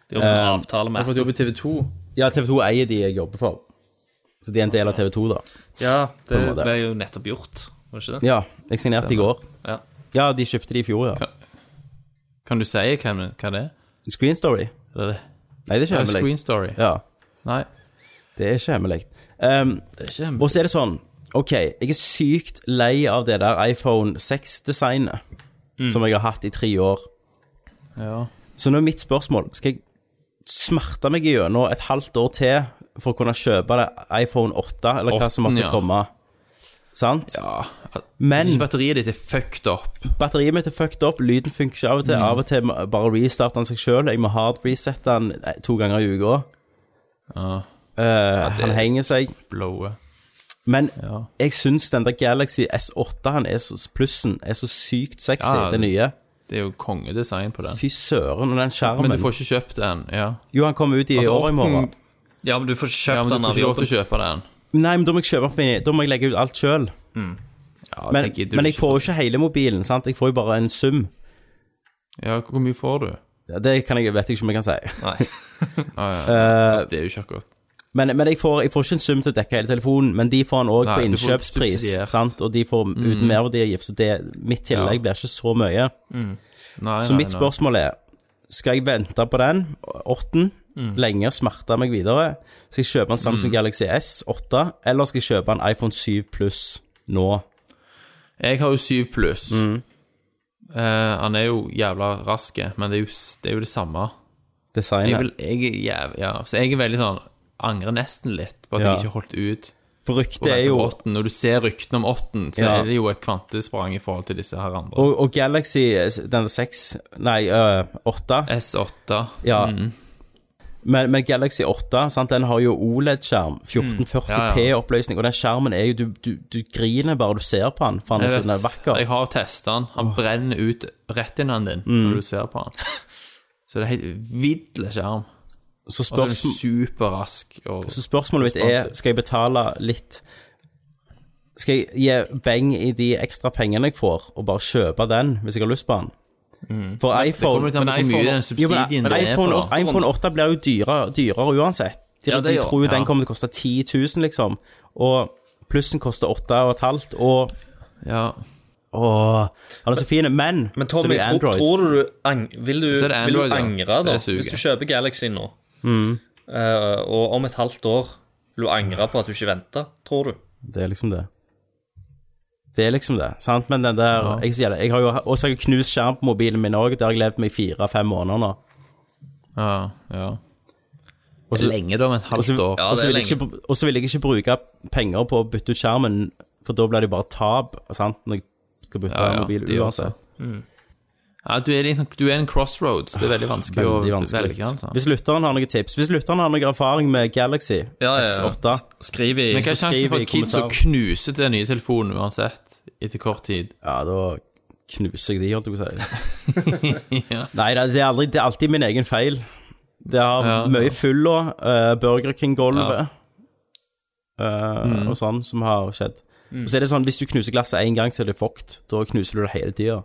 Speaker 4: De har en
Speaker 3: Um,
Speaker 4: avtale med
Speaker 6: fått jobb i TV2.
Speaker 3: Ja, TV2 eier de jeg jobber for. Så de er en del av TV2, da.
Speaker 4: Ja, det
Speaker 3: en måte.
Speaker 4: ble jo nettopp gjort, var det ikke det?
Speaker 3: Ja, jeg signerte i går.
Speaker 4: Ja.
Speaker 3: Ja, de kjøpte de i fjor, ja.
Speaker 6: Kan du si hva, hva det er?
Speaker 3: Screen Story.
Speaker 6: Eller er det?
Speaker 3: Nei, det er
Speaker 6: Ja,
Speaker 3: ikke hemmelig.
Speaker 6: Screen Story.
Speaker 3: Ja,
Speaker 6: Nei.
Speaker 3: det er ikke hemmelig. Um,
Speaker 6: Det er ikke hemmelig.
Speaker 3: og så er det sånn, OK, jeg er sykt lei av det der iPhone 6-designet
Speaker 6: Mm.
Speaker 3: som jeg har hatt i tre år.
Speaker 6: Ja.
Speaker 3: Så nå er mitt spørsmål Skal jeg smerte meg gjennom et halvt år til for å kunne kjøpe det iPhone 8, eller hva som
Speaker 6: 8,
Speaker 3: måtte
Speaker 6: ja.
Speaker 3: komme? Sant?
Speaker 6: Ja.
Speaker 3: Men
Speaker 6: Hvis ikke batteriet ditt er fucked up
Speaker 3: batteriet mitt er fucked up, lyden funker ikke av og til.
Speaker 6: Mm.
Speaker 3: Av og til må- bare restarter den seg sjøl. Jeg må hard resette den eh, to ganger i uka. Eh, han henger seg.
Speaker 6: Blowe.
Speaker 3: Men
Speaker 6: Ja.
Speaker 3: jeg syns den der Galaxy S8 han er så, plussen er så sykt sexy,
Speaker 6: Ja,
Speaker 3: det nye.
Speaker 6: Det er jo kongedesign på den.
Speaker 3: Fy søren, og den
Speaker 6: Men
Speaker 3: skjermen.
Speaker 6: du får ikke kjøpt den. Ja,
Speaker 3: Jo, han kommer ut i
Speaker 6: Altså,
Speaker 3: år i morgen.
Speaker 6: åtten-
Speaker 4: ja, men du får ikke
Speaker 6: ja
Speaker 4: kjøpt
Speaker 6: men du
Speaker 4: den
Speaker 6: får
Speaker 4: av
Speaker 6: ikke lov
Speaker 4: jobben.
Speaker 6: til å kjøpe den.
Speaker 3: Nei, men da må jeg kjøpe den, for jeg- da må jeg legge ut alt sjøl.
Speaker 6: Ja,
Speaker 3: Men,
Speaker 6: det gidder du
Speaker 3: men jeg
Speaker 6: ikke.
Speaker 3: får jo ikke hele mobilen, sant? Jeg får jo bare en sum.
Speaker 6: Ja, hvor mye får du?
Speaker 3: Ja, Det kan jeg, vet jeg ikke om jeg kan si.
Speaker 4: Nei.
Speaker 3: Eh,
Speaker 6: Altså, det er jo ikke akkurat
Speaker 3: Men, men jeg, får, jeg får ikke en sum til å dekke hele telefonen, men de får den òg
Speaker 6: Nei,
Speaker 3: på
Speaker 6: du får
Speaker 3: innkjøpspris,
Speaker 6: subsidiert. Mm.
Speaker 3: sant? og de får uten merverdiavgift, så det, mitt tillegg
Speaker 6: Ja.
Speaker 3: blir ikke så mye.
Speaker 6: Nei,
Speaker 3: Så
Speaker 6: nei,
Speaker 3: mitt
Speaker 6: nei.
Speaker 3: spørsmål er skal jeg vente på den, åtten,
Speaker 6: Mm.
Speaker 3: lenge og smerte meg videre? Skal jeg kjøpe en Samsung Galaxy S8, eller skal jeg kjøpe en iPhone 7 Plus nå?
Speaker 6: Jeg har jo 7 pluss.
Speaker 3: Mm.
Speaker 6: Eh, han er jo jævla rask, men det er jo det, er jo det samme. Jeg
Speaker 3: Designet.
Speaker 6: vil, jeg, er jæv, ja. Så jeg er veldig sånn Angrer nesten litt på at
Speaker 3: Ja.
Speaker 6: jeg ikke holdt ut.
Speaker 3: For
Speaker 6: på
Speaker 3: ryktet er
Speaker 6: dette
Speaker 3: jo
Speaker 6: med åtten. Når du ser ryktene om åtten, så
Speaker 3: Ja.
Speaker 6: er det jo et kvantesprang i forhold til disse her andre.
Speaker 3: og, og Galaxy eh, den 6 Nei, øh, 8.
Speaker 6: S8.
Speaker 3: Ja.
Speaker 6: Mm.
Speaker 3: Men, men Galaxy 8 sant, den har jo E OLED-skjerm,
Speaker 6: Mm.
Speaker 3: 1440p-oppløsning, og den skjermen er jo du, du, du griner bare du ser på den, for den er sånn så
Speaker 6: Jeg,
Speaker 3: den er
Speaker 6: vet,
Speaker 3: vakker.
Speaker 6: jeg har testa den. Han brenner ut rettinaen din
Speaker 3: Mm.
Speaker 6: når du ser på han. Så det er helt vidle skjerm.
Speaker 3: Så,
Speaker 6: Og så er den
Speaker 3: spørsm
Speaker 6: superrask. Og,
Speaker 3: så spørsmålet mitt er, skal jeg betale litt skal jeg gi beng i de ekstra pengene jeg får, og bare kjøpe den hvis jeg har lyst på den.
Speaker 8: Mm.
Speaker 3: For iPhone
Speaker 6: Men iPhone,
Speaker 8: mye den
Speaker 3: Jo, men
Speaker 8: subsidien det er på
Speaker 3: iPhone,
Speaker 8: åtteren.
Speaker 3: iPhone 8 blir jo dyrere, dyrere uansett. De,
Speaker 8: Ja, det
Speaker 3: de
Speaker 8: gjør-
Speaker 3: tror jo
Speaker 8: ja.
Speaker 3: den kommer til å koste 10 000, liksom. Og plussen koster 8,5, og
Speaker 8: Ja.
Speaker 3: Åh, han er så fin. Men,
Speaker 10: Men
Speaker 3: så
Speaker 10: Tommy,
Speaker 3: blir det
Speaker 10: tror,
Speaker 3: Android.
Speaker 10: tror du du ang vil, du
Speaker 6: Så er det
Speaker 10: vil
Speaker 6: Android,
Speaker 10: du
Speaker 6: ja.
Speaker 10: angre da?
Speaker 6: Det suger.
Speaker 10: Hvis du kjøper Galaxy nå,
Speaker 3: Mm.
Speaker 10: eh, og om et halvt år vil du angre på at du ikke venta, tror du?
Speaker 3: Det er liksom det. Det er liksom det, sant? Men den der Jeg sier det, jeg har jo også har jeg knust skjerm på mobilen min òg. Det har jeg levd med i fire-fem måneder nå.
Speaker 8: ja, ja. Lenge, da, med et
Speaker 3: Og så
Speaker 8: halvt år.
Speaker 10: Ja,
Speaker 3: og så
Speaker 10: det er
Speaker 3: vil, jeg ikke- og så vil jeg ikke bruke penger på å bytte ut skjermen, for da blir det bare tap sant? når jeg skal bytte
Speaker 6: Ja, ja,
Speaker 3: mobil
Speaker 6: det er
Speaker 3: uansett.
Speaker 6: Ja, du er, liksom, du er en crossroads. Det er veldig vanskelig å
Speaker 3: Veldig vanskelig.
Speaker 6: velge. Altså.
Speaker 3: Hvis lytteren har noen tips Hvis lytteren har noen erfaring med Galaxy
Speaker 10: Ja, ja, ja.
Speaker 3: S8
Speaker 10: S- Skriv i
Speaker 6: Men hva er
Speaker 3: så
Speaker 6: sjansen
Speaker 3: skriver
Speaker 6: for
Speaker 3: jeg
Speaker 6: at kids å
Speaker 3: kommentar.
Speaker 6: knuse til den nye telefonen uansett, etter kort tid?
Speaker 3: Ja, da knuser jeg de, holdt jeg på å si. Nei, det er, aldri, det er alltid min egen feil. Det har
Speaker 6: Ja,
Speaker 3: mye fyll og eh, Burger King-gulvet
Speaker 6: Ja.
Speaker 3: eh,
Speaker 6: Mm.
Speaker 3: og sånn som har skjedd. Og så er det sånn, hvis du knuser glasset én gang, så er det fucked. Da knuser du det hele tida.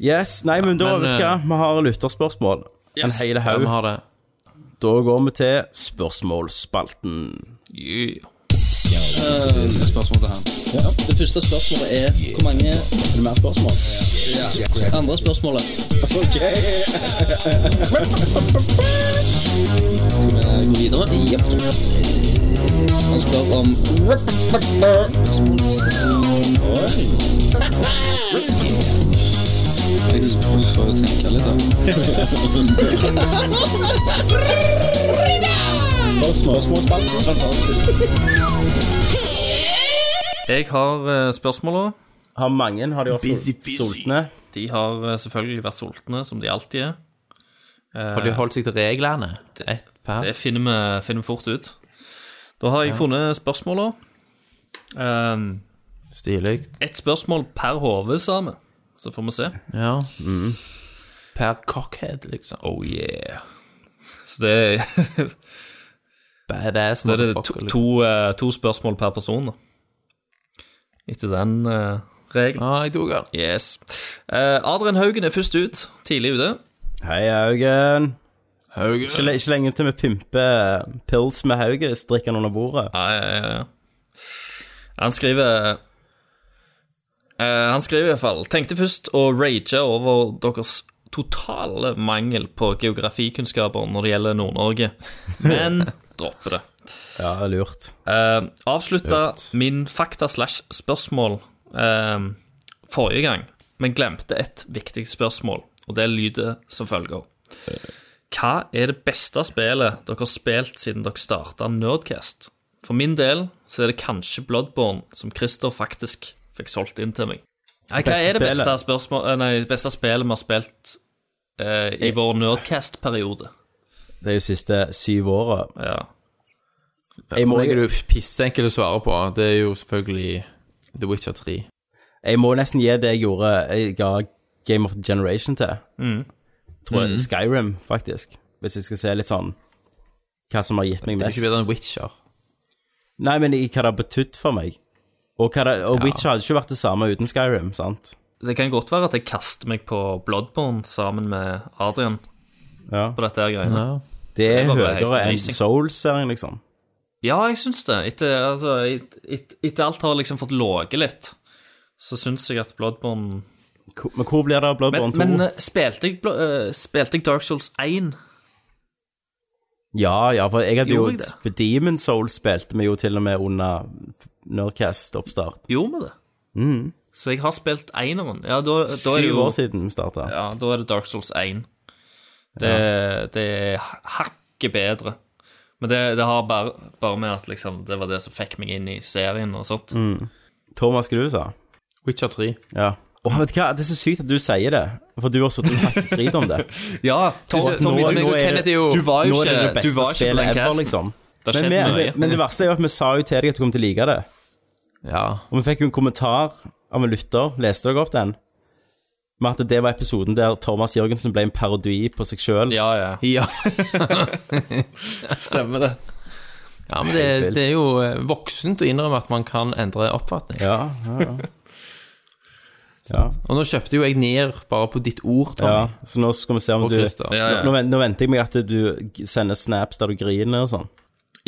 Speaker 3: Yes, nei, men da,
Speaker 6: men, eh,
Speaker 3: vet du hva, vi har lytterspørsmål. En hel
Speaker 6: Ja,
Speaker 3: haug.
Speaker 6: vi har det.
Speaker 3: Da går vi til spørsmålsspalten.
Speaker 11: Det første spørsmålet er hvor mange Er det mer spørsmål? Andre spørsmålet. Ok. Skal vi gå videre? Jepp. Han spør om Oi. Jeg får jo tenke litt, da. Spørsmålsspalten. Fantastisk.
Speaker 4: Jeg har eh, spørsmåla.
Speaker 3: Har mange har de også sultne?
Speaker 4: De har eh, selvfølgelig vært sultne, som de alltid er.
Speaker 6: Har de holdt seg til reglene? Ett per?
Speaker 4: Det finner vi, finner vi fort ut. Da har jeg funnet spørsmåla.
Speaker 6: Stilig.
Speaker 4: Ett spørsmål per hode, sa vi. Så får vi se.
Speaker 6: Ja. Per cockhead, liksom.
Speaker 4: Oh yeah. Så det er, så
Speaker 6: Badass
Speaker 4: det er to,
Speaker 6: motherfucker, liksom.
Speaker 4: to, eh, to spørsmål per person, da. Etter den eh, regelen.
Speaker 6: Ja, jeg tok den.
Speaker 4: Yes. Eh, Adrian Haugen er først ut. Tidlig ute.
Speaker 3: Hei, Haugen.
Speaker 6: Haugen.
Speaker 3: Ikke, le- ikke lenge til vi pimper pils med Hauge, strikker han under bordet.
Speaker 4: Ja, ja, ja, ja. Han skriver eh, Han skriver i hvert fall Tenkte først å rage over deres totale mangel på geografikunnskaper når det gjelder Nord-Norge, men dropper det.
Speaker 3: Ja, det er lurt.
Speaker 4: Uh, Avslutta min fakta-slash-spørsmål eh, forrige gang, men glemte et viktig spørsmål, og det lyder som følger. Hva er det beste spillet dere har spilt siden dere starta Nerdcast? For min del så er det kanskje Bloodborne, som Christer faktisk fikk solgt inn til meg. Nei, hva
Speaker 3: Beste
Speaker 4: er det beste,
Speaker 3: spillet?
Speaker 4: spørsmål, eh, nei, beste spillet vi har spilt eh, i vår Nerdcast-periode?
Speaker 3: Det er jo siste syv året.
Speaker 4: Ja.
Speaker 3: Jeg må,
Speaker 6: For meg er du pissenkel å svare på. Det er jo selvfølgelig The Witcher 3.
Speaker 3: jeg må nesten gi det jeg gjorde Jeg ga Game of the Generation til.
Speaker 4: Mm.
Speaker 3: Tror jeg Skyrim, faktisk. Hvis jeg skal se litt sånn hva som har gitt meg
Speaker 6: Det er
Speaker 3: mest.
Speaker 6: ikke bedre enn Witcher.
Speaker 3: Nei, men i hva det har betydd for meg. Og, hva det, og Witcher hadde ikke vært det samme uten Skyrim, sant?
Speaker 4: Det kan godt være at jeg kaster meg på Bloodborne sammen med Adrian
Speaker 3: Ja.
Speaker 4: på dette her greiene.
Speaker 3: Det er
Speaker 4: var bare helt
Speaker 3: høyere enn
Speaker 4: amazing.
Speaker 3: Souls-serien, liksom.
Speaker 4: Ja, jeg syns det. Etter, altså, et, et, etter alt har liksom fått låge litt, så syns jeg at Bloodborne
Speaker 3: Hvor- Men hvor blir det av
Speaker 4: Men,
Speaker 3: Bloodborne 2?
Speaker 4: men eh, spilte, jeg, Blo- eh, spilte jeg Dark Souls 1?
Speaker 3: Ja, ja, for jeg hadde jo
Speaker 4: Gjorde jeg
Speaker 3: Demon Soul spilte vi jo til og med under Nerdcast-oppstart.
Speaker 4: Gjorde vi det? Så jeg har spilt eneren. Ja, da, da er det
Speaker 3: Mm. Syv
Speaker 4: jo
Speaker 3: år siden vi starta.
Speaker 4: Ja, da er det Dark Souls 1. Det, det er hakket bedre. Men det, det har bare, bare med at liksom, det var det som fikk meg inn i serien og sånt.
Speaker 3: Mm. Thomas, hva du sa
Speaker 6: Witcher 3.
Speaker 3: Ja. Åh, vet du hva? Det er så sykt at du sier det, for du har sittet og snakket drit om det.
Speaker 4: Ja,
Speaker 6: Tommy, Tommy,
Speaker 3: nå-
Speaker 6: meg
Speaker 3: nå
Speaker 6: og
Speaker 3: er
Speaker 6: Kenneth
Speaker 3: det-
Speaker 6: er jo
Speaker 4: Du var jo
Speaker 3: Nå er
Speaker 4: ikke,
Speaker 3: det det
Speaker 4: du
Speaker 3: beste
Speaker 4: var ikke på
Speaker 3: spillet
Speaker 4: den
Speaker 3: ever,
Speaker 4: casten.
Speaker 3: liksom. Men,
Speaker 4: Det skjedde
Speaker 3: vi,
Speaker 4: nøye.
Speaker 3: men det verste er jo at vi sa jo til deg at du kom til å like det.
Speaker 6: Ja.
Speaker 3: Og vi fikk jo en kommentar av en lytter, leste dere opp den? Med at det var episoden der Thomas Jørgensen ble en parodi på seg sjøl.
Speaker 4: Ja, ja.
Speaker 6: ja.
Speaker 4: Stemmer det.
Speaker 6: Ja, men det, det er jo eh, voksent å innrømme at man kan endre oppfatning.
Speaker 3: Ja, ja, ja. ja.
Speaker 6: Og nå kjøpte jo jeg ned bare på ditt ord, Tommy.
Speaker 3: ja. Så nå skal vi se om
Speaker 6: Og
Speaker 3: du
Speaker 6: Christer.
Speaker 4: Ja, ja.
Speaker 3: Nå, vent- nå venter jeg meg at du g- sender snaps der du griner og sånn.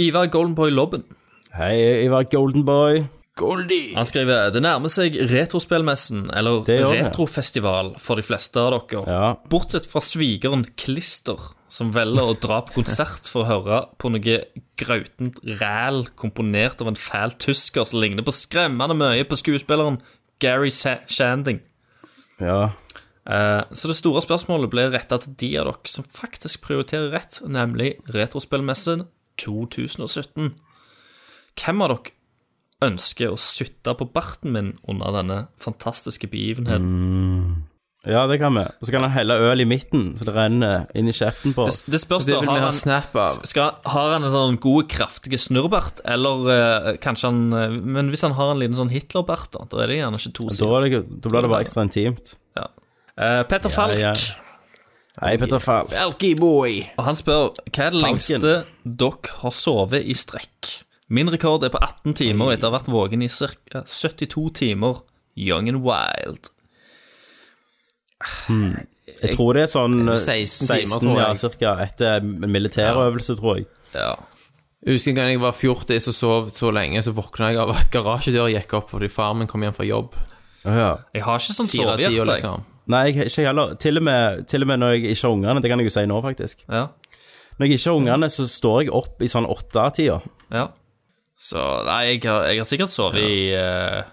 Speaker 4: Ivar Goldenboy Lobben.
Speaker 3: Hei, Ivar Goldenboy.
Speaker 6: Goldie!
Speaker 4: Han skriver det nærmer seg retrospillmessen, eller
Speaker 3: Det gjør det.
Speaker 4: retrofestival, for de fleste av dere.
Speaker 3: Ja.
Speaker 4: Bortsett fra svigeren Klister, som velger å dra på konsert for å høre på noe grautent ræl komponert av en fæl tysker som ligner på skremmende mye på skuespilleren Gary Sa- Shanding.
Speaker 3: Ja.
Speaker 4: Eh, Så det store spørsmålet ble retta til de av dere som faktisk prioriterer rett, nemlig Retrospillmessen 2017. Hvem av dere ønsker å sytte på barten min under denne fantastiske begivenheten?
Speaker 3: Mm. ja, det kan vi. Og så kan han helle øl i midten, så det renner inn i kjeften på
Speaker 4: Det,
Speaker 3: oss.
Speaker 4: det spørs
Speaker 6: Det
Speaker 4: da,
Speaker 6: vil vi
Speaker 4: har
Speaker 6: ha
Speaker 4: han,
Speaker 6: snap av.
Speaker 4: skal, har han en sånn god, kraftig snurrbart, eller eh, kanskje han eh, Men hvis han har en liten sånn Hitlerbart, da, da er det gjerne ikke to
Speaker 3: Da,
Speaker 4: sider.
Speaker 3: er det, da blir det bare ekstra intimt.
Speaker 4: Ja. Eh, Petter Falk.
Speaker 3: ja. Hei, Petter Falk.
Speaker 6: Elky boy!
Speaker 4: Og han spør hva er det
Speaker 3: Falken.
Speaker 4: lengste dere har sovet i strekk. Min rekord er på 18 timer etter å ha vært våken i ca. 72 timer. Young and wild.
Speaker 3: Jeg tror det er sånn eh,
Speaker 6: 16 timer, tror
Speaker 3: ja,
Speaker 6: jeg.
Speaker 3: cirka, etter en militærøvelse, tror jeg.
Speaker 4: Ja.
Speaker 6: Jeg husker en gang jeg var fjortis og sov så lenge, så våkna jeg av at garasjedøra gikk opp fordi far min kom hjem fra jobb.
Speaker 3: Ja.
Speaker 4: Jeg har ikke sånn
Speaker 6: Fire av ti
Speaker 4: sovehjerte.
Speaker 6: år,
Speaker 4: jeg.
Speaker 6: liksom.
Speaker 3: Nei, jeg- ikke heller. Til og, med, til og med når jeg ikke har ungene, det kan jeg jo si nå, faktisk.
Speaker 4: Ja,
Speaker 3: Når jeg ikke har ungene, så står jeg opp i sånn åtte-tida.
Speaker 4: ja. Så nei, jeg har, jeg har sikkert sovet i eh,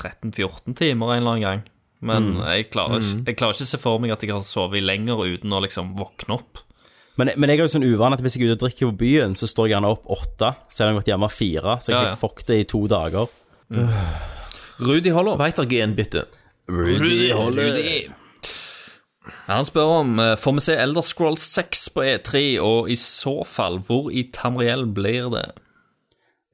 Speaker 4: 13-14 timer en eller annen gang. Men
Speaker 6: Mm.
Speaker 4: jeg, klarer ikke, jeg klarer ikke å se for meg at jeg har sovet lenger uten å liksom våkne opp.
Speaker 3: Men, men jeg er jo sånn uvan at hvis jeg er ute og drikker på byen, så står jeg gjerne opp åtte, selv om jeg har vært hjemme fire, så jeg
Speaker 4: Ja,
Speaker 3: har
Speaker 4: ja.
Speaker 3: fucked det i to dager.
Speaker 4: Rudi Hollow.
Speaker 6: Weitergehen, bitte.
Speaker 3: Rudy
Speaker 4: Ja, Han spør om eh, Får vi se Elder Scrolls 6 på E3, og i så fall, hvor i Tamriel blir det?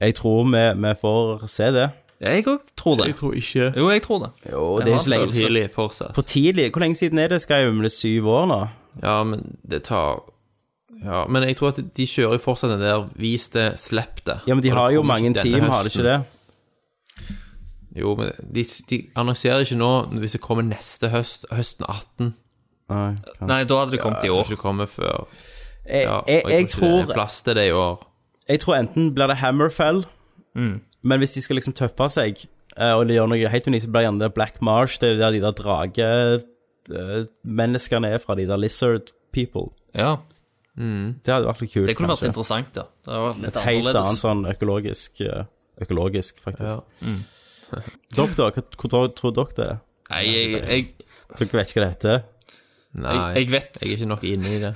Speaker 3: Jeg tror vi, vi får se det.
Speaker 4: Jeg òg tror det.
Speaker 6: tror ikke
Speaker 4: Jo, jeg tror det.
Speaker 3: Jo, det er
Speaker 4: har
Speaker 3: ikke så lenge siden.
Speaker 6: Tidlig fortsatt.
Speaker 3: For tidlig? Hvor lenge siden er det? Skal jeg jo bli syv år nå?
Speaker 6: Ja, men det tar Ja, men jeg tror at de kjører jo fortsatt den der 'vis det, slipp det'.
Speaker 3: Ja, men de
Speaker 6: Og det
Speaker 3: har jo
Speaker 6: kommer
Speaker 3: mange
Speaker 6: ikke denne
Speaker 3: team, har de
Speaker 6: høsten.
Speaker 3: ikke det?
Speaker 6: Jo, men de, de annonserer ikke nå hvis det kommer neste høst, høsten 18.
Speaker 3: Nei.
Speaker 4: Nei, da hadde det kommet i
Speaker 6: Jeg tror
Speaker 4: år.
Speaker 6: ikke det kommer før
Speaker 3: Jeg,
Speaker 6: ja,
Speaker 3: jeg,
Speaker 6: og
Speaker 3: jeg,
Speaker 6: ikke det
Speaker 3: tror,
Speaker 6: er plass til det i år.
Speaker 3: jeg tror enten blir det Hammerfell, men hvis de skal liksom tøffe seg eh, og gjøre noe helt unikt, så blir det gjerne det Black Marsh, det er jo der de der dragemenneskene er fra, de der lizard people.
Speaker 4: Ja,
Speaker 3: Det hadde vært litt kult.
Speaker 4: Det kunne vært
Speaker 3: kanskje.
Speaker 4: interessant, ja. Det hadde vært litt
Speaker 3: Et helt annet
Speaker 4: annerledes.
Speaker 3: sånn økologisk eh, Økologisk, faktisk.
Speaker 4: Mm.
Speaker 3: Dere, da? Hva- Hvor tror- tror dere det er?
Speaker 4: Nei, jeg, jeg,
Speaker 3: Dere vet ikke hva det heter?
Speaker 6: Nei,
Speaker 4: jeg, jeg vet
Speaker 6: jeg er ikke nok inne i det.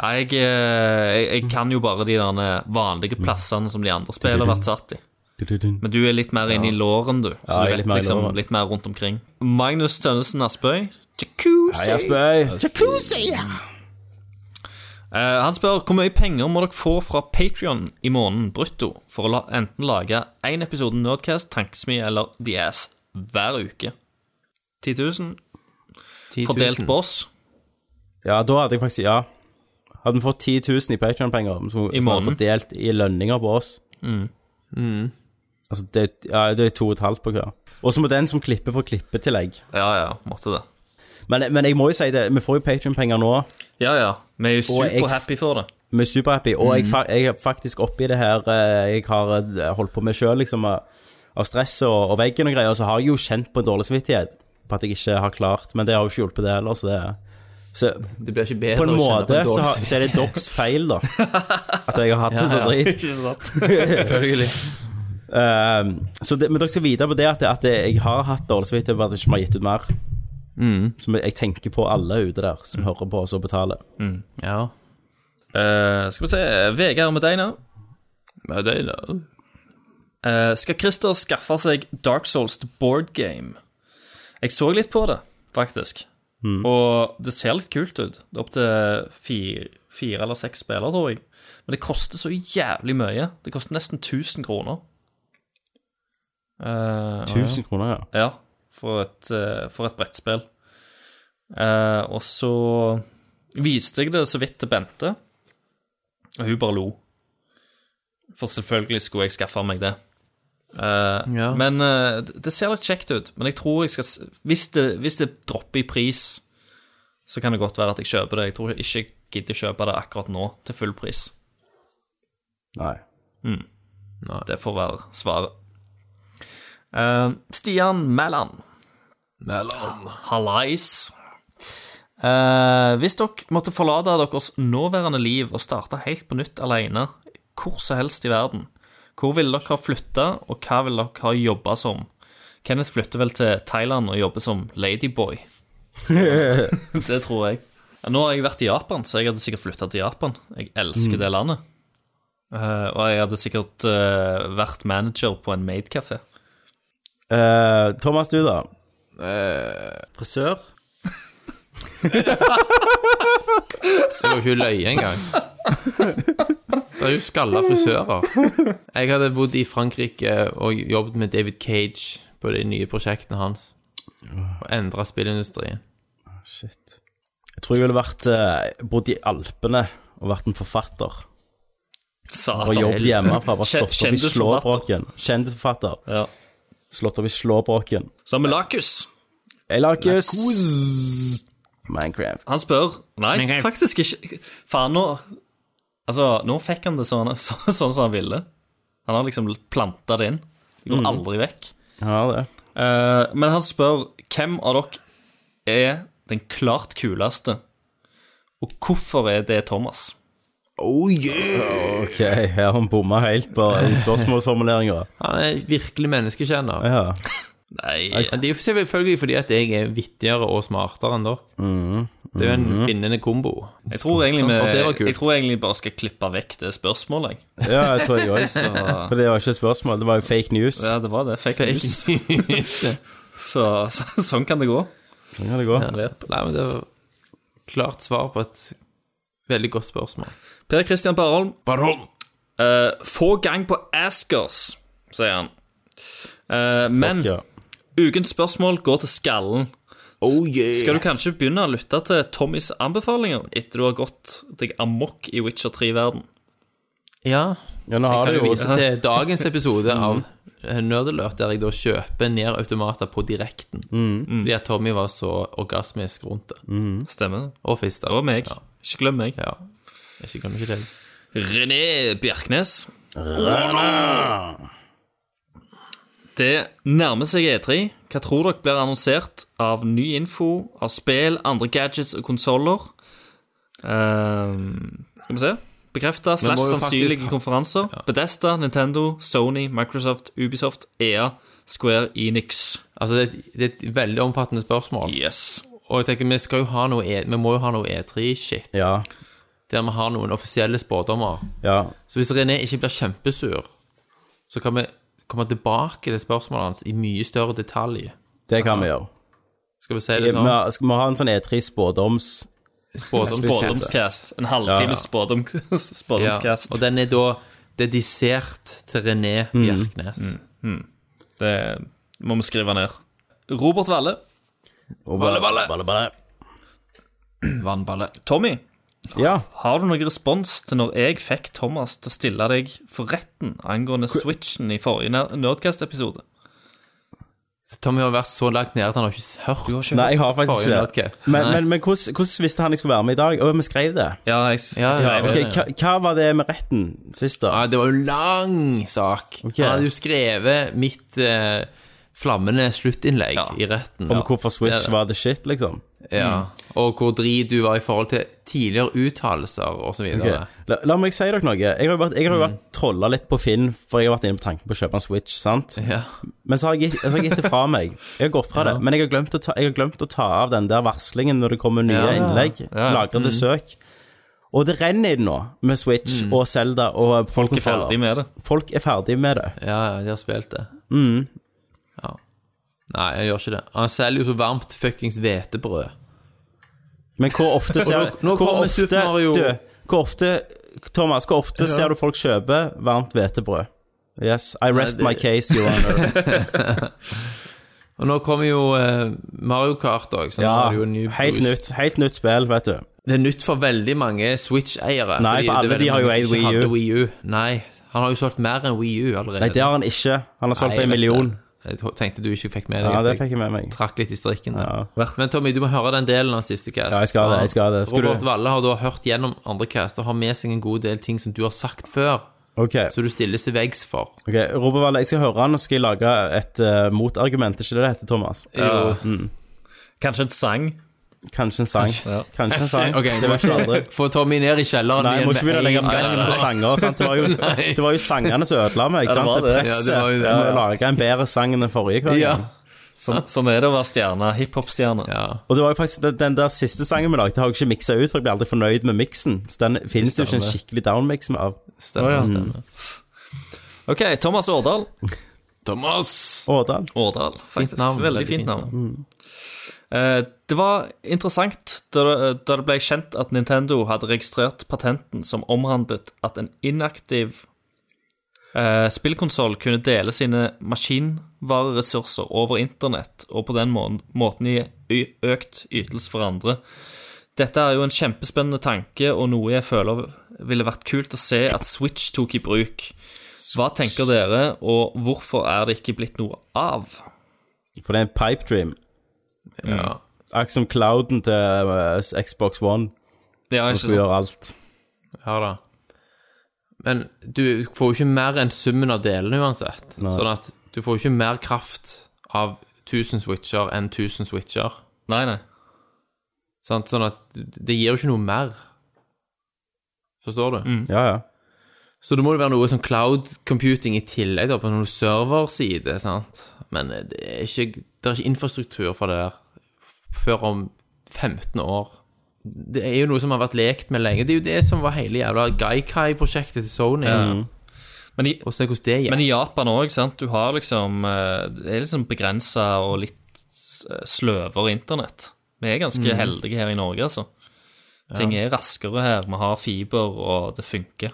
Speaker 4: Nei, jeg, eh, jeg, jeg kan jo bare de der vanlige plassene som de andre spiller har vært satt i. Men du er litt mer inne i låren, du.
Speaker 3: Ja, jeg
Speaker 4: Så du
Speaker 3: er
Speaker 4: vet
Speaker 3: litt mer i
Speaker 4: liksom
Speaker 3: låren.
Speaker 4: litt mer rundt omkring. Magnus Tønnesen Aspøy. Jacuzzi.
Speaker 3: Hei, Aspøy!
Speaker 4: Eh, han spør hvor mye penger må dere få fra Patrion i måneden brutto for å la, enten lage én episode Nerdcast, Tankesmi eller The Ass hver uke. 10 000 fordelt på oss
Speaker 3: Ja, da hadde jeg faktisk Ja. Hadde vi fått 10 000 i Patrion-penger, som som hadde
Speaker 4: måneden. Mm.
Speaker 3: fordelt i lønninger på oss Altså, det, ja, det er to og et halvt på hver. Og så må den som klipper, få klippetillegg.
Speaker 4: Ja ja, måtte det.
Speaker 3: Men, men jeg må jo si det, vi får jo Patrion-penger nå.
Speaker 4: Ja ja, vi er jo
Speaker 3: Og jeg-
Speaker 4: superhappy for det.
Speaker 3: Vi er superhappy, og jeg, fa jeg er faktisk oppi det her eh, jeg har eh, holdt på med sjøl, liksom, av av stress og, og veggen og greier, så har jeg jo kjent på dårlig samvittighet på at jeg ikke har klart, men det har jo ikke hjulpet det heller, så det Så
Speaker 6: Det blir ikke bedre
Speaker 3: på en
Speaker 6: å kjenne
Speaker 3: måte
Speaker 6: en
Speaker 3: så,
Speaker 6: dårlig
Speaker 3: har, så er det deres feil, da, at jeg har hatt det så drit.
Speaker 6: Selvfølgelig.
Speaker 3: Ehm, så det, men dere skal vite på det at, at jeg har hatt dårlig samvittighet for at jeg ikke har gitt ut mer. Som jeg, jeg tenker på alle ute der som hører på oss og betaler.
Speaker 6: Ja.
Speaker 4: Eh, skal vi se Vegard Medeina.
Speaker 6: Men det er da
Speaker 4: Eh, skal Christer skaffe seg Dark Souls til board game? Jeg så litt på det, faktisk. Og det ser litt kult ut. Det er opptil fire, fire eller seks spillere, tror jeg. Men det koster så jævlig mye. Det koster nesten 1000 kroner. Eh,
Speaker 3: 1000 kroner, ja.
Speaker 4: ja, for et, eh, for et brettspill. Eh, og så viste jeg det så vidt til Bente, og hun bare lo. For selvfølgelig skulle jeg skaffe meg det. Eh, Men eh, det det ser litt kjekt ut. Men jeg tror jeg skal s- Hvis det, hvis det dropper i pris, så kan det godt være at jeg kjøper det. Jeg tror ikke jeg gidder kjøpe det akkurat nå, til full pris.
Speaker 3: Nei.
Speaker 4: Det får være svaret. Eh, Stian Mæland. Mæland. Hallais. Eh, hvis dere måtte forlate deres nåværende liv og starte helt på nytt alene, hvor som helst i verden, hvor ville dere ha flytta, og hva ville dere ha jobba som? Kenneth flytter vel til Thailand og jobber som ladyboy. det tror jeg. Ja, Nå har jeg vært i Japan, så jeg hadde sikkert flytta til Japan. Jeg elsker det landet. Eh, og jeg hadde sikkert eh, vært manager på en maidkafé.
Speaker 3: Eh, Thomas, du, da?
Speaker 6: Eh,
Speaker 7: Frisør?
Speaker 6: Det var jo ikke løye engang. Det er jo skalla frisører. Jeg hadde bodd i Frankrike og jobbet med David Cage på de nye prosjektene hans. Og endra spillindustrien.
Speaker 3: Shit. Jeg tror jeg ville vært eh, bodd i Alpene og vært en forfatter. Og
Speaker 4: Satan.
Speaker 3: jobbet hjemmefra. Bare
Speaker 4: Kjen-
Speaker 3: slått opp i
Speaker 4: kjendisforfatter.
Speaker 3: slåbråken. Kjendisforfatter.
Speaker 4: Ja.
Speaker 3: Slått opp i slåbråken.
Speaker 4: Så har vi Lakus.
Speaker 3: Jeg lager s- Minecraft.
Speaker 4: Han spør Nei, faktisk ikke. Faen, nå Altså, nå fikk han det sånn, så, sånn som han ville. Han har liksom planta det inn. Det går
Speaker 6: Mm.
Speaker 4: aldri vekk.
Speaker 3: Jeg har det.
Speaker 4: Eh, men han spør hvem av dere er den klart kuleste, og hvorfor er det Thomas?
Speaker 3: Oh, Ok, her har han bomma helt på spørsmålsformuleringa.
Speaker 6: Han er virkelig menneskekjenner.
Speaker 3: Ja.
Speaker 4: Nei,
Speaker 6: Men Det er jo selvfølgelig fordi at jeg er vittigere og smartere enn dere.
Speaker 3: Mm-hmm.
Speaker 6: Det er jo en vinnende kombo.
Speaker 4: jeg tror egentlig,
Speaker 6: Sånn, og det var
Speaker 4: vi,
Speaker 6: kult.
Speaker 4: jeg tror egentlig bare skal klippe vekk det spørsmålet. jeg.
Speaker 3: ja, jeg tror jeg òg. For det var ikke et spørsmål, det var jo fake news.
Speaker 4: Ja, det var det. Fake, news. så, så sånn kan det gå.
Speaker 3: Sånn kan det gå.
Speaker 6: Nei, men det var klart svar på et veldig godt spørsmål.
Speaker 4: Per Christian Barholm. Eh, få gang på Askers, sier han. Eh, men
Speaker 3: Ja.
Speaker 4: ukens spørsmål går til skallen. Skal du kanskje begynne å lytte til Tommys anbefalinger etter du har gått deg amok i Witcher 3-verden?
Speaker 6: Ja,
Speaker 3: ja, nå har
Speaker 6: kan
Speaker 3: du
Speaker 6: jo
Speaker 3: jo
Speaker 6: vise til dagens episode av
Speaker 4: Mm.
Speaker 6: Nerdelørt, der jeg da kjøper ned automater på direkten. Fordi at Tommy var så orgasmisk rundt det.
Speaker 4: Mm. Stemmer det?
Speaker 6: Og fister.
Speaker 4: Det var meg. Ikke glem meg.
Speaker 6: Ja. Ikke glem ikke det.
Speaker 4: René Bjerknes. Det nærmer seg E3. Hva tror dere blir annonsert av ny info, av spill, andre gadgets og konsoller? Ehm, skal vi se. Bekrefta slash
Speaker 6: jo
Speaker 4: sannsynlige
Speaker 6: faktisk-
Speaker 4: konferanser. Bedesta, Nintendo, Sony, Microsoft, Ubisoft, EA, Square Enix.
Speaker 6: Altså, det er, et, det er et veldig omfattende spørsmål.
Speaker 4: Yes.
Speaker 6: Og jeg tenker, vi skal jo ha noe E- Vi må jo ha noe E3-shit.
Speaker 3: Ja.
Speaker 6: Der vi har noen offisielle spådommer.
Speaker 3: ja.
Speaker 6: Så hvis René ikke blir kjempesur, så kan vi komme tilbake til spørsmålet hans i mye større detalj.
Speaker 3: Det kan vi gjøre.
Speaker 6: Skal vi si
Speaker 3: Vi
Speaker 6: det sånn?
Speaker 3: skal vi ha en sånn E3-spådoms
Speaker 6: Spådomsshit.
Speaker 4: Spådomscast. sånn En halvtimes spådom,
Speaker 6: Ja,
Speaker 4: spådomscast.
Speaker 6: og den er da dedisert til René
Speaker 3: Mm.
Speaker 6: Bjerknes.
Speaker 4: Det må vi skrive ned. Robert Valle.
Speaker 3: Balle, balle, balle.
Speaker 6: Vannballe.
Speaker 4: Tommy,
Speaker 3: Ja.
Speaker 4: har du noen respons til når jeg fikk Thomas til å stille deg for retten angående Switchen i forrige Ner- Nerdcast-episode?
Speaker 6: Så Tommy har vært så langt nede at han har ikke hørt.
Speaker 3: Nei, jeg har faktisk
Speaker 6: Forrige
Speaker 3: ikke det.
Speaker 6: Nerdcast.
Speaker 3: Men, men, men hvordan, hvordan visste han jeg skulle være med i dag? Å, vi skrev det.
Speaker 4: Ja, jeg s-
Speaker 6: Ja, ja,
Speaker 4: skrev
Speaker 3: Ok,
Speaker 4: det.
Speaker 3: hva, hva var det med retten sist, da?
Speaker 6: Ja, det var jo en lang sak.
Speaker 3: Ok.
Speaker 6: Han hadde jo skrevet mitt eh, flammende sluttinnlegg
Speaker 4: Ja.
Speaker 6: i retten.
Speaker 3: Om
Speaker 6: Ja.
Speaker 3: hvorfor
Speaker 6: Det er
Speaker 3: Swish
Speaker 6: det.
Speaker 3: var the shit, liksom?
Speaker 6: Ja. Og hvor drit du var i forhold til tidligere uttalelser og så
Speaker 3: Ok.
Speaker 6: videre.
Speaker 3: La, la meg si dere noe. Jeg har jo vært, jeg har jo vært trolla litt på Finn, for jeg har vært inne på tanken på å kjøpe en Switch, sant?
Speaker 6: Ja.
Speaker 3: Men så har jeg, gitt- så har jeg gitt det fra meg. Jeg har gått fra det. Men jeg har, glemt å ta, jeg har glemt å ta av den der varslingen når det kommer nye innlegg. Lagre til søk. Og det renner i det nå, med Switch og Zelda og
Speaker 4: Folk er ferdig med det.
Speaker 3: Folk er ferdig med det.
Speaker 6: Ja, ja, de har spilt det.
Speaker 3: Mm.
Speaker 6: Ja. Nei, jeg gjør ikke det. Han selger jo så varmt fuckings hvetebrød.
Speaker 3: Men hvor ofte ser
Speaker 6: nå- nå
Speaker 3: hvor
Speaker 6: kommer Super Mario.
Speaker 3: Du, hvor ofte Thomas, hvor ofte ser du folk kjøpe varmt hvetebrød? Yes, I rest
Speaker 6: det-
Speaker 3: my case, your honor.
Speaker 6: Og nå kommer jo eh, Mario Kart òg, så nå
Speaker 3: Ja,
Speaker 6: er det jo en ny
Speaker 3: helt
Speaker 6: boost.
Speaker 3: nytt, helt nytt spill, vet du.
Speaker 6: Det er nytt for veldig mange Switch-eiere.
Speaker 3: Nei, for
Speaker 6: fordi det er
Speaker 3: alle
Speaker 6: veldig
Speaker 3: de har
Speaker 6: mange
Speaker 3: jo
Speaker 6: som
Speaker 3: eid Wii U.
Speaker 6: ikke hadde Wii U. Nei, Han har jo solgt mer enn Wii U allerede.
Speaker 3: Nei, det har han ikke. Han har solgt
Speaker 6: jeg
Speaker 3: en
Speaker 6: vet
Speaker 3: million.
Speaker 6: det. Jeg tenkte du ikke fikk med deg
Speaker 3: Ja,
Speaker 6: at
Speaker 3: det fikk jeg med meg.
Speaker 6: trakk litt i strikken. der. Men Tommy, du må høre den delen av siste cast.
Speaker 3: Ja, jeg skal det, jeg skal det. Skal
Speaker 6: Robert
Speaker 3: du-
Speaker 6: Valle har da hørt gjennom andre cast og har med seg en god del ting som du har sagt før,
Speaker 3: Ok,
Speaker 6: så du stilles til veggs for.
Speaker 3: ok. Robert Valle, jeg skal høre han, og skal jeg lage et eh, motargument. Er ikke det det heter, Thomas?
Speaker 6: Ja.
Speaker 3: Mm.
Speaker 4: Kanskje en sang?
Speaker 3: Kanskje en sang. Kanskje en sang.
Speaker 6: Ok,
Speaker 3: det var ikke aldri.
Speaker 6: Få Tommy ned i kjelleren
Speaker 3: Nei, jeg må ikke begynne å legge
Speaker 6: en
Speaker 3: press på sanger. Sant? Det, var jo,
Speaker 6: Nei.
Speaker 3: det var jo sangene som ødela meg. sant?
Speaker 4: var
Speaker 3: det
Speaker 4: det. Ja, det
Speaker 3: presset.
Speaker 6: var jo det.
Speaker 3: Jeg må lage en bedre sang enn den forrige kvelden.
Speaker 6: Ja.
Speaker 4: Sånn, sånn er det å være stjerne. Hiphop-stjerne.
Speaker 6: Ja.
Speaker 3: Og det var jo faktisk den, den der siste sangen vi lagde, har jeg ikke miksa ut, for jeg blir aldri fornøyd med miksen. Så den finnes det jo ikke en skikkelig downmix med av.
Speaker 6: Stemmer. stemmer.
Speaker 4: OK, Thomas Årdal.
Speaker 6: Thomas!
Speaker 3: Ådal.
Speaker 4: Årdal, faktisk.
Speaker 6: navn,
Speaker 4: veldig fint navn. Eh, det var interessant da, det- eh, da det ble kjent at Nintendo hadde registrert patenten som omhandlet at en inaktiv uh, spillkonsoll kunne dele sine maskinvareressurser over internett, og på den må måten gi ø- økt ytelse for andre. Dette er jo en kjempespennende tanke, og noe jeg føler ville vært kult å se at Switch tok i bruk. Hva tenker dere, og hvorfor er det ikke blitt noe av?
Speaker 3: For det er en pipe dream. Mm.
Speaker 6: Ja.
Speaker 3: Akkurat som clouden til eh, Xbox One.
Speaker 4: Det
Speaker 3: Som
Speaker 4: er ikke
Speaker 3: skulle
Speaker 4: sånn.
Speaker 3: gjøre alt.
Speaker 6: Ja da. Men du får jo ikke mer enn summen av delene uansett. Sånn at du får jo ikke mer kraft av 1000 switcher enn 1000 switcher.
Speaker 4: Nei, nei.
Speaker 6: Sant? Sånn at det gir jo ikke noe mer. Forstår du?
Speaker 3: Ja, ja.
Speaker 6: Så det må jo være noe sånn cloud computing i tillegg, da, på noen serverside, sant. Men eh, det er ikke, det er ikke infrastruktur for det der f- før om 15 år. Det er jo noe som har vært lekt med lenge. Det er jo det som var hele jævla Gaikai-prosjektet til Sony.
Speaker 3: Mm.
Speaker 4: Men i,
Speaker 6: Og se hvordan det gikk.
Speaker 4: men i Japan òg, sant. Du har liksom eh, Det er liksom begrensa og litt s- sløvere internett. Vi er ganske heldige her i Norge, altså. Ting er raskere her. Vi har fiber, og det funker.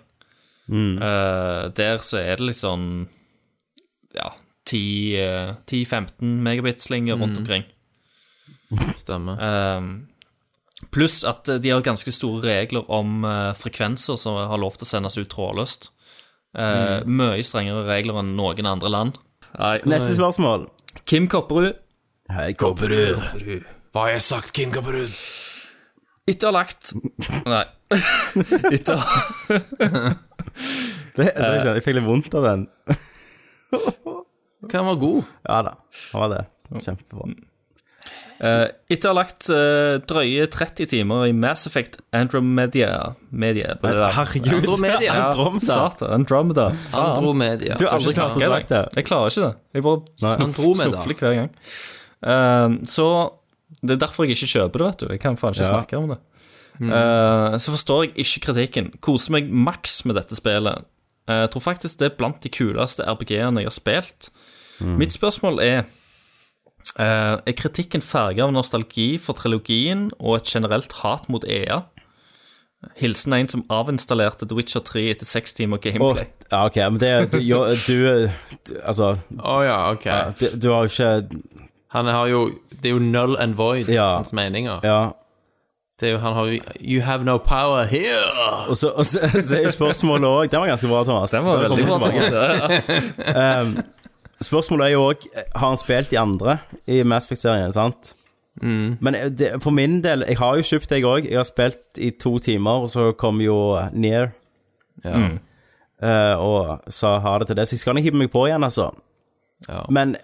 Speaker 4: Eh, der så er det liksom Ja, 10, eh, 10-15 megabit-slinger rundt omkring.
Speaker 6: Stemmer.
Speaker 4: Ehm, Pluss at eh, de har ganske store regler om eh, frekvenser som har lov til å sendes ut trådløst. Eh, Mye strengere regler enn noen andre land.
Speaker 3: Neste spørsmål.
Speaker 4: Kim Kopperud.
Speaker 3: Hei, Kobberud.
Speaker 6: Hva har jeg sagt, Kim Kapperud?
Speaker 4: Etter å ha lagt Nei. Etter,
Speaker 3: Det, det, skjønner jeg. jeg fikk litt vondt av den.
Speaker 6: Kan være god.
Speaker 3: Ja da, det var det. Kjempebra.
Speaker 4: eh, etter å ha lagt eh, drøye 30 timer i Mass Effect Andromedia Media,
Speaker 3: Herregud.
Speaker 6: Andromeda.
Speaker 3: Andromeda.
Speaker 4: Satan, Andromeda. Faen.
Speaker 6: Andromedia.
Speaker 3: Du har aldri klart å
Speaker 4: Jeg-
Speaker 3: sagt det.
Speaker 4: Jeg klarer ikke det. Jeg bare snuff,
Speaker 6: Andromeda.
Speaker 4: snufler hver gang. Ehm, så Det er derfor jeg ikke kjøper det, vet du. Jeg kan faen ikke snakke om det. Ehm, så forstår jeg ikke kritikken. Koser meg maks med dette spillet. Eh, Jeg tror faktisk det er blant de kuleste RPG-ene jeg har spilt. Mitt spørsmål er eh, Er kritikken farget av nostalgi for trilogien og et generelt hat mot EA? Hilsen en som avinstallerte The Witcher 3 etter seks timer
Speaker 3: Og,
Speaker 4: gameplay.
Speaker 3: ja, ok, men det du, jo, du, du Altså,
Speaker 6: Å ja, ok.
Speaker 3: du, du har jo ikke
Speaker 6: Han har jo Det er jo null and void,
Speaker 3: Ja.
Speaker 6: hans meninger.
Speaker 3: Ja.
Speaker 6: Det er jo, han har jo You have no power here!
Speaker 3: Og så, og så, så er jo spørsmålet òg Den var ganske bra, Thomas.
Speaker 4: Den var
Speaker 3: Da kommer
Speaker 4: veldig bra.
Speaker 3: vi tilbake.
Speaker 4: Thomas.
Speaker 3: Spørsmålet er jo òg Har han spilt de andre i Mass Effect-serien, sant? Men eh, det, for min del Jeg har jo kjøpt deg òg. Jeg har spilt i to timer, og så kom jo Near
Speaker 6: Ja.
Speaker 3: eh, og sa ha det til det. Så jeg skal nok hive meg på igjen, altså.
Speaker 6: Ja.
Speaker 3: Men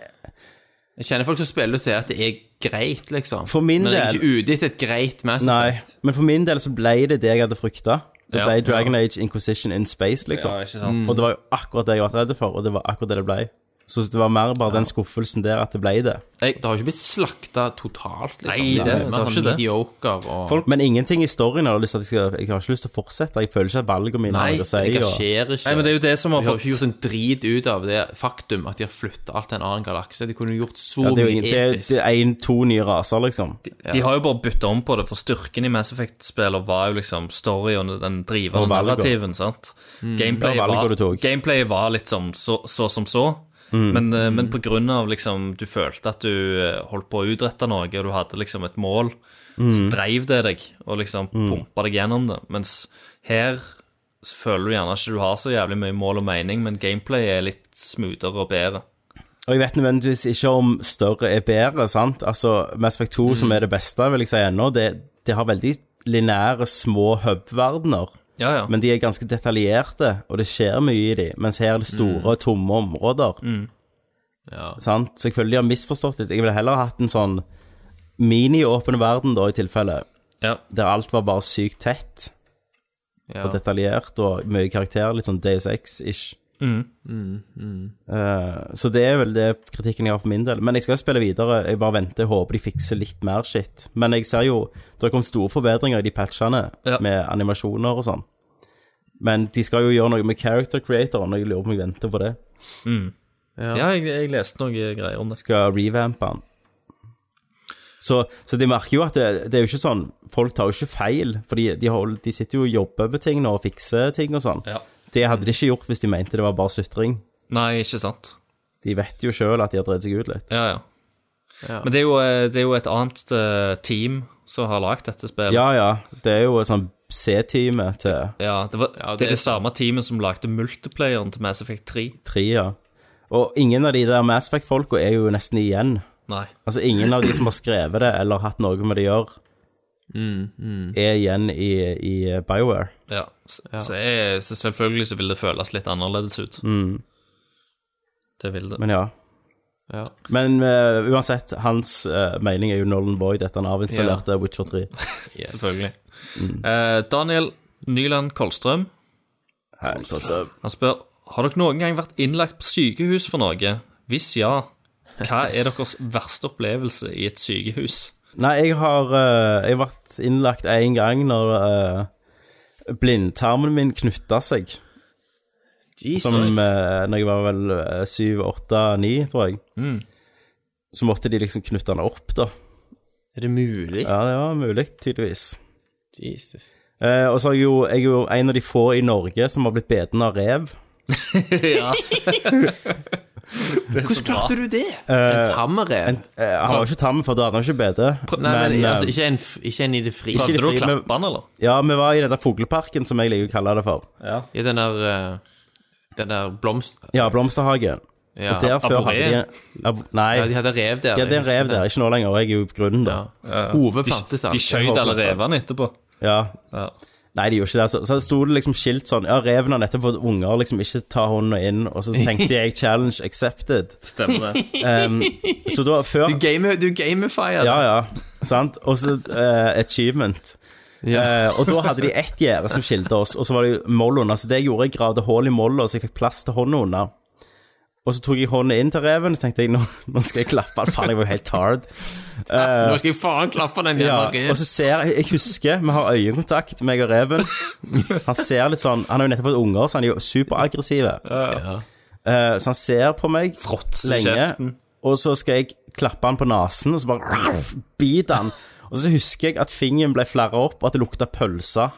Speaker 6: Jeg kjenner folk som spiller og sier at det er greit, liksom.
Speaker 3: For min
Speaker 6: Men jeg er
Speaker 3: del-
Speaker 6: ikke ute etter et greit Mass
Speaker 3: nei.
Speaker 6: Effect.
Speaker 3: Men for min del så ble det det jeg hadde frykta. Det
Speaker 4: Ja,
Speaker 3: ble Dragon Age Inquisition in Space, liksom.
Speaker 12: Ja, ikke sant?
Speaker 3: Og det var jo akkurat det jeg var redd for, og det var akkurat det det ble. Så det var mer bare den skuffelsen der at det ble det.
Speaker 6: Jeg, det har jo ikke blitt slakta totalt, liksom.
Speaker 4: Nei, det-
Speaker 6: er
Speaker 4: det
Speaker 6: mer
Speaker 4: har
Speaker 6: sånn
Speaker 4: ikke det.
Speaker 6: medioker og
Speaker 3: Men ingenting i storyen har jeg lyst til at jeg skal Jeg har ikke lyst til å fortsette. Jeg føler ikke at valgene mine har
Speaker 6: Nei,
Speaker 3: noe å
Speaker 6: det
Speaker 3: si. og-
Speaker 6: engasjerer ikke.
Speaker 4: Nei, men det er jo det som har
Speaker 6: De har jo
Speaker 4: fått
Speaker 6: ikke gjort en drit ut av det faktum at de har flytta alt til en annen galakse. De kunne jo gjort så
Speaker 3: Ja, det er jo
Speaker 6: mye
Speaker 3: ingen- det,
Speaker 6: episk.
Speaker 3: det er en, to nye raser, liksom.
Speaker 4: De har jo bare bytta om på det, for styrken i Mass Effect-spillene var jo liksom story og den drivende
Speaker 3: Og valget.
Speaker 4: narrativen, sant. Gameplay
Speaker 3: det Mm. var valget
Speaker 4: var,
Speaker 3: du tok.
Speaker 4: gameplay var litt som så, så som så. Men, eh, men på grunn av liksom du følte at du eh, holdt på å utrette noe, og du hadde liksom et
Speaker 3: Mm.
Speaker 4: mål, så dreiv det deg, og liksom pumpa deg gjennom det. Mens her så føler du gjerne ikke du har så jævlig mye mål og mening, men gameplay er litt smoothere og bedre.
Speaker 3: Og jeg vet nødvendigvis ikke om større er bedre, sant? Altså, Mass Effect 2, som er det beste, vil jeg si ennå, det, det har veldig lineære, små hub-verdener.
Speaker 4: Ja, ja.
Speaker 3: Men de er ganske detaljerte, og det skjer mye i de, mens her er det
Speaker 4: Mm.
Speaker 3: store, tomme områder. Sant? Så jeg føler de har misforstått litt. Jeg ville heller hatt en sånn mini-åpen verden, da, i tilfelle,
Speaker 4: Ja.
Speaker 3: der alt var bare sykt tett
Speaker 6: Ja.
Speaker 3: og detaljert og mye karakter, litt sånn DSX-ish.
Speaker 4: Mm.
Speaker 3: Eh, så det er vel det kritikken jeg har for min del. Men jeg skal spille videre. Jeg bare venter og håper de fikser litt mer shit. Men jeg ser jo det har kommet store forbedringer i de patchene
Speaker 4: Ja.
Speaker 3: med animasjoner og sånn. Men de skal jo gjøre noe med character creatoren, og jeg lurer på om jeg venter på det.
Speaker 4: Ja, jeg, jeg leste noen greier om det.
Speaker 3: Skal revampe den. Så, så de merker jo at det, det er jo ikke sånn Folk tar jo ikke feil, for de, de, hold, de sitter jo og jobber med ting nå og fikser ting og sånn.
Speaker 4: Ja.
Speaker 3: Det hadde de ikke gjort hvis de mente det var bare sutring.
Speaker 4: Nei, ikke sant.
Speaker 3: De vet jo sjøl at de har drevet seg ut litt.
Speaker 4: Ja, ja. Men det er, jo, eh, det er jo et annet eh, team som har lagd dette spillet.
Speaker 3: Ja ja, det er jo et sånn C-time til
Speaker 4: Ja, det, var, det, er det samme teamet som lagde multiplayeren til Mass Effect 3.
Speaker 3: trea. Og ingen av de der Mass Effect-folka er jo nesten igjen.
Speaker 4: Nei.
Speaker 3: Altså ingen av de som har skrevet det eller hatt noe med det å gjøre, er igjen i, i BioWare.
Speaker 4: Ja. Så, så, jeg, så selvfølgelig så vil det føles litt annerledes ut. Det vil det.
Speaker 3: Mm. Men ja. Men eh, uansett, hans eh, mening er jo Nolan Boyd etter han avinstallerte Witcher 3.
Speaker 4: Selvfølgelig.
Speaker 3: Mm.
Speaker 4: Eh, Daniel Nyland Kolstrøm, han spør Har dere noen gang vært innlagt på sykehus for noe? Hvis ja, hva er deres verste opplevelse i et sykehus?
Speaker 3: Nei, jeg har eh, Jeg har vært innlagt én gang når eh, blindtarmen min knytta seg. Som eh, når jeg var vel eh, syv, åtte, ni, tror jeg. Så måtte de liksom knytte den opp, da.
Speaker 6: Er det mulig?
Speaker 3: Ja, det var mulig, tydeligvis.
Speaker 6: Jesus.
Speaker 3: Eh, og så er jeg, jo, jeg er jo en av de få i Norge som har blitt beten av rev.
Speaker 6: Hvordan klarte du det? en tammerev?
Speaker 3: En, eh, jeg har jo ikke tarmen, for da hadde han ikke bete.
Speaker 6: Nei, men,
Speaker 3: eh,
Speaker 6: altså, ikke en, f- ikke en i det fri.
Speaker 3: Ikke i det
Speaker 4: Hadde du å
Speaker 3: fri, men-
Speaker 4: klappe han, eller?
Speaker 3: Ja, vi var i den der fugleparken, som jeg liker å kalle det for.
Speaker 6: I den der eh, Den der blomst...
Speaker 3: Ja, Blomsterhagen.
Speaker 6: Ja,
Speaker 3: Der før hadde
Speaker 4: Abboré.
Speaker 3: de en ab Nei,
Speaker 6: ja de hadde rev der. liksom.
Speaker 3: de hadde en rev der. Ikke nå lenger, jeg er jo grunnen der.
Speaker 6: Ove
Speaker 4: De,
Speaker 6: plantes
Speaker 4: de skjøt alle
Speaker 6: Håpløse.
Speaker 4: revene etterpå.
Speaker 3: Ja.
Speaker 4: Ja.
Speaker 3: Nei, de gjorde ikke det. Så, så sto det liksom skilt sånn Ja, reven har nettopp fått unger, liksom ikke ta hånda inn. Og så tenkte jeg 'challenge accepted'.
Speaker 4: Stemmer det.
Speaker 3: Så da før
Speaker 6: Du game- Du gamifier
Speaker 3: Ja, ja. Sant? Og så eh, achievement. Eh, og da hadde de ett gjerde som skilte oss, og så var det jo moll under. Så det jeg gjorde, jeg gravde hull i molla, så jeg fikk plass til hånda unna. Og så tok jeg hånda inn til reven, så tenkte jeg nå, nå skal jeg klappe den. Faen, jeg var jo helt tard.
Speaker 6: Nå skal jeg faen klappe den
Speaker 3: Eh, Ja,
Speaker 6: jævla
Speaker 3: og så ser jeg Jeg husker vi har øyekontakt, meg og reven. Han ser litt sånn Han har jo nettopp fått unger, så han er jo superaggressiv. Eh, så han ser på meg lenge, og så skal jeg klappe han på nesen, og så bare raff, biter han. Og så husker jeg at fingeren ble flerra opp, og at det lukta pølse.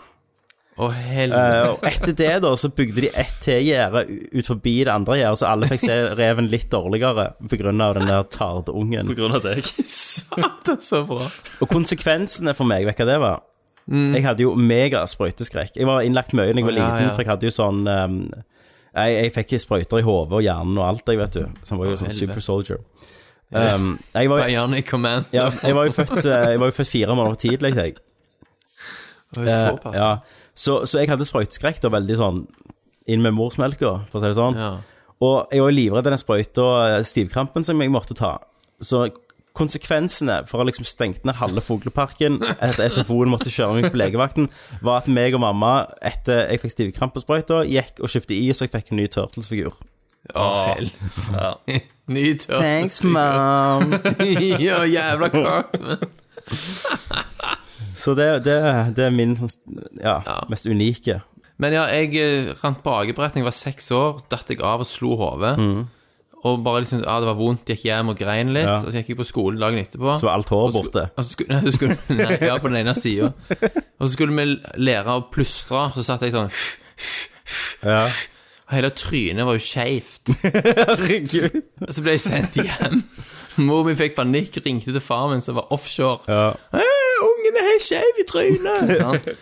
Speaker 6: Å, helvete.
Speaker 3: Eh, og etter det, da, så bygde de ett til gjerde u- ut forbi det andre gjerdet, så alle fikk se reven litt dårligere på grunn av den der tardungen.
Speaker 4: På grunn av deg.
Speaker 6: Satan, så bra.
Speaker 3: Og konsekvensene for meg, vet du hva det var? Jeg hadde jo mega sprøyteskrekk. Jeg var innlagt mye da jeg var
Speaker 6: Å, Mm. ja,
Speaker 3: liten,
Speaker 6: ja.
Speaker 3: for jeg hadde jo sånn um, jeg, jeg fikk sprøyter i hodet og hjernen og alt, jeg vet du. Så jeg var jo sånn super soldier. Um, jeg, var, jo-
Speaker 6: Bionic Command.
Speaker 3: ja, jeg, var jo født, eh, jeg var jo født fire måneder tidlig, jeg.
Speaker 6: Det var jo
Speaker 3: Eh,
Speaker 6: såpass.
Speaker 3: ja. så, så jeg hadde sprøyteskrekk da, veldig sånn inn med morsmelka, for å si det sånn.
Speaker 6: Ja.
Speaker 3: Og jeg var jo livredd den sprøyta og stivkrampen som jeg måtte ta. Så konsekvensene for å liksom stengt ned halve fugleparken etter SFO-en måtte kjøre meg på legevakten, var at meg og mamma, etter jeg fikk stivkrampesprøyta, gikk og kjøpte is, og jeg fikk en ny Turtles-figur.
Speaker 6: Å, helse. Ny tørr.
Speaker 3: Thanks, mom.
Speaker 6: ja, jævla Cartman.
Speaker 3: Så det, det, det er min sånn, ja, mest unike.
Speaker 6: Men ja, jeg eh, rant på akebrettet da jeg var seks år. Datt jeg av og slo hodet. Og bare liksom, ja, det var vondt, gikk hjem og grein litt.
Speaker 3: Mm. Ja.
Speaker 6: Og så gikk jeg på skolen dagen etterpå.
Speaker 3: Så var alt håret
Speaker 6: Og så-
Speaker 3: borte.
Speaker 6: Og så skulle, nei, så skulle, nei, ja, på den ene sida. Og så skulle vi lære å plystre, så satt jeg sånn
Speaker 3: Ja.
Speaker 6: Og hele trynet var jo skeivt.
Speaker 3: Herregud.
Speaker 6: Og så ble jeg sendt hjem. Mor min fikk panikk, ringte til far min som var offshore. Eh,
Speaker 3: Ja.
Speaker 6: «Hei, 'Ungen er helt skeiv i trynet!' Sånn.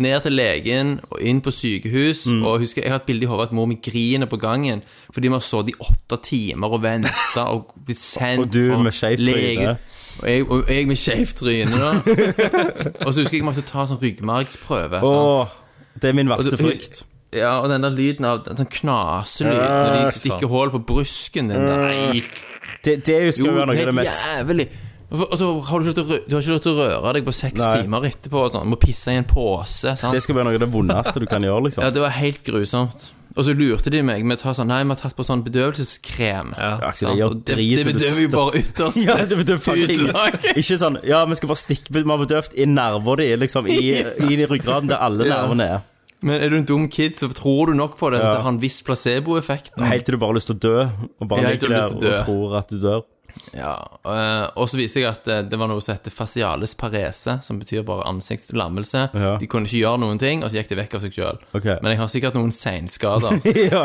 Speaker 6: ned til legen og inn på sykehus.
Speaker 3: Mm.
Speaker 6: Og husker Jeg har et bilde i hodet at mor mi griner på gangen fordi vi har sittet i åtte timer og venta og blitt sendt
Speaker 3: Og du
Speaker 6: fra
Speaker 3: med skjevt
Speaker 6: legen.
Speaker 3: tryne.
Speaker 6: Og jeg, og jeg med skjevt tryne, da. og så husker jeg jeg måtte ta sånn ryggmargsprøve. sant?
Speaker 3: Åh, det er min verste
Speaker 6: Og så-
Speaker 3: frykt.
Speaker 6: Ja, og den der lyden av den sånn knaselyd når
Speaker 3: Ja,
Speaker 6: de stikker hull på brysken din der. Nei,
Speaker 3: Det, det er jo skal
Speaker 6: jo,
Speaker 3: jo være noe
Speaker 6: det
Speaker 3: av
Speaker 6: er
Speaker 3: det mest
Speaker 6: jævlig. Og for- og så har du ikke lov til å rø- du har ikke lov til å røre deg på seks
Speaker 3: Nei.
Speaker 6: timer etterpå. og Sånn. Du må pisse i en påse. Sant?
Speaker 3: Det skal være noe av det vondeste du kan gjøre,
Speaker 6: Ja,
Speaker 3: liksom.
Speaker 6: det var helt grusomt. Og så lurte de meg med å ta sånn Nei, vi har tatt på sånn bedøvelseskrem.
Speaker 3: Aksel,
Speaker 6: sant?
Speaker 3: det gjør
Speaker 6: Og det,
Speaker 3: drit,
Speaker 6: det
Speaker 3: og du
Speaker 6: bedøver jo
Speaker 3: stopper-
Speaker 6: bare ytterst.
Speaker 3: Ja, det betyr fucking
Speaker 6: Utlag.
Speaker 3: Ikke sånn Ja, vi skal bare stikke Vi har bedøvd i nerver de, liksom. I, i ryggraden der alle nervene er.
Speaker 6: Men er du en dum kid, så tror du nok på det.
Speaker 3: Ja.
Speaker 6: At det har en viss placeboeffekt.
Speaker 3: Helt til du bare har lyst til å dø, og bare
Speaker 6: Ja, helt
Speaker 3: ligger
Speaker 6: til du
Speaker 3: der
Speaker 6: har lyst til å
Speaker 3: og tror at du dør.
Speaker 6: Ja, eh, og så viste jeg at eh, det var noe som heter facialis parese, som betyr bare ansiktslammelse.
Speaker 3: Ja.
Speaker 6: De kunne ikke gjøre noen ting, og så gikk det vekk av seg sjøl.
Speaker 3: Ok.
Speaker 6: Men jeg har sikkert noen seinskader.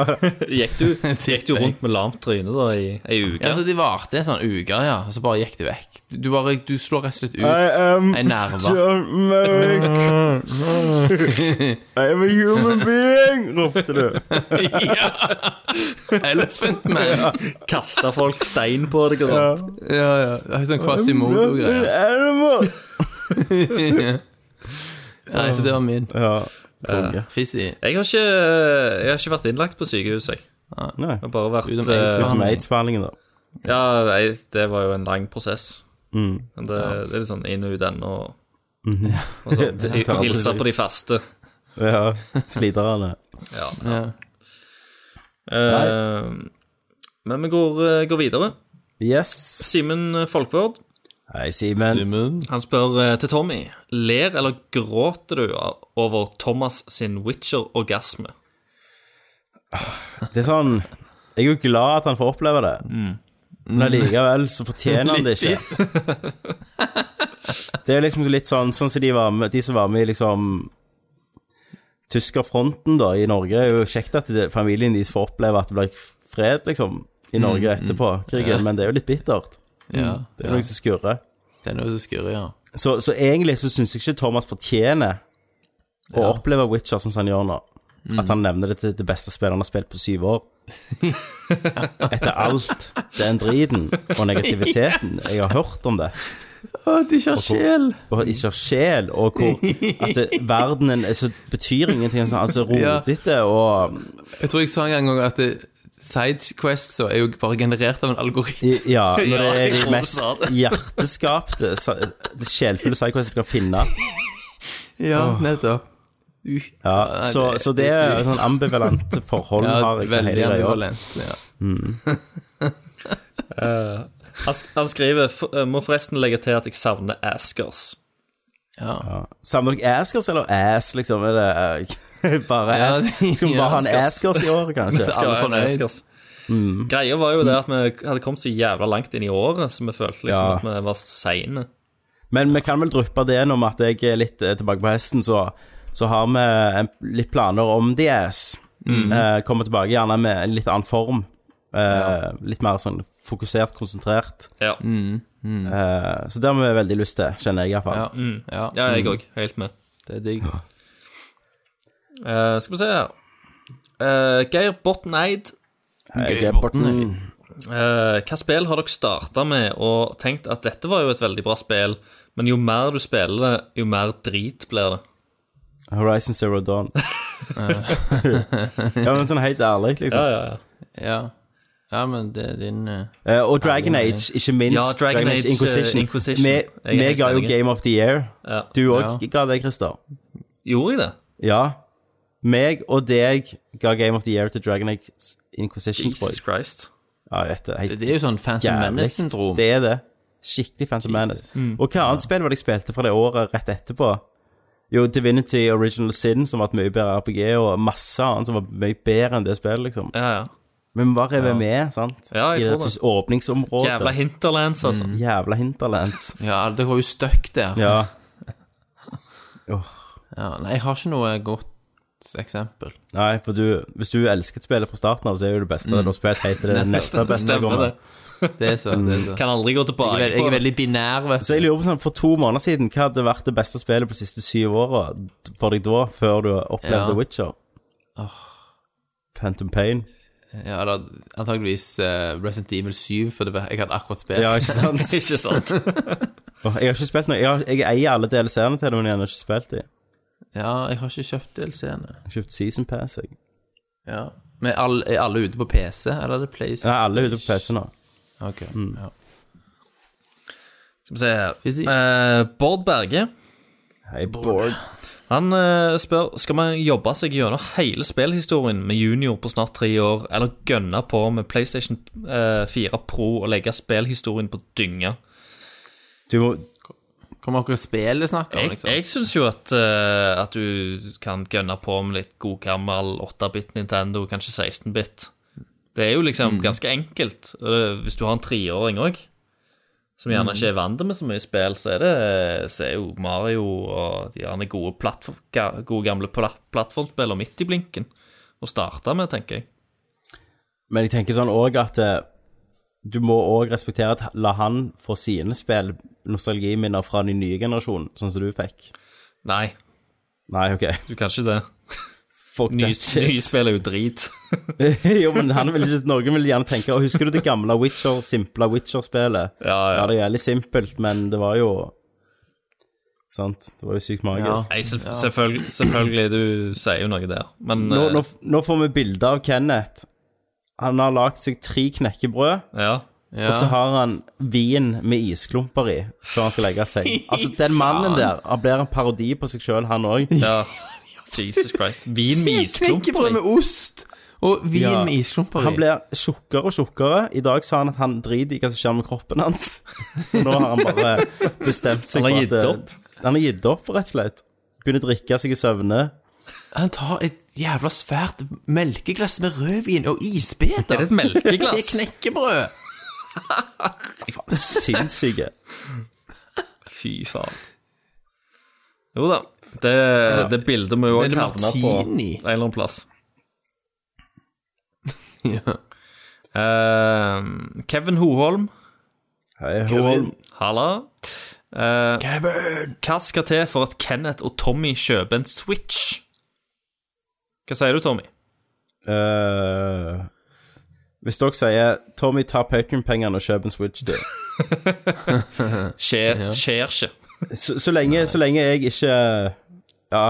Speaker 4: Gikk du, gikk du rundt med lamt tryne da i ei uke?
Speaker 6: ja, så de varte en sånn uke, ja, og så bare gikk det vekk. Du, bare, du slår rett og slett ut
Speaker 3: I am
Speaker 6: ei nerve.
Speaker 3: Jamaica. I am a human being, ropte du.
Speaker 6: ja. Elephant man.
Speaker 4: Kasta folk stein på deg og sånt?
Speaker 6: Ja, ja. Det er sånn Quasimodo-greier.
Speaker 3: Animal.
Speaker 6: Nei, så det var min. eh,
Speaker 3: Ja, konge.
Speaker 6: Fizzy.
Speaker 4: Jeg har, ikke, jeg har ikke vært innlagt på sykehus, jeg.
Speaker 3: Nei.
Speaker 4: Jeg har bare vært
Speaker 6: Utenom
Speaker 4: eh,
Speaker 6: aids-behandling.
Speaker 3: Med aids-behandlingen, da.
Speaker 4: Ja, nei, det var jo en lang prosess. Men det, det er litt sånn inn og ut ennå. og- Og
Speaker 3: Det tar
Speaker 4: sånn.
Speaker 3: aldri
Speaker 4: Hilse
Speaker 3: slutt.
Speaker 4: på de faste.
Speaker 3: Ja, sliterne.
Speaker 4: Ja.
Speaker 6: Ja.
Speaker 4: Eh, men vi går, eh, går videre.
Speaker 3: Yes.
Speaker 4: Simen Folkvord
Speaker 3: Hei, Simen.
Speaker 4: han spør eh, til Tommy Ler eller gråter du av- over Thomas sin Witcher-orgasme?
Speaker 3: Det er sånn Jeg er jo glad at han får oppleve det, men allikevel så fortjener han det ikke. Det er liksom litt sånn Sånn som de, var med, de som var med i liksom Tyskerfronten da i Norge. Det er jo kjekt at det, familien deres får oppleve at det blir fred, liksom, i Norge etterpå krigen, men det er jo litt bittert.
Speaker 6: Ja.
Speaker 3: Mm. Det er noe som skurrer.
Speaker 6: Det er noe som skurrer, ja.
Speaker 3: Så, så egentlig så syns jeg ikke Thomas fortjener å oppleve Witcher sånn som han gjør nå. At han nevner det til det beste spillet han har spilt på syv år. Etter alt den driten og negativiteten jeg har hørt om det.
Speaker 6: Ikke
Speaker 3: Og ikke har sjel, og hvor at det, verdenen er så, betyr ingenting. sånn, Altså rodete og
Speaker 6: Jeg tror jeg sa en gang også at det- sidequests så er jo bare generert av en algoritme.
Speaker 3: i- Ja, når det er
Speaker 4: jeg tror
Speaker 3: de
Speaker 4: du
Speaker 3: mest
Speaker 4: sa det.
Speaker 3: hjerteskapte, sa- sjelfulle sidequestene du kan finne.
Speaker 6: Ja, nettopp. Uh.
Speaker 3: Ja, så,
Speaker 6: det-
Speaker 3: så det
Speaker 6: det er
Speaker 3: er sånn ambivalent forhold
Speaker 6: Ja,
Speaker 3: har jeg til
Speaker 6: veldig
Speaker 3: hele greia.
Speaker 6: ambivalent. Ja.
Speaker 4: Han, sk- han skriver "F- eh, Må forresten legge til at jeg savner Askers.
Speaker 3: Samler dere Askers eller Ass, liksom? Er det eh, bare
Speaker 6: Ja,
Speaker 3: Ass? Skal vi bare ha en
Speaker 6: Askers.
Speaker 3: Askers i år, kanskje?
Speaker 6: Skal- Alle
Speaker 4: Ja, en
Speaker 6: fornøyd. Mm.
Speaker 4: Askers. Greia var jo det at vi hadde kommet så jævla langt inn i året, så vi følte liksom
Speaker 3: Ja.
Speaker 4: at vi var seine.
Speaker 3: Men vi kan vel dryppe det gjennom at jeg er litt eh, tilbake på hesten, så, så har vi en, litt planer om The Ass.
Speaker 6: Mm.
Speaker 3: Eh, kommer tilbake gjerne med en litt annen form. Eh, Litt mer sånn fokusert, konsentrert.
Speaker 4: Ja,
Speaker 6: Mm.
Speaker 3: Eh, så det har vi veldig lyst til, kjenner jeg iallfall.
Speaker 6: Ja.
Speaker 3: fall
Speaker 6: ja,
Speaker 4: ja jeg òg. Helt med.
Speaker 6: Mm. det er digg.
Speaker 4: Eh, skal vi se her Eh, Geir Botten Eid,
Speaker 3: Jeg er Borten.
Speaker 4: eh, hva spill har dere starta med og tenkt at dette var jo et veldig bra spill, men jo mer du spiller det, jo mer drit blir det?
Speaker 3: Horizon Zero Dawn. ja, men sånn helt ærlig, liksom.
Speaker 4: Ja, ja, ja.
Speaker 6: Ja. ja, men det er din eh,
Speaker 3: Eh, og Dragon Age, ikke minst.
Speaker 4: Ja, Dragon Age, eh,
Speaker 3: Inquisition.
Speaker 4: Inquisition. Jeg er
Speaker 3: Vi, vi
Speaker 4: helt
Speaker 3: ga jo
Speaker 4: enig.
Speaker 3: Game of the Year.
Speaker 4: Ja.
Speaker 3: Du òg ga det, Christer.
Speaker 4: Gjorde jeg det?
Speaker 3: Ja. Meg og deg ga Game of the Year til Dragon Age Inquisition, tror
Speaker 4: Jesus
Speaker 3: jeg.
Speaker 4: Christ.
Speaker 3: Ja, jeg vet det. Helt
Speaker 6: Det er jo sånn Phantom
Speaker 3: jævlig.
Speaker 6: Menace-syndrom.
Speaker 3: Det er det. Skikkelig Phantom Menace. Og hva annet spill var det jeg spilte fra det året rett etterpå? Jo, Divinity Original Sin, som var et mye bedre RPG, og masse annet som var mye bedre enn det spillet, liksom.
Speaker 4: Ja, ja.
Speaker 3: Men vi var revet med, E, sant?
Speaker 4: Ja,
Speaker 3: I
Speaker 4: jeg
Speaker 3: det
Speaker 4: tror det.
Speaker 3: første åpningsområdet.
Speaker 4: Jævla hinterlands, altså.
Speaker 3: Jævla hinterlands.
Speaker 6: Ja, dere var jo stuck der. Ja.
Speaker 3: Ja.
Speaker 6: nei, jeg har ikke noe godt eksempel.
Speaker 3: Nei, for du, hvis du elsket spillet fra starten av, så er jo det beste du har spilt helt til det neste beste
Speaker 4: Stemmer
Speaker 3: kommer.
Speaker 4: det.
Speaker 6: Det er så. Det er så.
Speaker 3: Mm.
Speaker 4: Kan aldri gå tilbake
Speaker 6: Jeg, er, jeg
Speaker 4: på
Speaker 6: er
Speaker 4: det.
Speaker 6: veldig binær, vet
Speaker 3: Så jeg lurer på sånn, For to måneder siden, hva hadde vært det beste spillet på de siste syv åra for deg da, før du opplevde
Speaker 6: Ja.
Speaker 3: Witcher? Phantom Pain.
Speaker 6: du. Ja, eller antageligvis eh, Resident Evil 7, for det, var- jeg hadde akkurat spilt.
Speaker 3: Ja, ikke sant?
Speaker 4: Ikke sant?
Speaker 3: Åh, Jeg har ikke spilt noe. Jeg, har, jeg eier alle DLC-ene til det, men jeg har ikke spilt dem.
Speaker 6: Ja, jeg har ikke kjøpt DLC-ene.
Speaker 3: Jeg har kjøpt Season Pass, jeg.
Speaker 6: Ja. Men all, er alle ute på PC, eller er det Place?
Speaker 3: Ja, alle er ute på Mm. PC nå.
Speaker 6: Ok. Ja.
Speaker 4: Skal vi se her.
Speaker 6: Fizzy.
Speaker 4: Eh, Bård Berge
Speaker 3: Hei, Bård.
Speaker 4: Han eh, spør Skal man jobbe seg gjennom hele spillhistorien med junior på snart tre år, eller gønne på med PlayStation eh, 4 Pro og legge spillhistorien på dynga?
Speaker 3: Du må
Speaker 6: Kommer dere spillet snakker om,
Speaker 4: Jeg,
Speaker 6: liksom?
Speaker 4: jeg syns jo at, eh, at du kan gønne på med litt god gammel 8-bit Nintendo, kanskje 16-bit. Det er jo liksom ganske enkelt. og det- Hvis du har en treåring òg, som gjerne ikke er vant med så mye spill, så er det så er jo Mario og de gjerne gode, plattform, ga- gode gamle pla- plattformspillene midt i blinken å starte med, tenker jeg.
Speaker 3: Men jeg tenker sånn òg at eh, du må òg respektere at la han få sine spill, nostalgiminner fra den nye generasjonen, sånn som du fikk.
Speaker 4: Nei,
Speaker 3: Nei, OK.
Speaker 4: du kan ikke det.
Speaker 3: Fuck
Speaker 4: Nye,
Speaker 3: that shit.
Speaker 4: nye spill er jo drit.
Speaker 3: jo, men han vil ikke, Noen vil gjerne tenke «Å, Husker du det gamle Witcher, simple Witcher-spillet?
Speaker 4: Ja, ja.
Speaker 3: det er jævlig simpelt, men det var jo Sant? Det var jo sykt magisk.
Speaker 4: Nei, selv, selvfølgelig, selvfølgelig, du sier jo noe der, men
Speaker 3: Nå,
Speaker 4: eh,
Speaker 3: nå, f- nå får vi bilde av Kenneth. Han har lagd seg tre knekkebrød,
Speaker 4: eh, ja.
Speaker 3: og så har han vin med isklumper i før han skal legge seg. Altså, den mannen der han blir en parodi på seg sjøl, han òg.
Speaker 4: Ja. Jesus Christ. Vin med isklumper
Speaker 6: Knekkebrød
Speaker 4: i.
Speaker 6: med ost og vin
Speaker 3: Ja.
Speaker 6: med isklumper
Speaker 3: Han
Speaker 6: i.
Speaker 3: blir tjukkere og tjukkere. I dag sa han at han driter i hva som skjer med kroppen hans. Og nå har han bare bestemt seg
Speaker 4: Han har
Speaker 3: for
Speaker 4: gitt
Speaker 3: at eh,
Speaker 4: opp.
Speaker 3: Han har gitt opp, rett og slett. Kunne drikke seg i søvne.
Speaker 6: Han tar et jævla svært melkeglass med rødvin og isbeter.
Speaker 4: Er det et melkeglass?
Speaker 6: Til knekkebrød.
Speaker 3: Sinnssyke.
Speaker 4: Fy faen. Jo da. Det, det bildet må jo
Speaker 6: Er
Speaker 4: òg
Speaker 6: det
Speaker 4: havne på en
Speaker 6: martini?
Speaker 4: eller annen plass.
Speaker 6: Ja.
Speaker 4: Eh, Kevin Hoholm,
Speaker 3: Hei, Hoholm.
Speaker 4: halla. Eh, Hva skal til for at Kenneth og Tommy kjøper en Switch? Hva sier du, Tommy?
Speaker 3: Eh, hvis dere sier 'Tommy, ta Patrion-pengene og kjøp en Switch', du
Speaker 4: Skjer, skjer ikke.
Speaker 3: så, så, lenge, så lenge jeg ikke Ja.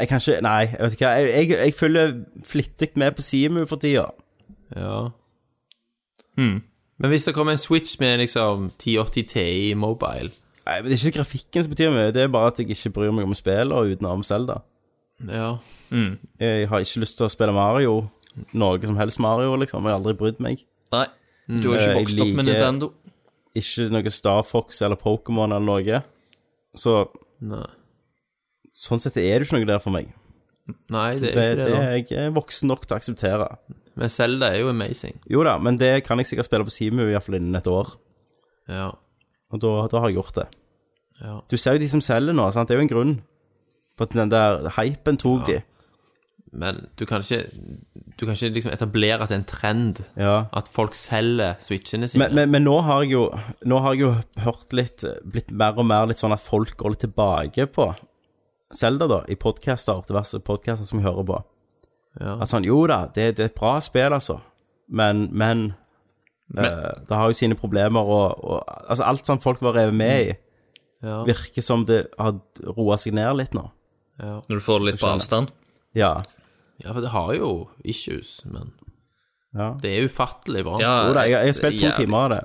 Speaker 3: Jeg kan ikke Nei, jeg vet ikke hva. Jeg, jeg, jeg følger flittig med på Simu for tida.
Speaker 6: ja. Men hvis det kommer en Switch med liksom 1080 Ti mobile
Speaker 3: Nei, men Det er ikke grafikken som betyr mye, det er bare at jeg ikke bryr meg om spillet utenom Zelda.
Speaker 6: Ja.
Speaker 3: Jeg har ikke lyst til å spille Mario, noe som helst Mario, liksom. Jeg har aldri brydd meg.
Speaker 4: Nei, du
Speaker 3: Eh,
Speaker 4: har ikke
Speaker 3: jeg
Speaker 4: vokst opp med
Speaker 3: liker-
Speaker 4: Nintendo.
Speaker 3: Ikke noe Star Fox eller Pokémon eller noe. Så
Speaker 6: Nei.
Speaker 3: sånn sett er det ikke noe der for meg.
Speaker 6: Nei, det
Speaker 3: Det,
Speaker 6: er ikke
Speaker 3: det
Speaker 6: det, da.
Speaker 3: er jeg er voksen nok til å akseptere.
Speaker 6: Men Zelda er jo amazing.
Speaker 3: Jo da, men det kan jeg sikkert spille på Simu iallfall innen et år.
Speaker 6: Ja.
Speaker 3: Og da, da har jeg gjort det.
Speaker 6: Ja.
Speaker 3: Du ser jo de som selger nå, sant. Det er jo en grunn. For at den der hypen tok de.
Speaker 6: Men du kan ikke Du kan ikke liksom etablere at det er en trend
Speaker 3: Ja.
Speaker 6: at folk selger switchene sine.
Speaker 3: Men, men, men nå, har jeg jo, nå har jeg jo hørt litt Blitt mer og mer litt sånn at folk går litt tilbake på Zelda da, i podcaster, diverse podcaster som jeg hører på.
Speaker 6: Ja.
Speaker 3: At sånn, jo da, det, det er et bra spill, altså. Men, men, eh, det har jo sine problemer, og, og altså, alt sånn folk var revet med i,
Speaker 6: Ja.
Speaker 3: virker som det har roet seg ned litt nå.
Speaker 4: Når du får det litt på avstand.
Speaker 3: Ja,
Speaker 6: ja, for det har jo issues, men
Speaker 3: ja.
Speaker 6: det er ufattelig bra.
Speaker 4: Ja,
Speaker 3: Jo da, jeg, jeg har spilt to
Speaker 4: jævlig.
Speaker 3: timer av det.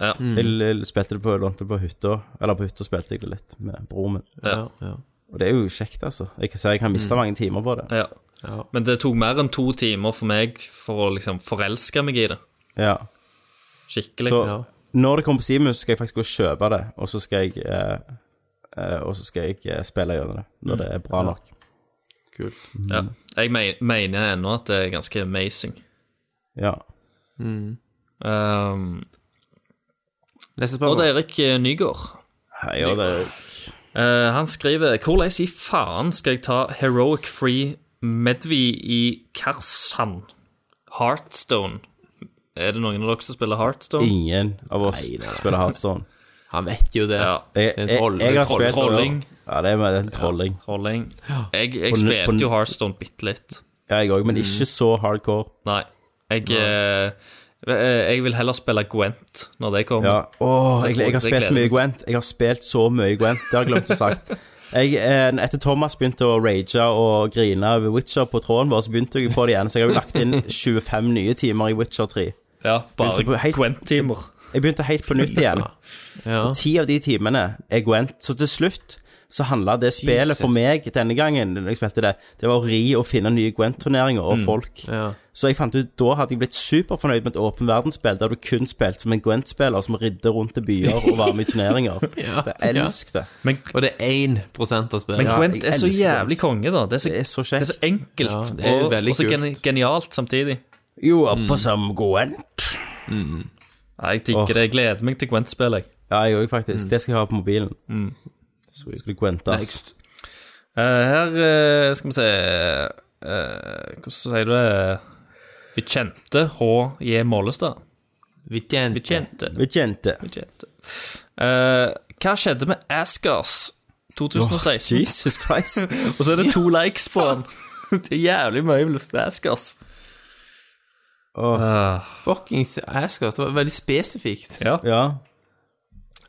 Speaker 4: Ja.
Speaker 3: Jeg, jeg spilte det på, lånte det på hytta, eller på hytta spilte jeg det litt med broren min.
Speaker 6: Ja, ja.
Speaker 3: Og det er jo kjekt, altså. Jeg kan si jeg har mista mange timer på det.
Speaker 4: Ja. Men det tok mer enn to timer for meg for å liksom forelske meg i det.
Speaker 3: Ja.
Speaker 4: Skikkelig.
Speaker 3: Så når det kommer på Simus, skal jeg faktisk gå og kjøpe det, og så skal jeg, eh, eh, og så skal jeg eh, spille gjennom det når det er bra nok.
Speaker 4: ja. Jeg me- mener ennå at det er ganske amazing.
Speaker 3: Ja.
Speaker 4: Um,
Speaker 6: Neste
Speaker 4: Odd
Speaker 6: spørsmål.
Speaker 4: Erik eh, Nygaard.
Speaker 3: Hei, og det
Speaker 4: Eh, han skriver Hvordan i faen skal jeg ta Heroic Free Medvi i Karsan? Heartstone. Er det noen av dere som spiller Heartstone?
Speaker 3: Ingen av oss spiller Hardstone.
Speaker 6: Han vet jo det.
Speaker 4: Ja.
Speaker 3: Jeg,
Speaker 6: en
Speaker 3: jeg,
Speaker 6: troll-
Speaker 3: jeg har
Speaker 4: troll-
Speaker 3: spilt
Speaker 4: trolling.
Speaker 3: Ja, det er det er en trolling.
Speaker 4: Trolling. Jeg,
Speaker 3: På
Speaker 4: jeg
Speaker 3: nu- på
Speaker 4: spilte
Speaker 3: nu-
Speaker 4: jo Heartstone bitte litt.
Speaker 3: Ja, jeg òg, men ikke så hardcore.
Speaker 4: Nei. Jeg, eh, eh, jeg vil heller spille Gwent når det kommer.
Speaker 3: Ja. Åh,
Speaker 4: Det
Speaker 3: jeg,
Speaker 4: tror-
Speaker 3: jeg har
Speaker 4: det
Speaker 3: spilt så
Speaker 4: gleder
Speaker 3: mye
Speaker 4: meg.
Speaker 3: Gwent. Jeg har spilt så mye Gwent, det har jeg glemt å sagt. Jeg, eh, etter Thomas begynte å rage og grine over Witcher på tråden vår, så begynte jeg på det igjen. Så jeg har jo lagt inn 25 nye timer i Witcher 3.
Speaker 4: Ja, bare
Speaker 3: Begynte på helt-
Speaker 4: Gwent-timer.
Speaker 3: Jeg begynte helt på nytt igjen. Og ti av de timene er Gwent. Så til slutt så handla det spillet for meg denne gangen, når jeg spilte det, det var å ri og finne nye Gwent-turneringer
Speaker 4: Mm.
Speaker 3: og folk. Så jeg fant ut, da hadde jeg blitt superfornøyd med et åpen verdensspill der du kun spilte som en Gwent-spiller som ridder rundt i byer og var med i turneringer. Det elsket det.
Speaker 4: Men,
Speaker 6: Og det er 1 av spillet.
Speaker 4: men Gwent
Speaker 3: jeg
Speaker 4: er så
Speaker 3: elsker
Speaker 4: jævlig konge, da. Det er så,
Speaker 3: Det er så
Speaker 4: det er
Speaker 3: kjekt.
Speaker 4: så enkelt,
Speaker 6: Ja, det er
Speaker 4: og,
Speaker 6: veldig
Speaker 4: og så gen, genialt samtidig.
Speaker 3: You up
Speaker 6: Mm.
Speaker 3: for some Gwent?
Speaker 4: Nei, jeg digger det. Jeg gleder meg til Gwent-spill, jeg.
Speaker 3: Ja, jeg òg, faktisk. Det skal jeg ha på mobilen. Skal du Gwentas?
Speaker 6: Mm. Next.
Speaker 4: Eh, her eh, skal vi se eh, Hvordan sier du det? Vicente H.J. Mollestad.
Speaker 6: Weekend.
Speaker 4: Vicente.
Speaker 3: Vigente.
Speaker 4: Vicente. Eh, hva skjedde med Askers 2016?
Speaker 3: Jesus Christ.
Speaker 4: Og så er det to likes på den. Det er jævlig mye bluff til Askers.
Speaker 6: Fuckings Askers. Det var veldig spesifikt.
Speaker 3: Ja.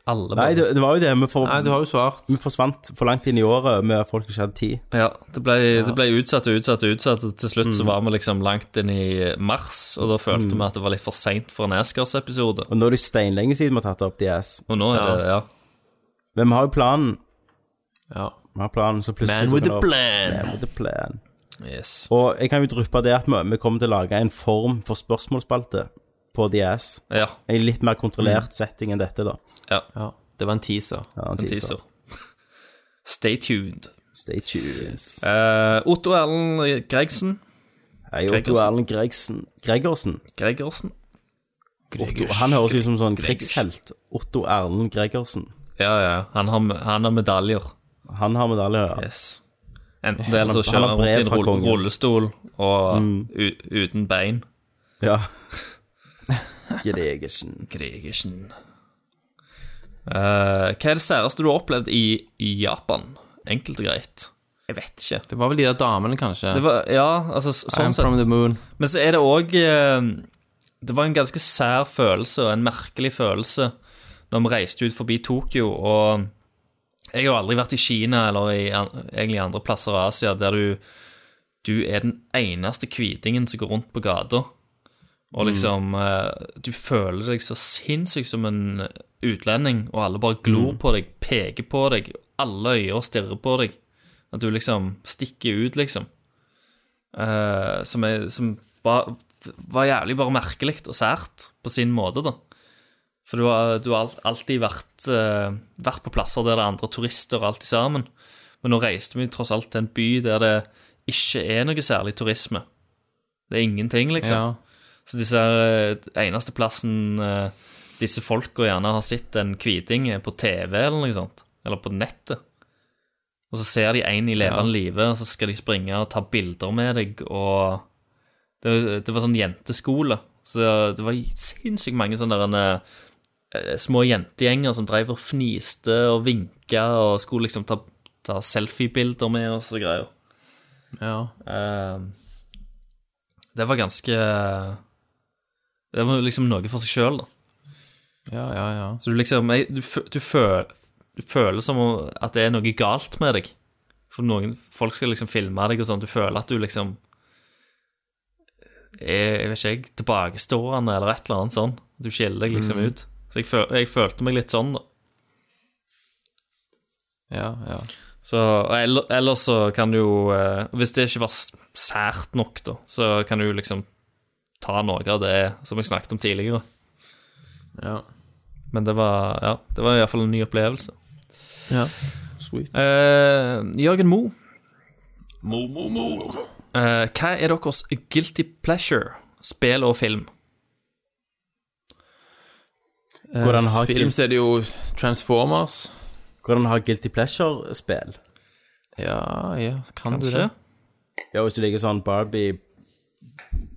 Speaker 4: Alle
Speaker 3: Nei,
Speaker 4: bare.
Speaker 3: det, det var jo det vi for,
Speaker 6: Nei, du har jo svart.
Speaker 3: vi forsvant for langt inn i året med folk som ikke hadde tid.
Speaker 4: Ja, det ble, det ble utsatt og utsatt og utsatt. og Til
Speaker 3: Mm.
Speaker 4: slutt så var vi liksom langt inn i mars, og da følte vi at det var litt for seint for en Askers-episode.
Speaker 3: Og nå er det steinlenge siden vi har tatt det opp de ass.
Speaker 4: Og nå er det, ja.
Speaker 3: Men vi har jo planen.
Speaker 6: Ja.
Speaker 3: Vi har planen så plutselig
Speaker 6: Man with
Speaker 3: dukker det
Speaker 6: a
Speaker 3: opp.
Speaker 6: plan.
Speaker 3: Man with the plan.
Speaker 4: Yes.
Speaker 3: Og jeg kan jo dryppe det at vi, vi kommer til å lage en form for spørsmålsspalte på de ass.
Speaker 4: Ja.
Speaker 3: En litt mer kontrollert setting enn dette, da.
Speaker 6: Ja. Det var en teaser.
Speaker 3: Ja, en
Speaker 4: En teaser. Stay tuned.
Speaker 3: Stay tuned.
Speaker 4: Eh, Otto Erlend Gregsen.
Speaker 3: Hei, Otto
Speaker 4: Gregersen.
Speaker 3: Erlend Gregsen. Gregersen.
Speaker 4: Gregersen.
Speaker 3: Otto, han høres ut som sånn krigshelt. Otto Erlend Gregersen.
Speaker 4: Ja, ja. Han har, han har medaljer.
Speaker 3: Han har medalje, ja.
Speaker 4: Yes. Enten det, eller
Speaker 3: Han- han
Speaker 4: så kjører
Speaker 3: har
Speaker 4: han rundt i
Speaker 3: brev
Speaker 4: en
Speaker 3: fra
Speaker 4: rull-
Speaker 3: kongen. Mm.
Speaker 4: rullestol og u- uten bein.
Speaker 3: Ja. Gregersen.
Speaker 4: Gregersen. Eh, hva er det særeste du har opplevd i, i Japan? Enkelt og greit. Jeg vet ikke.
Speaker 6: Det var vel de der damene, kanskje.
Speaker 4: Det var, ja, altså s- sånn
Speaker 6: I'm from
Speaker 4: sett.
Speaker 6: the moon.
Speaker 4: Men så er det òg Det var en ganske sær følelse, og en merkelig følelse, når vi reiste ut forbi Tokyo og Jeg har jo aldri vært i Kina eller i an, egentlig andre plasser i Asia der du, du er den eneste hvitingen som går rundt på gata. Og liksom eh, Du føler deg så sinnssykt som en utlending, og alle bare glor på deg, peker på deg, alle øyne stirrer på deg. At du liksom stikker ut, liksom. Eh, som er, som var, var jævlig bare merkelig og sært på sin måte, da. For du har, du har alt, alltid vært, eh, vært på plasser der det er andre turister og alt sammen. Men nå reiste vi tross alt til en by der det ikke er noe særlig turisme. Det er ingenting, liksom.
Speaker 6: Ja.
Speaker 4: Så disse her, eh, eneste plassen eh, disse folka gjerne har sett en hviting, er på TV eller noe sånt. Eller på nettet. Og så ser de en i levende live, og så skal de springe og ta bilder med deg, og Det, det var sånn jenteskole, så det var sinnssykt mange sånne der, eh, små jentegjenger som drev og fniste og vinka og skulle liksom ta, ta selfiebilder med oss og greier.
Speaker 6: Ja.
Speaker 4: Eh, Det var ganske Det var liksom noe for seg sjøl, da.
Speaker 6: ja, ja, ja.
Speaker 4: Så du liksom jeg- Du, fø- du, føl, du føler som om at det er noe galt med deg. For noen folk skal liksom filme deg og sånn. Du føler at du liksom er jeg vet ikke, jeg, tilbakestående eller et eller annet sånn. Du skiller deg liksom ut. Så jeg, føl, jeg følte meg litt sånn, da.
Speaker 6: ja, ja.
Speaker 4: Så og ell- ellers så kan du jo eh, Hvis det ikke var s- sært nok, da, så kan du jo liksom ta noe av det som jeg snakket om tidligere.
Speaker 6: Ja.
Speaker 4: Men det var Ja, det var iallfall en ny opplevelse.
Speaker 6: Ja. Sweet.
Speaker 4: Eh, Jørgen Mo. Mo, Mo, Mo. Eh, hva er deres guilty pleasure? Spill og film.
Speaker 3: Hvordan har
Speaker 6: Eh, Film så er det jo Transformers.
Speaker 3: Hvordan har Guilty Pleasure-spill?
Speaker 6: Ja, ja, kan du
Speaker 4: Kanskje?
Speaker 6: det?
Speaker 3: Ja, hvis du liker sånn Barbie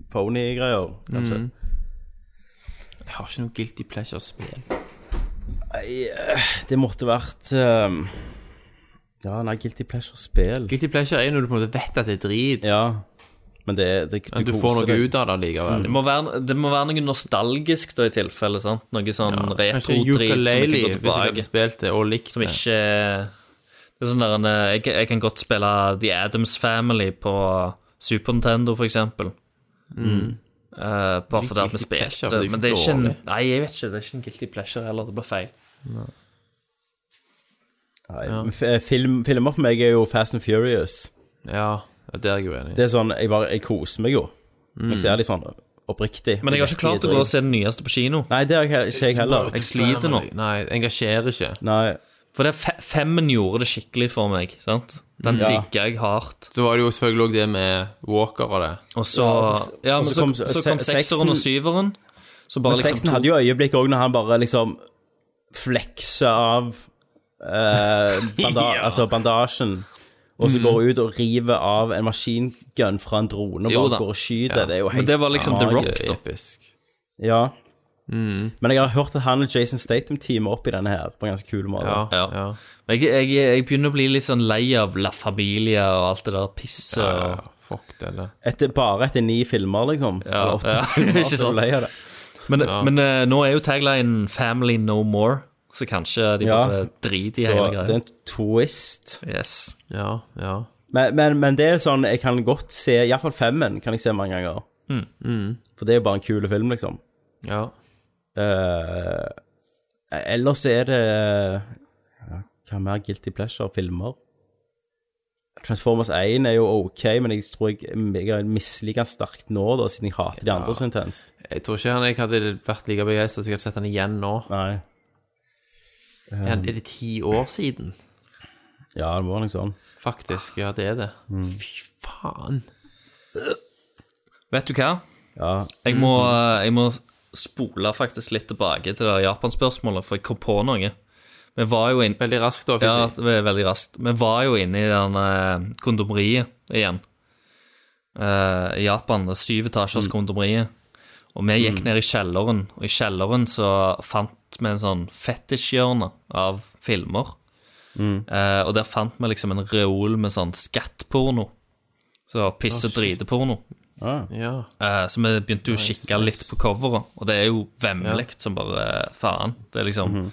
Speaker 3: Pony-greier, kanskje.
Speaker 6: Jeg har ikke noe guilty pleasure-spill.
Speaker 3: Det måtte vært ehm, Ja, nei, Guilty Pleasure-spill.
Speaker 6: Guilty pleasure er jo når du på en måte vet at det er drit,
Speaker 3: Ja. Men det, det,
Speaker 6: men du får
Speaker 3: koser
Speaker 6: noe
Speaker 3: deg.
Speaker 6: ut av det likevel.
Speaker 4: Det må, være, det må være noe nostalgisk da, i tilfelle. sant? Noe sånn
Speaker 6: Kanskje
Speaker 4: retro-drit som ikke
Speaker 6: ukulele,
Speaker 4: går
Speaker 6: hvis jeg hadde
Speaker 4: tilbake.
Speaker 6: spilt det og likt
Speaker 4: Som
Speaker 6: det.
Speaker 4: ikke Det er sånn der en, eh, jeg, jeg kan godt spille The Adams Family på Super Nintendo, for eksempel. Eh, bare fordi
Speaker 6: Mm.
Speaker 4: at vi
Speaker 6: guilty
Speaker 4: spilte.
Speaker 6: pleasure, det er jo
Speaker 4: men det er ikke en
Speaker 6: dårlig.
Speaker 4: Nei, jeg vet ikke. Det er ikke en guilty pleasure heller. Det blir feil.
Speaker 3: Nei, men f- eh, film, filmer for meg er jo Fast and Furious.
Speaker 6: Ja, det er jeg uenig i.
Speaker 3: Det er sånn, jeg bare, jeg koser meg jo. Jeg ser de sånn oppriktig.
Speaker 4: Mm. Men jeg har ikke klart å gå og se den nyeste på kino.
Speaker 3: Nei, det har jeg he- ikke jeg heller.
Speaker 4: Jeg sliter nå.
Speaker 6: Nei, jeg engasjerer ikke.
Speaker 3: Nei,
Speaker 4: For det fe femmen gjorde det skikkelig for meg. sant? Den
Speaker 3: Ja.
Speaker 4: digga jeg hardt.
Speaker 6: Så var det jo selvfølgelig også det med Walker og det.
Speaker 4: Og så Ja, men
Speaker 3: så
Speaker 4: så,
Speaker 3: kom-
Speaker 4: så,
Speaker 3: se-
Speaker 4: kom sekseren og
Speaker 3: seksen-
Speaker 4: syveren. Så bare
Speaker 3: men
Speaker 4: liksom
Speaker 3: sexen hadde jo øyeblikk også når han bare liksom flekser av eh, banda altså bandasjen, og så
Speaker 4: Mm.
Speaker 3: går ut og river av en maskingun fra en drone, og
Speaker 4: Jo da.
Speaker 3: bare går og skyter. Det er jo helt
Speaker 4: Men det var liksom The Rock,
Speaker 3: magisk.
Speaker 4: da.
Speaker 6: Episk.
Speaker 3: Ja.
Speaker 4: Mm.
Speaker 3: Men jeg har hørt at han og Jason Statham teamer opp i denne her på en ganske kul måte.
Speaker 6: Ja,
Speaker 4: Ja.
Speaker 6: ja.
Speaker 4: Men Jeg, jeg, jeg begynner å bli litt sånn lei av La Familia og alt det der pisset.
Speaker 6: ja.
Speaker 4: og-
Speaker 6: Fuck det, eller?
Speaker 3: Etter, bare etter ni filmer, liksom.
Speaker 4: Ja,
Speaker 3: Eller åtte
Speaker 4: ja,
Speaker 3: filmer,
Speaker 4: ikke
Speaker 3: så er du
Speaker 4: sant.
Speaker 3: lei av det.
Speaker 4: Men, men eh, nå er jo taglinen 'Family no more', så kanskje de
Speaker 3: Ja.
Speaker 4: bare driter i
Speaker 3: Så
Speaker 4: hele
Speaker 3: det er
Speaker 4: greia.
Speaker 3: en twist.
Speaker 4: Yes.
Speaker 6: Ja, ja.
Speaker 3: Men, men, men det er sånn, jeg kan godt se, iallfall femmen kan jeg se mange ganger.
Speaker 4: Mm.
Speaker 3: For det er jo bare en kul film, liksom.
Speaker 6: ja.
Speaker 3: Eh, ellers er det ja, Hva mer guilty pleasure-filmer? Transformers 1 er jo ok, men jeg tror jeg, jeg misliker den sterkt nå, da, siden jeg hater de andre så intenst.
Speaker 6: Jeg tror ikke han jeg hadde vært like begeistra hvis jeg hadde sett han igjen nå.
Speaker 3: Nei.
Speaker 6: Er han- Er det ti år siden?
Speaker 3: Ja, det må være noe sånn.
Speaker 6: Faktisk, ja, det er det. Fy faen.
Speaker 4: Vet du hva?
Speaker 3: Ja.
Speaker 4: Jeg må,
Speaker 3: Mhm.
Speaker 4: jeg må spole faktisk litt tilbake til det Japan-spørsmålet, for jeg kom på noe. Vi var jo inn...
Speaker 6: Veldig raskt, da. fikk
Speaker 4: Ja, altså,
Speaker 6: jeg.
Speaker 4: det var veldig raskt. Vi var jo inne i den eh, kondomeriet igjen. Eh, I Japan. Det syv etasjers kondomeriet. Og vi gikk ned i kjelleren, og i kjelleren så fant vi en sånn fetisjhjørne av filmer. Eh, og der fant vi liksom en reol med sånn skattporno. Så piss- og driteporno.
Speaker 6: ja.
Speaker 4: Eh, Så vi begynte jo å kikke litt på coveret, og det er jo vemmelig som bare faen. Det er liksom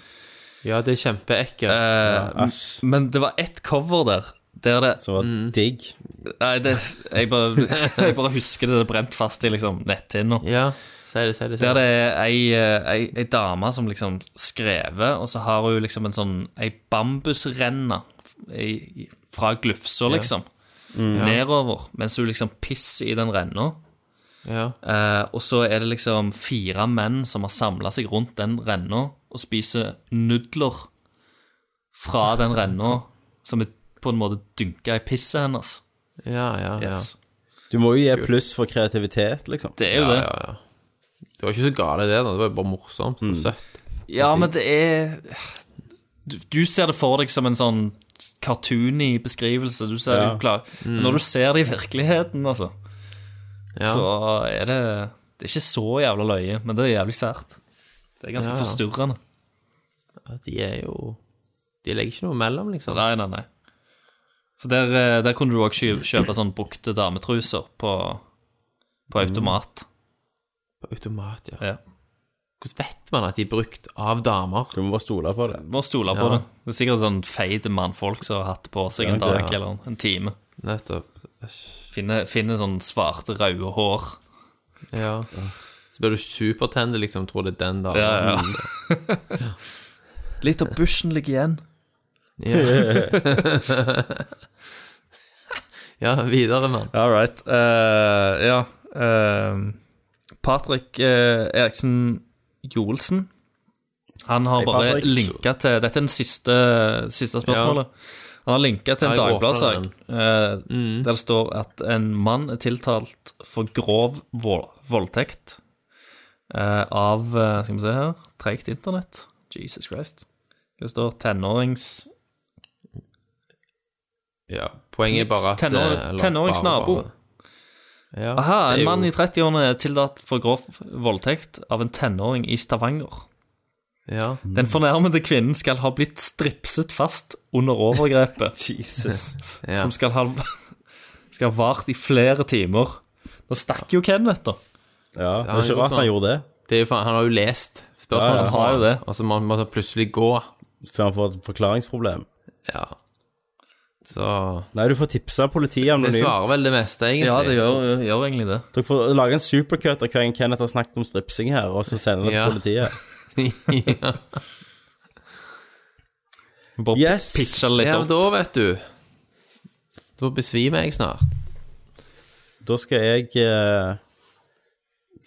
Speaker 6: ja, det er kjempeekkelt.
Speaker 4: eh, Men det var ett cover der. Der det
Speaker 3: Så digg.
Speaker 4: Nei, det, jeg, bare, jeg bare husker det, det brent fast i liksom netthinna.
Speaker 6: ja, si det, si det. Si
Speaker 4: Der
Speaker 6: det.
Speaker 4: det er ei, eh, ei, ei dame som liksom skrever, og så har hun liksom en sånn ei bambusrenne f- i- i- fra glufsa, liksom,
Speaker 6: Mm.
Speaker 4: nedover, mens hun liksom pisser i den renna.
Speaker 6: Ja.
Speaker 4: Eh, og så er det liksom fire menn som har samla seg rundt den renna og spiser nudler fra den renna, som er på en måte dynka i pisset hennes.
Speaker 6: ja, ja, ja.
Speaker 4: Yes.
Speaker 3: Du må jo gi pluss for kreativitet, liksom.
Speaker 4: Det er jo det.
Speaker 6: Det var ikke så gale, det. da Det var jo bare morsomt og søtt.
Speaker 4: Ja, men det er du, du ser det for deg som en sånn cartoony beskrivelse. Du ser det jo klar. Men når du ser det i virkeligheten, altså, så er det Det er ikke så jævla løye, men det er jævlig sært. Det er ganske forstyrrende.
Speaker 6: Ja, de er jo De legger ikke noe mellom, liksom.
Speaker 4: Nei, nei, nei. Så der, eh, der kunne du òg kjøpe sånn brukte dametruser på, på automat.
Speaker 6: På automat, ja.
Speaker 4: Ja.
Speaker 6: Hvordan vet man at de er brukt av damer?
Speaker 3: Du må bare stole på det.
Speaker 4: Bare stole på det. Det er sikkert sånn feite mannfolk som har hatt det på seg en dag eller en- en time.
Speaker 6: Nettopp. Æsj.
Speaker 4: Finne, finne sånn svarte, røde hår.
Speaker 6: Ja. Så blir du supertended, liksom, tror det er den damen.
Speaker 4: Ja, ja. Litt av bushen ligger igjen.
Speaker 6: ja videre, mann.
Speaker 4: All right. eh, ja. eh, Patrick eh, Eriksen Joelsen. Han har
Speaker 3: Hei,
Speaker 4: bare
Speaker 3: Patrick.
Speaker 4: linka til Dette er den siste, siste spørsmålet. Han har linka til en
Speaker 6: Ja, jeg Mm. åpner
Speaker 4: dagbladsak eh, der det står at en mann er tiltalt for grov vold, voldtekt eh, av eh, Skal vi se her Treigt internett. Jesus Christ. Det står tenårings...
Speaker 6: Ja. Poenget er bare at
Speaker 4: Tenår,
Speaker 6: eller bare- eh,
Speaker 4: tenåringsnabo.
Speaker 6: bare-
Speaker 4: Aha, en mann i 30-årene er tiltatt for grov voldtekt av en tenåring i Stavanger.
Speaker 6: Ja.
Speaker 4: Den fornærmede kvinnen skal ha blitt stripset fast under overgrepet. Jesus. Som skal ha skal ha vart i flere timer. Nå stakk jo Kenneth, da.
Speaker 3: Ja, det er ikke
Speaker 6: gjorde
Speaker 3: rart han
Speaker 6: sånn.
Speaker 3: gjorde det.
Speaker 6: Det er jo faen, han har jo lest spørsmålet.
Speaker 3: Ja,
Speaker 6: som
Speaker 3: ja.
Speaker 6: har jo det. Altså, man måtte plutselig gå.
Speaker 3: Før han får et forklaringsproblem.
Speaker 6: Ja. Så
Speaker 3: Nei, du får tipsa politiet
Speaker 6: Det
Speaker 3: anonymt.
Speaker 6: svarer vel det meste, egentlig.
Speaker 4: Ja, det gjør, gjør egentlig det.
Speaker 3: Dere får lage en supercut av hver gang Kenneth har snakket om stripsing her, og så sender det
Speaker 6: Ja.
Speaker 3: til politiet.
Speaker 6: ja.
Speaker 4: Vi Bare
Speaker 3: Yes.
Speaker 4: pitcher litt
Speaker 6: ja, men
Speaker 4: opp.
Speaker 6: da vet du Da besvimer jeg snart.
Speaker 3: Da skal jeg eh,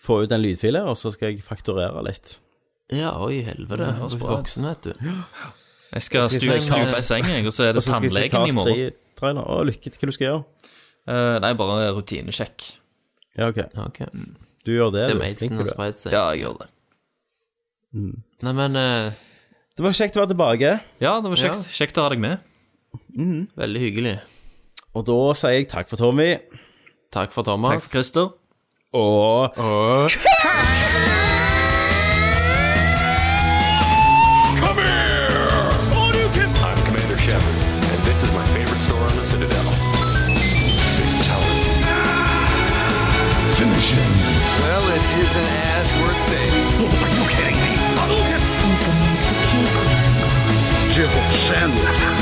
Speaker 3: få ut en lydfil her, og så skal jeg fakturere litt.
Speaker 6: Ja, oi, helvete. Jeg er ikke voksen, vet du.
Speaker 4: Jeg skal stupe
Speaker 6: jeg skal-
Speaker 4: stupe i sengen, jeg, og så er det
Speaker 3: Og så skal jeg se
Speaker 4: tannlegen i morgen.
Speaker 3: Cars-trainer. Å, lykke til hva du skal gjøre.
Speaker 4: Eh, nei, bare rutinesjekk.
Speaker 3: Ja, ok.
Speaker 6: Ok.
Speaker 3: Du gjør det,
Speaker 6: Se altså.
Speaker 3: du.
Speaker 6: om
Speaker 3: Flink
Speaker 6: aidsen
Speaker 3: du
Speaker 6: har
Speaker 3: er.
Speaker 6: spredt seg.
Speaker 4: Ja, jeg gjør det.
Speaker 6: Nei, men eh,
Speaker 3: Det var kjekt å være tilbake,
Speaker 4: Ja, det var kjekt, kjekt å ha deg med.
Speaker 6: veldig hyggelig.
Speaker 3: og da sier jeg takk for Tommy.
Speaker 6: Takk for
Speaker 4: Takk,
Speaker 6: Thomas.
Speaker 4: Christer.
Speaker 3: Og
Speaker 2: Come here! I'm Commander Shepard, and this is my favorite store on the Citadel. Fatality. Finish him. Well, it isn't as worth saving. Are you kidding me? Hadouken! Who's gonna make the cake? Jibble Send.